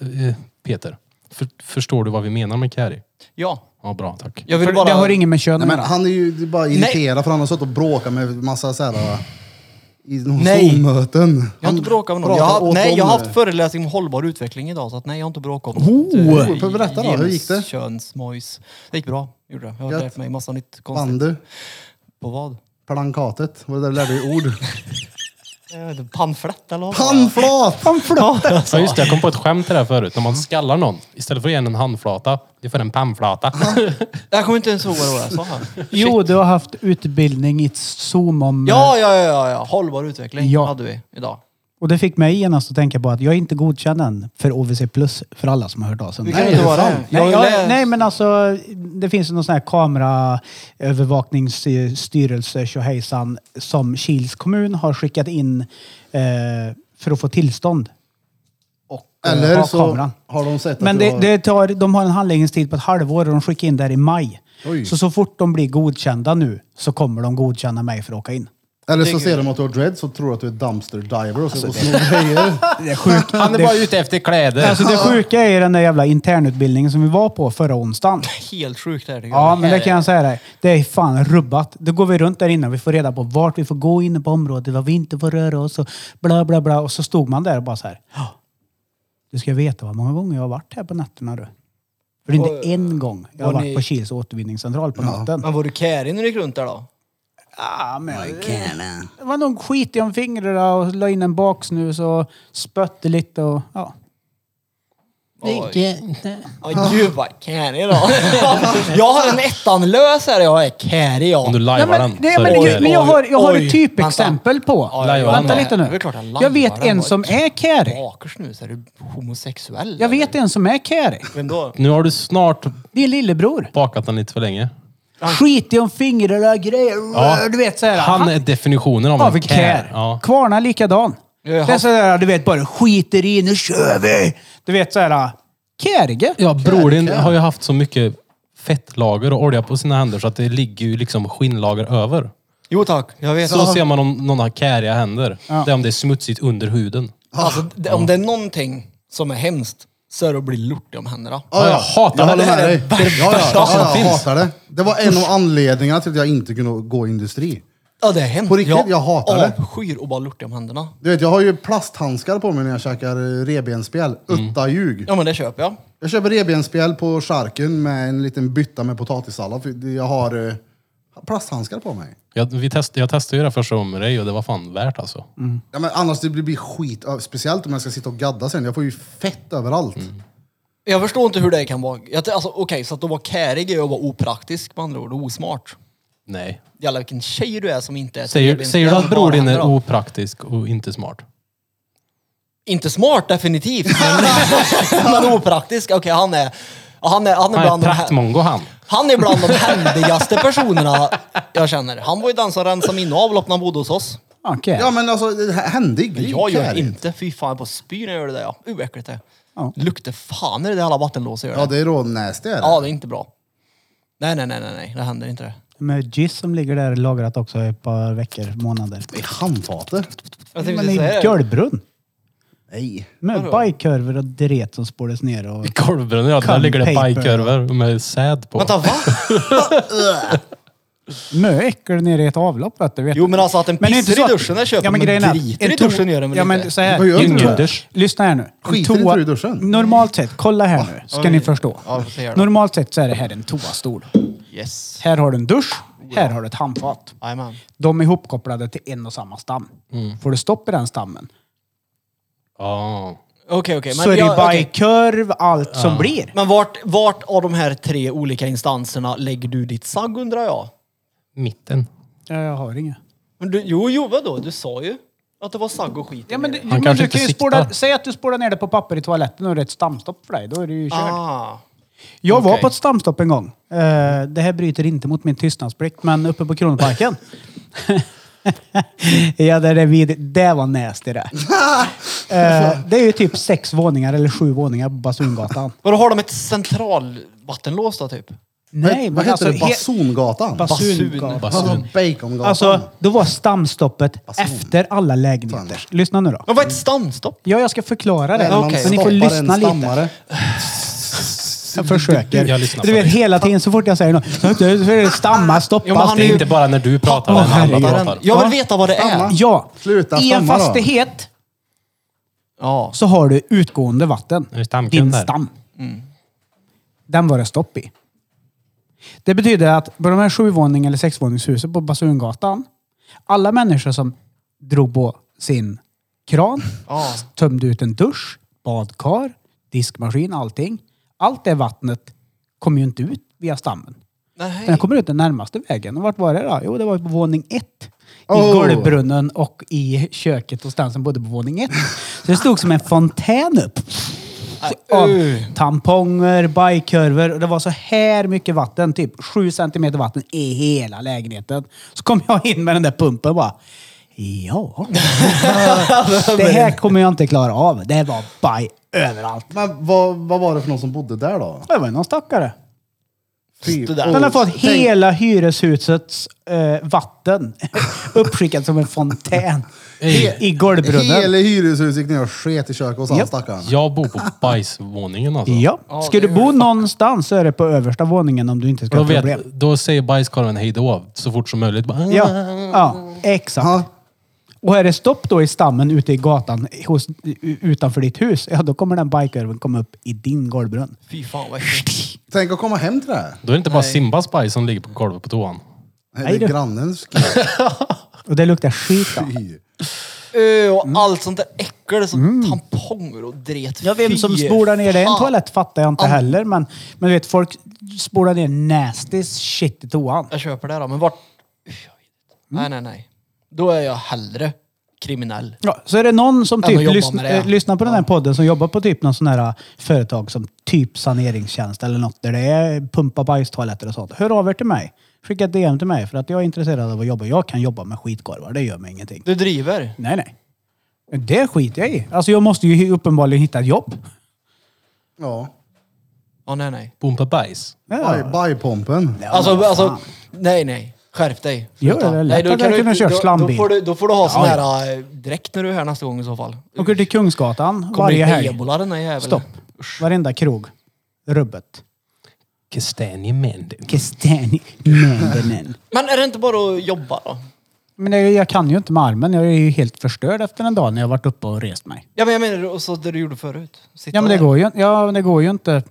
eh, Peter, för, förstår du vad vi menar med kärig? Ja. Ja, bra. Tack. Jag För vill bara... Det har inget med kön Nej, att men göra. han är ju det är bara irriterad för han har suttit och bråkat med massa så här... äh, I Nej. Zoom-möten. Jag har inte bråkat med någon. Jag pratar har, åt nej, dem jag har nu. haft föreläsning om hållbar utveckling idag, så att nej, jag har inte bråkat om Oh, eh, får jag berätta då? Hur gick det? Könsmojs. Det gick bra, gjorde det. Jag har Gött. lärt mig massa nytt Vann konstigt. du? På vad? Eh, Plankatet? Var det där du lärde dig ord? Jag vet inte, Pannflätt eller vad? Handflat! Pannflätt! Ja, just det. Jag kom på ett skämt till det här förut. När man skallar någon, istället för att ge en handflata, du får en pannflata. Jag kommer inte ens ihåg vad det var jag sa. Jo, du har haft utbildning i ett Zoom om... Ja, ja, ja, ja, ja. Hållbar utveckling Ja. hade vi idag. Och det fick mig genast att tänka på att jag är inte godkänd än för OVC plus för alla som har hört av sig. om det. kan Nej, inte det är vara sant. det. Nej, Jag jag, lä- nej men alltså, det finns ju någon sån här kameraövervakningsstyrelse, tjohejsan, som Kils kommun har skickat in eh, för att få tillstånd. Och eh, Eller ha så kameran. har de sett att Men du det, har... det tar, de har en handläggningstid på ett halvår och de skickar in där i maj. Oj. Så så fort de blir godkända nu så kommer de godkänna mig för att åka in. Eller så ser de att du har dreads och tror att du är dumpster diver och så Alltså, och snor grejer. Det är sjukt. Han är bara ute efter kläder. Alltså det sjuka är den där jävla internutbildningen som vi var på förra onsdagen. Helt sjukt det här tycker Ja, jag. men det kan jag säga dig. Det är fan rubbat. Då går vi runt där inne och vi får reda på vart vi får gå inne på området, vad vi inte får röra oss och bla bla bla. Och så stod man där och bara så här. "Ja, Du ska veta vad många gånger jag har varit här på nätterna du. För det är inte en gång jag har och varit ni- på Kils återvinningscentral på natten. Men var du kärig när du gick runt där då? Ah, men, det var nog skit om fingrarna och la in en baksnus och spötte lite och ja. Oj. Oj, gud vad kärig då. jag har en ettanlös här jag är kärig Om du jag. Nej, lajvar men, den nej, så är men, det jag, kärigt. men jag har, jag har Oj. ett typexempel på. ja, ja. Vänta Nej, lite det är nu. klart jag larvar Jag vet den. en som är carry. Bakers nu, så är du homosexuell? Jag vet en som är carry. Men då? Nu har du snart Din lillebror. bakat den lite för länge. Skit i om fingrarna och grejer. Ja. Du vet såhär. Han är definitionen av av en en care. care. Ja. Kvarna likadan. Jag har Det är haft- sådär, du vet, bara skiter i, nu kör vi! Du vet såhär, carige. Ja, bror din har ju haft så mycket fettlager och olja på sina händer så att det ligger ju liksom skinnlager över. Jo tack, jag vet. Så ser man om någon har käriga händer. Det är om det är smutsigt under huden. Alltså, det, om det är någonting som är hemskt så är det att bli lortig om händerna. Ja, jag hatar jag det. håller med Det är dig. det Ja, ja, värsta som ja, jag finns. hatar det. Det var en av anledningarna till att jag inte kunde gå i industri. Ja, det är hemskt. På riktigt, jag hatar det. Avskyr att vara lortig om händerna. Du vet, jag har ju plasthandskar på mig när jag käkar eh, revbensspjäll. Mm. Utta ljug. Ja, men det köper jag. Jag köper revbensspjäll på charken med en liten bytta med potatissallad. för Jag har eh, plasthandskar på mig. Jag, vi test, jag testade ju det första gången med dig och det var fan värt alltså. Ja, men annars det blir blir skit, ö- speciellt om jag ska sitta och gadda sen. Jag får ju fett överallt. Mm. Jag förstår inte hur det kan vara. Jag, alltså, Okej, så att att vara kärig är att vara opraktisk med andra ord och osmart. Nej. Jävlar vilken tjej du är som inte är Säger, trevlig. säger du att bror din är Bara- opraktisk och inte smart? Inte smart definitivt, men, men opraktisk. Okej, han är... Han är, han, är Han är bland de, praktmongo han. han är bland de händigaste personerna jag känner. Han var ju den som rensade mina avlopp när han bodde hos oss. Okej. Ja men alltså, det här hände igår. Jag gör Kärligt. inte. Fy fan, jag bara spyr när jag gör det där. ja. Uh, vad äckligt det är. Ja. Luktar fan i det där alla vattenlås jag gör. Ja, det... det är då nasty är det. ja, det är inte bra. Nej, nej, nej, nej, nej. det händer inte det. Med giss som ligger där lagrat också i ett par veckor, månader. I handfatet? Jag Men i golvbrunn. Nej. Med bajkorvar och dret som spårades ner. Och... I korvbrunnen, ja. Där Cum ligger det paper. pajkorvar med säd på. Vänta, va? Mö äckel nere i ett avlopp vet du. Vet Jo, men alltså att en det är inte pissar så i att- duschen, det köper ja, men man. grejen är, Driter en i to- duschen gör de Ja väl men inte? så här. Vad gör en du? toa- Lyssna här nu. En Skiter inte du i duschen? Normalt sett, kolla här nu. Ska ni förstå. Ja, vi får se här då. Normalt sett så är det här en toastol. Yes. Här har du en dusch. Här har du ett handfat. Jajamän. De är ihopkopplade till en och samma stam. Mm. Får du stopp i den stammen Ja. Okej, okej. men så är det jag- ju okej. bajkorv, allt som blir. Men vart, vart av de här tre olika instanserna lägger du ditt sagg undrar jag? Mitten. Ja, jag har inga. Men du, jo, jo, vadå? Du sa ju att det var sagg och skit. i Ja, men du, det. men kanske du kan ju inte spåra, siktar. säg att du spårar ner det på papper i toaletten och det är ett stamstopp för dig. Då är du ju körd. Ah. Jag var Okej. på ett stamstopp en gång. Eh, det här bryter inte mot min tystnadsplikt, men uppe på Kronoparken. ja, där är vid, det var nasty det. Eh, det är ju typ sex våningar eller sju våningar på Basungatan. Vadå, har de ett centralvattenlås då typ? Nej, alltså, Vad heter det? he- Basungatan? Basungatan. Basun. Alltså, Bacongatan? Alltså, då var stamstoppet Basun. efter alla lägenheter. Lyssna nu då. Men vad är ett stamstopp? Ja, jag ska förklara det. Där man okej. Men ni får stoppar en lyssna lite. stammare. Jag försöker. Jag lyssnar du på vet dig. hela tiden så fort jag säger något. så är det Stamma, Jo, men stoppa. han Det är är ju- inte bara när du pratar, Åh, när alla herregud. pratar. Jag vill veta vad det är. Ja. Sluta I en stamma då. fastighet Ja. så har du utgående vatten. Det är stamkund Din där. stam. Den var det stopp i. Det betyder att på de här sjuvåning eller sexvåningshusen på Basungatan, alla människor som drog på sin kran, Ja. tömde ut en dusch, badkar, diskmaskin, allting. Allt det vattnet kom ju inte ut via stammen. Nej. Den kommer ut den närmaste vägen. Och vart var det då? Jo, det var på våning ett. I Oh. golvbrunnen och i köket hos den som bodde på våning ett. Så det stod som en fontän upp. Så Av tamponger, bajkorvar och det var så här mycket vatten. Typ sju centimeter vatten i hela lägenheten. Så kom jag in med den där pumpen och bara. Ja, det här kommer jag inte klara av. Det var baj överallt. Men vad, vad var det för någon som bodde där då? Typ- Det var ju någon stackare. Fy- Det där. Åh, Den har fått tänk- hela hyreshusets eh, vatten uppskickat som en fontän i, i golvbrunnen. Hela hyreshuset gick ner och sket i köket hos alla Japp. stackarna. Jag bor på bajsvåningen alltså. Ja. Ska du bo någonstans så är det på översta våningen om du inte ska Då, ha problem. vet, då säger bajskorven hej då så fort som möjligt. Bara, "Ah." Ja, ja, exakt. Ja. Och är det stopp då i stammen ute i gatan hos, u- utanför ditt hus, ja då kommer den bajkorven komma upp i din golvbrunn. Fy fan vad äckligt. Tänk att komma hem till det här. Då är det inte bara Simbas bajs som ligger på golvet på toan. Nej, det du. är grannens Och det luktar skit då. fy. Mm. Ö, och allt sånt där äckel som tamponger och dret. Ja, vem som Fy spolar ner det i en fan. toalett fattar jag inte An- heller. Men, men du vet, folk spolar ner nasty shit i toan. Jag köper det då, men vart... Usch, jag vet inte. Mm. Nej, nej, nej. Då är jag hellre kriminell. Ja, så är det någon som Än att typ jobba lyssn med det. eh, lyssnar på den här podden som jobbar på typ någon sån här företag som typ saneringstjänst eller något där det är pumpa bajstoaletter och sånt. Hör av er till mig. Skicka ett DM till mig för att jag är intresserad av att jobba. Jag kan jobba med skitkorvar, det gör mig ingenting. Du driver? Nej, nej. Det skiter jag i. Alltså jag måste ju uppenbarligen hitta ett jobb. Ja. Ja, nej, nej. Pumpa bajs. Baj- Bajpumpen. Alltså, alltså nej, nej. Skärp dig. Jo, det är lätt att jag kunde köra då, då, slambil. får du, då får du ha sån här eh, dräkt när du är här nästa gång i så fall. Åker till Kungsgatan Kommer varje hit med helg. ebola den där jäveln. Stopp. Varenda krog. Rubbet. Kastanjemände. Kastani. Mändenen. Men är det inte bara att jobba då? Men jag, jag kan ju inte med armen. Jag är ju helt förstörd efter en dag när jag varit uppe och rest mig. Ja, men jag menar och så det du gjorde förut. Sitta Ja men det där går ju, ja, men det går ju inte.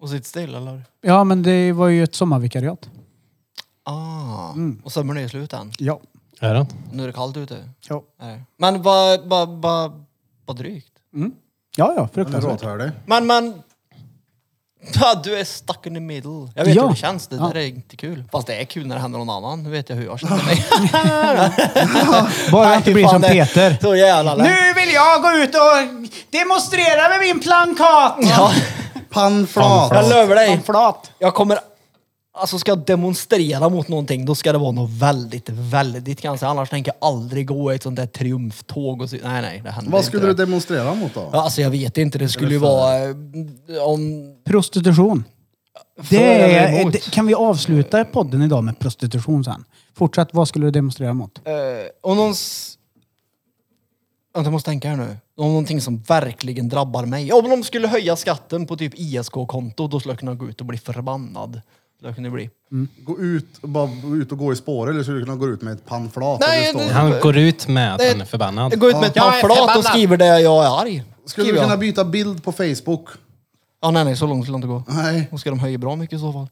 Och sitta still eller? Ja men det var ju ett sommarvikariat. Ah, Mm. och sömmen är slut än. Ja. Är det? Nu är det kallt ute. Ja Nej. Men vad va, va, va drygt. ja, ja Den är fruktansvärt. råthördig. Men, men... Ja, du är stuck in the middle. Jag vet Ja. hur det känns. Det Ja. där är inte kul. Fast det är kul när det händer någon annan. Nu vet jag hur jag känner mig. Bara jag Nej, inte blir fan, som det- Peter. Så jävla lätt. Nu vill jag gå ut och demonstrera med min plankat! Ja, Panflat. jag lovar dig. Flat. Jag kommer alltså ska jag demonstrera mot någonting, då ska det vara något väldigt, väldigt kanske. Annars tänker jag aldrig gå i ett sånt där triumftåg och så. Nej, nej, det händer Vad skulle inte. du det. demonstrera mot då? Ja, Alltså jag vet inte, det skulle ju vara eh, om... Prostitution. för Det eller är, emot. det, kan vi avsluta podden idag med prostitution sen? Fortsätt, vad skulle du demonstrera mot? Eh, om någon... s- Vänta, jag måste tänka här nu. Om någonting som verkligen drabbar mig. Om de skulle höja skatten på typ ISK-konto, då skulle jag kunna gå ut och bli förbannad. Skulle jag kunna bli. Gå ut, bara ut och gå i spår eller skulle du kunna gå ut med ett pannflat? Nej, eller stå- det- Han går ut med att Nej. han är förbannad. Jag går ut med ett Jag är pamflat och förbannad. skriver det jag är arg. Skulle Skriver du jag. kunna byta bild på Facebook? Ja, nej, nej, så långt skulle jag inte gå. Nej. Då ska de höja bra mycket i så fall.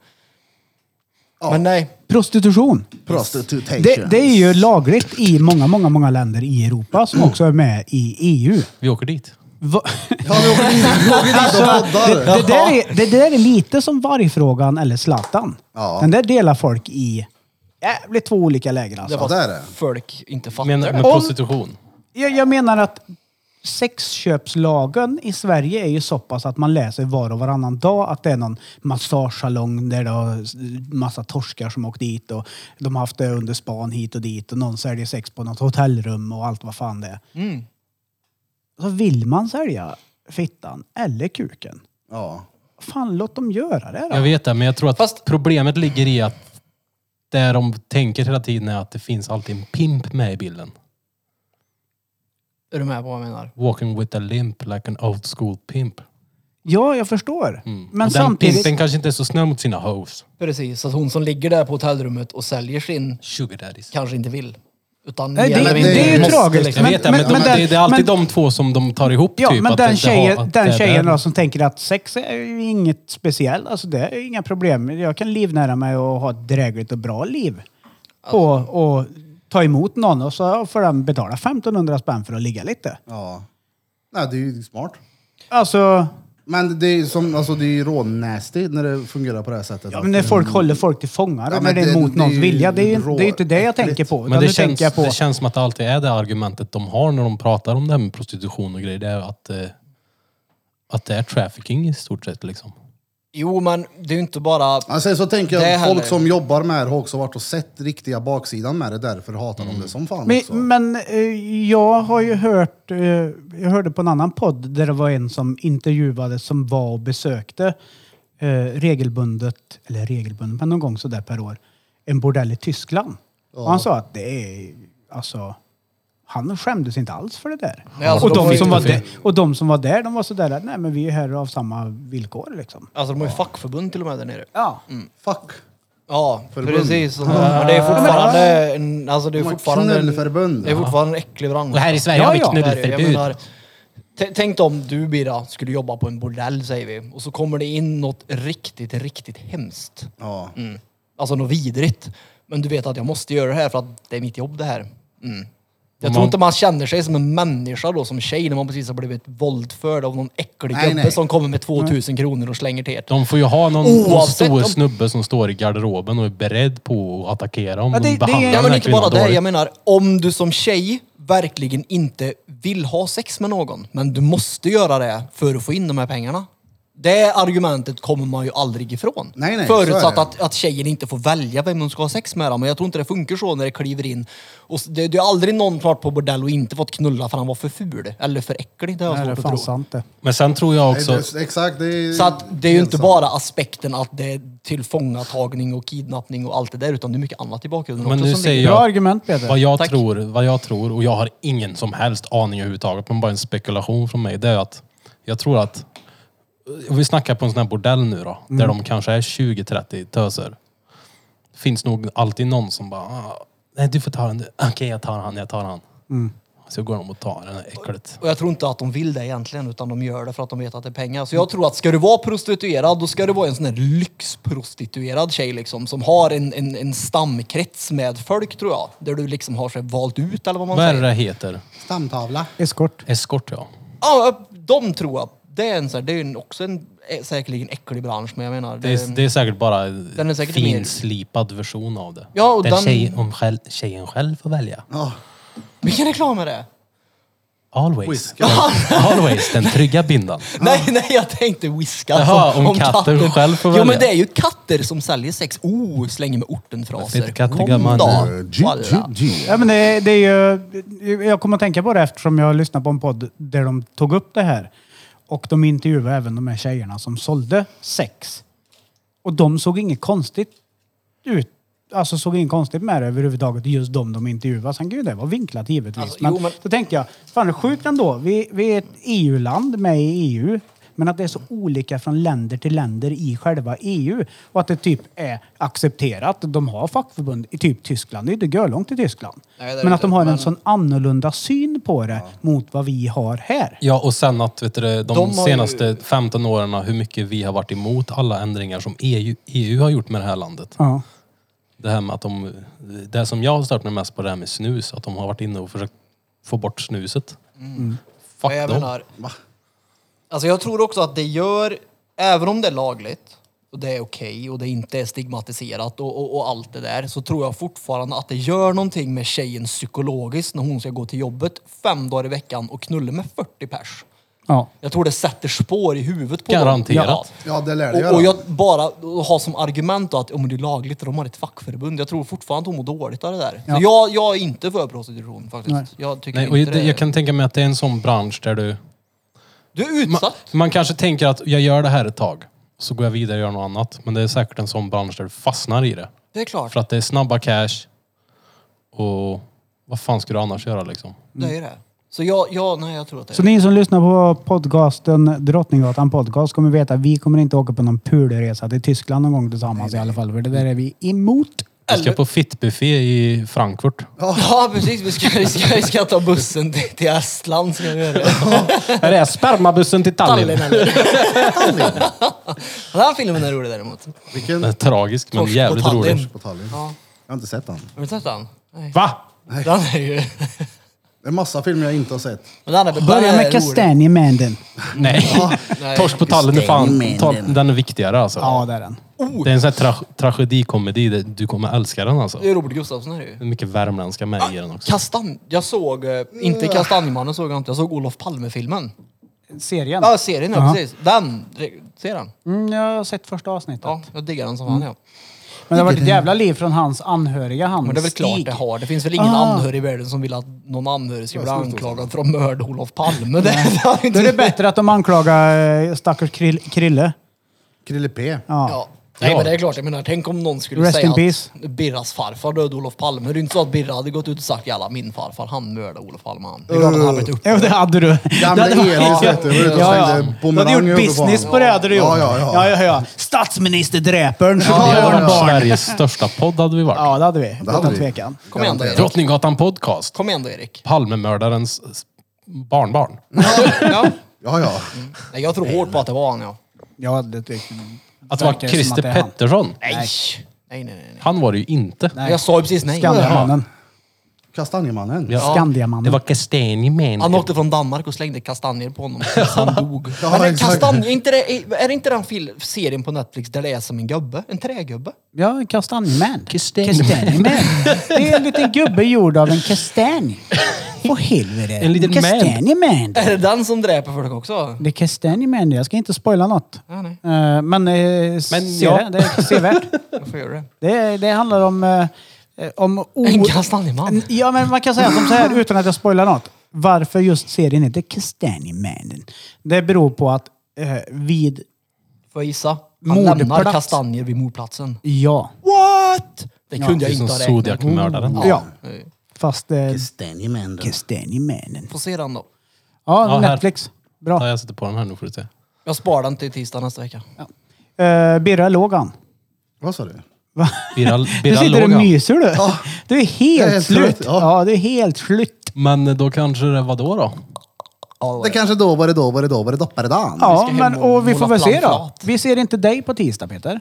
Men nej. Prostitution. Prostitution. Det, det är ju lagligt i många, många, många länder i Europa som också är med i E EU. Vi åker dit. Va- Ja, vi åker dit- vi åker dit Det, och poddar. det, där är, det där är lite som vargfrågan eller Zlatan. Ja. Den där delar folk i jävligt två olika läger alltså. Ja, det är det. folk inte fattar Men, det. med Om- prostitution. Jag, jag menar att sexköpslagen i Sverige är ju så pass att man läser var och varannan dag att det är någon massagesalong där det har s- massa torskar som åkt dit och de har haft det under span hit och dit och någon säljer sex på något hotellrum och allt vad fan det är. Mm. Så vill man sälja fittan eller kuken, Ja. fan låt dem göra det då. Jag vet det, men jag tror att Fast- problemet ligger i att det de tänker hela tiden är att det finns alltid en pimp med i bilden. Är du med på vad jag menar? Walking with a limp like an old school pimp. Ja, jag förstår. Men Mm. och den samtidigt... pimpen kanske inte är så snäll mot sina hoes. Precis, att hon som ligger där på hotellrummet och säljer sin Sugar daddies. kanske inte vill. Utan Nej, det, mer det, eller men det är ju mindre måste, tragiskt. liksom. Jag vet det, men, de, den- det, det är alltid men- de två som de tar ihop. Ja, typ, men att den det- det har- tjejen, att det den är tjejen alltså, där. då, som tänker att sex är ju inget speciellt, alltså det är inga problem. Jag kan livnära mig och ha ett drägligt och bra liv. Alltså- Och, och ta emot någon och så får den betala 1500 spänn för att ligga lite. ja. Nej, det är ju smart. Alltså, Men det är ju som, alltså det är ju rånasty när det fungerar på det här sättet. ja, men när folk håller folk till fångar Ja, och när men det är det- mot det någons är ju vilja. Det är ju rå- det är ju inte det jag tänker på. Men utan det nu känns, tänker jag på... det känns som att det alltid är det argumentet de har när de pratar om det här med prostitution och grejer. Det är att, eh, att det är trafficking i stort sett liksom. Jo, men det är ju inte bara... Ja, sen Alltså, så tänker Det jag att händer folk ju. som jobbar med det har också varit och sett riktiga baksidan med det. Därför hatar de det som fan Men, Mm. också. men eh, jag har ju hört, eh, jag hörde på en annan podd där det var en som intervjuades som var och besökte eh, regelbundet, eller regelbundet, men någon gång sådär per år, en bordell i Tyskland. Och han sa att det är, alltså, han skämdes inte alls för det där. Nej, alltså, och, de de var som ju- var där, och de som var där, de var sådär att nej men vi är här av samma villkor liksom. Mm. Alltså de har ju fackförbund till och med där nere. Ja. Mm. Fuck! Ja, Förbund. precis. Och så- Men det är fortfarande en... Alltså det är De har fortfarande en, knullförbund. Det är fortfarande en äcklig bransch. Och här i Sverige Ja, har vi ja. Jag knullförbud. menar, t- tänk dig om du Bira skulle jobba på en bordell säger vi och så kommer det in något riktigt, riktigt hemskt. Ja. Mm. Alltså något vidrigt. Men du vet att jag måste göra det här för att det är mitt jobb det här. Mm. Jag Om tror man- inte man känner sig som en människa då som tjej när man precis har blivit våldförd av någon äcklig Nej, gubbe nej. som kommer med 2000 kronor och slänger till ett. De får ju ha någon, någon Oavsett stor om- snubbe som står i garderoben och är beredd på att attackera om Ja, det- det de är- behandlar Ja, Ja den men här inte bara kvinnan det. dåligt. Jag menar om du som tjej verkligen inte vill ha sex med någon men du måste göra det för att få in de här pengarna. Det argumentet kommer man ju aldrig ifrån. Nej, nej, så är Förutsatt det. att, att tjejen inte får välja vem hon ska ha sex med. då. Men jag tror inte det funkar så när det kliver in. Och s- det, det är aldrig någon som varit på bordell och inte fått knulla för han var för ful. Eller för äcklig. Det har Nej, jag det är svårt att tro. fan sant det. Men sen tror jag Nej, också... det- Exakt, det är Så att det är ju helt inte sant. bara aspekten att det är tillfångatagning och kidnappning och allt det där. Utan det är mycket annat i bakgrunden Men också nu som säger ligger- Bra jag, argument Peter. vad jag Tack. tror, vad jag tror, och jag har ingen som helst aning överhuvudtaget, men bara en spekulation från mig, det är att jag tror att, och vi snackar på en sån här bordell nu då, där de kanske är 20-30 töser. Finns nog alltid någon som bara, ah, nej du får ta den du. Okej jag tar han, jag tar han. Så går de och tar den, äckligt. Och jag tror inte att de vill det egentligen, utan de gör det för att de vet att det är pengar. Så jag tror att ska du vara prostituerad, då ska du vara en sån här lyxprostituerad tjej liksom, som har en, en, en stamkrets med folk tror jag. Där du liksom har sig valt ut eller vad man Vad är det säger. det heter? Stamtavla. Eskort. Eskort ja. Ja, de tror jag. Det är, en, sån här, det är en, också en eh, säkerligen äcklig bransch, men jag menar... Det är, det är säkert bara en är säkert mer- finslipad version av det. Ja, och där den- tjej, om själv, tjejen själv får välja. Ja. Vilken reklam är det? Always. Always, den trygga bindan. Nej, nej, jag tänkte whiska. Jaha, om katten själv får Jo, välja. men det är ju katter som säljer sex. Oh, slänger med ortenfraser. Fett katt, Kom gammal. då. Eh, G, G, Walla. G. Ja, men det, det är ju, jag kommer att tänka på det eftersom jag lyssnade på en podd där de tog upp det här. Och de intervjuade även de här tjejerna som sålde sex. Och de såg inget konstigt ut. Alltså såg inget konstigt med det överhuvudtaget. Just de de intervjuade. Sen gud, det var vinklat givetvis. Alltså, men, jo, men- då tänkte jag, fan det är sjukt ändå. Vi, vi är ett EU-land med i EU. Men att det är så olika från länder till länder i själva EU. Och att det typ är accepterat. De har fackförbund i typ Tyskland. Det är inte görlångt i Tyskland. Nej, det är men det att de inte, har en men- sån annorlunda syn på det mot vad vi har här. Ja, och sen att vet du, det, de, De har ju- senaste 15 åren hur mycket vi har varit emot alla ändringar som E EU, EU har gjort med det här landet. Ja. Det här med att de, det som jag har stört mig mest på det här med snus, att de har varit inne och försökt få bort snuset. Fuck Men jag dem. menar, alltså jag tror också att det gör, även om det är lagligt och det är okej och det inte är stigmatiserat och, och, och allt det där, så tror jag fortfarande att det gör någonting med tjejen psykologiskt när hon ska gå till jobbet fem dagar i veckan och knulla med 40 pers. Ja. Jag tror det sätter spår i huvudet på Garanterat. dem. Ja, det lär det Och, och jag göra. bara har som argument då att om det är lagligt och de har ett fackförbund. Jag tror fortfarande att hon mår dåligt av det där. Så jag, jag är inte för prostitution faktiskt. Nej. Jag tycker Nej, och inte jag, det. jag kan tänka mig att det är en sån bransch där du... Du är Man, utsatt. man kanske tänker att jag gör det här ett tag, så går jag vidare och gör något annat. Men det är säkert en sån bransch där du fastnar i det. Det är klart. För att det är snabba cash och vad fan ska du annars göra liksom? Det är det. Så jag, jag, nej, jag tror att det är Så ni som lyssnar på podcasten Drottninggatan podcast kommer veta att vi kommer inte åka på någon puleresa till Tyskland någon gång tillsammans i alla fall. För det där är vi emot. Vi ska på fittbuffé i Frankfurt. Ja precis, vi ska, vi ska, vi ska ta bussen till, till Estland. Ska vi göra. Är det spermabussen till Tallinn Tallinn? eller? Den här filmen är rolig däremot. Vilken? Den är tragisk men Torsk på jävligt Tallinn. rolig. På Tallinn. Ja. Jag har inte sett den. Har du sett den? Nej. Va? Den är ju... Det är massa filmer jag inte har sett. Men den är, den Börja är med rolig. kastanjemanden. Nej. Nej. Torsk på Tallinn är fan, tal- den är viktigare alltså. Ja, det är den. Det är en sån här tra- tragedikomedi, där du kommer älska den alltså. Det är Robert Gustafsson är det ju. Det är mycket värmländska med i den också. Kastan... Jag såg... eh, Inte Kastanjemannen såg jag inte. Jag såg Olof Palme-filmen. Serien? Ja, serien ja, precis. Den. Ser den? Mm, jag har sett första avsnittet. Ja, jag diggar den som fan ja. Men det har varit ett jävla liv från hans anhöriga, han Men det är väl klart Stig. det har. Det finns väl ingen Ah. anhörig i världen som vill att någon anhörig ska bli anklagad för att mörda Olof Palme. Det, det har Då inte... är det bättre att de anklagar eh, stackars krill, Krille. Krille P. Ja. Ja. Nej Ja. men det är klart, jag menar tänk om någon skulle Rest in säga peace. att Birras farfar dödade Olof Palme. Det är ju inte så att Birra hade gått ut och sagt jävla min farfar han mördade Olof Palme han. Det är klart att han hade blivit upp. Jo, det hade du. Gamla Det hade varit- Elis, vet du, var ute och slängde Du hade bumerang gjort över business barn. på det hade du gjort. Ja, ja, ja. ja, ja, ja. Statsministerdräparen. Ja, Ja, ja, ja, ja. Sveriges största podd hade vi varit. ja, det hade vi. Det hade Utan vi. tvekan. Kom igen då Erik. Drottninggatan podcast. Kom igen då Erik. Palmemördarens s- barnbarn. Ja. Ja, ja. Nej, jag tror hårt på att det var han ja. Ja, det tyckte Att det var verkar som att Christer det är han. Pettersson. Nej. Nej nej nej. Han var det ju inte. nej. Jag sa ju precis nej. Skandiamannen. Kastanjemannen. Ja. Det Skandiamannen. var Castanjeman. Han åkte från Danmark och slängde kastanjer på honom tills han dog. Ja, Men det, exakt. kastanjer, är inte det, är det inte den fil- serien på Netflix där det är som en gubbe? En trägubbe? Ja, kastanjman. Kastanjman. Kastanjman. Det är en liten gubbe gjord av en kastanj. Åh helvete. En liten man. Kastanjeman. Är det den som dräper folk också? Det är kastanjman. Jag ska inte spoila något. Ja, nej. Eh, Men, eh, se ja. det. Det är sevärt. Varför gör du det? Det, det handlar om... eh, eh, om o- En kastanjeman. Ja, men man kan säga som så här utan att jag spoilar något. Varför just serien heter Kastanjemannen? Det beror på att eh, vid... Får jag gissa? Han Mordplats. lämnar kastanjer vid mordplatsen. Ja. What? Det kunde Det är jag som inte ha räknat. Mm. Zodiac-mördaren. Ja. Nej. Fast... Eh, Kastanjemannen. Kastanjemannen. Får se den då. Ja, Ja, här. Netflix. Bra. Ja, jag sätter på den här nu får du se. Jag sparar den till tisdag nästa vecka. Eh, Birra låg han. Vad sa du? Birra, Du Birra sitter och låg han. myser du. Du är Jag helt är helt slut. slut, ja. Ja. du är helt slut. Men eh, då kanske det var då då? Det kanske då var det då var det då var det doppare dan. Ja, hem men och och vi måla får väl se då. planflat. Vi ser inte dig på tisdag, Peter.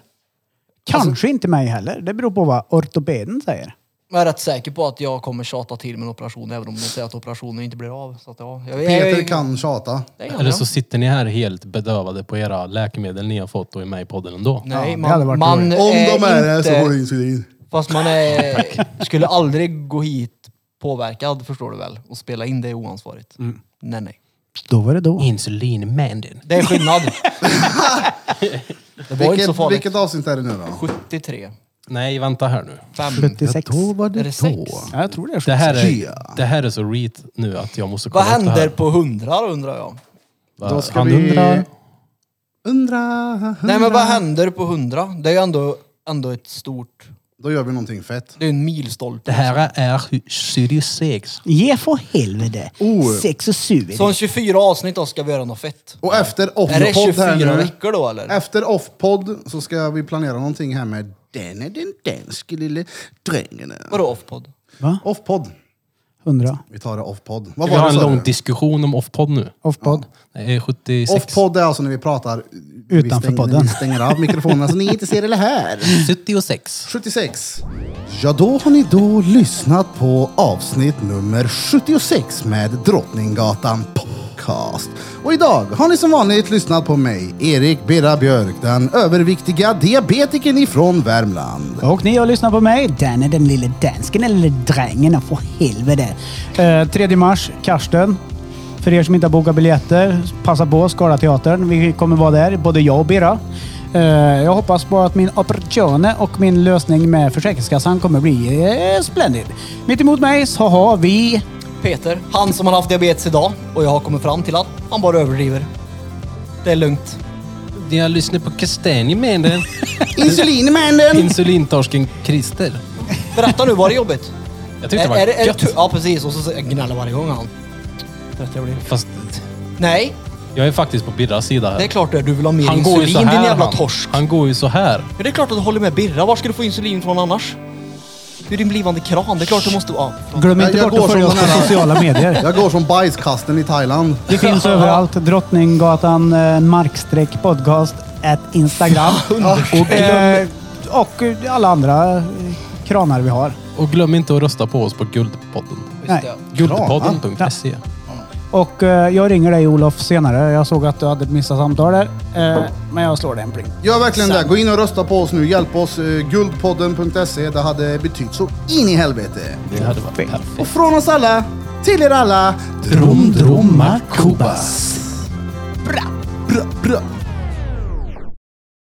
Kanske inte mig heller. Det beror på vad ortopeden säger. Jag är rätt säker på att jag kommer tjata till min operation även om de säger att operationen inte blir av. Så att, ja. jag, Peter kan tjata. Det är Eller jag. så sitter ni här helt bedövade på era läkemedel ni har fått och är med i podden ändå. Nej, Ja, det hade varit man, man Eh, roligt. Om de är det så inte- går det insulin. Fast man är, skulle aldrig gå hit påverkad, förstår du väl? Och spela in det är oansvarigt. Mm. Nej, nej. Då var det då. Insulin Mandin. Det är skillnad. det var inte så Vilket, farligt. vilket avsnitt är det nu då? 73. Nej, vänta här nu. 5. 76. Då var det Är det sex? Ja, jag tror det är Det här är, Yeah. det här är så reet nu att jag måste kolla Vad upp det händer här. på 100 då undrar jag? Va- Då ska Han vi- undrar. Undra... Nej men vad händer på 100? Det är ju ändå, ändå ett stort... Då gör vi någonting fett. Det är ju en milstolpe. Det här är Sirius 6. Ge för helvete. Oh. Sex och sju. Så om 24 avsnitt då ska vi göra något fett. Och efter Är det off-podd här 24 nu. veckor då eller? Efter off-podd så ska vi planera någonting här med den är den danske lille drängen. Vadå off-podd? Off-podd. Hundra. Vi tar det off-podd. Vad Vi har var det en sa lång du? diskussion om off-podd nu. Offpod. Det är 76. Off-podd är alltså när vi pratar vi Utanför stänger, podden. Vi stänger av mikrofonerna så ni inte ser eller hör. 76. 76. Ja, då har ni då lyssnat på avsnitt nummer 76 med Drottninggatan Podcast. Och idag har ni som vanligt lyssnat på mig, Erik Birra Björk, den överviktiga diabetikern ifrån Värmland. Och ni har lyssnat på mig. Den är den lille dansken eller lille drängen. och För helvete. Eh, 3 mars, Karsten. För er som inte har bokat biljetter, passa på Skara teatern. Vi kommer vara där, både jag och Birra. Eh, jag hoppas på att min operation och min lösning med Försäkringskassan kommer bli eh, splendid. Mitt emot mig så har vi... Peter, han som har haft diabetes idag och jag har kommit fram till att han bara överdriver. Det är lugnt. Jag lyssnar på Kastanje Mandin. Insulinmännen! Insulintorsken Christer. Berätta nu, var det jobbigt? Jag tyckte det var är, är, är det gött. tu- Ja precis, och så så- jag gnäller varje gång han. Trött jag blir. Fast Nej, jag är faktiskt på Birras sida det är här. klart det. Du vill ha mer Han går ju insulin så din här. jävla Han, torsk. han går ju så här. Ja, det är klart att du håller med Birra. Var ska du få insulin från annars? Du är din blivande kran. Det är klart du måste... Ja, förlåt. Glöm Jag- inte jag bort går att följa som oss på den här- sociala medier. Jag går som bajskasten i Thailand. Det finns överallt. Drottninggatan eh, markstreck podcast at Instagram. och, eh, och alla andra eh, kranar vi har. Och glöm inte att rösta på oss på Guldpodden. Nej. Guldpodden.se. Och eh, jag ringer dig Olof senare. Jag såg att du hade missat samtal där. Eh, men jag slår dig en pling. Gör verkligen det. Gå in och rösta på oss nu. Hjälp oss. eh, Guldpodden.se. Det hade betytt så in i helvete. Det hade varit Och perfekt. från oss alla, till er alla. Drom, dromar, kubas. Bra, bra.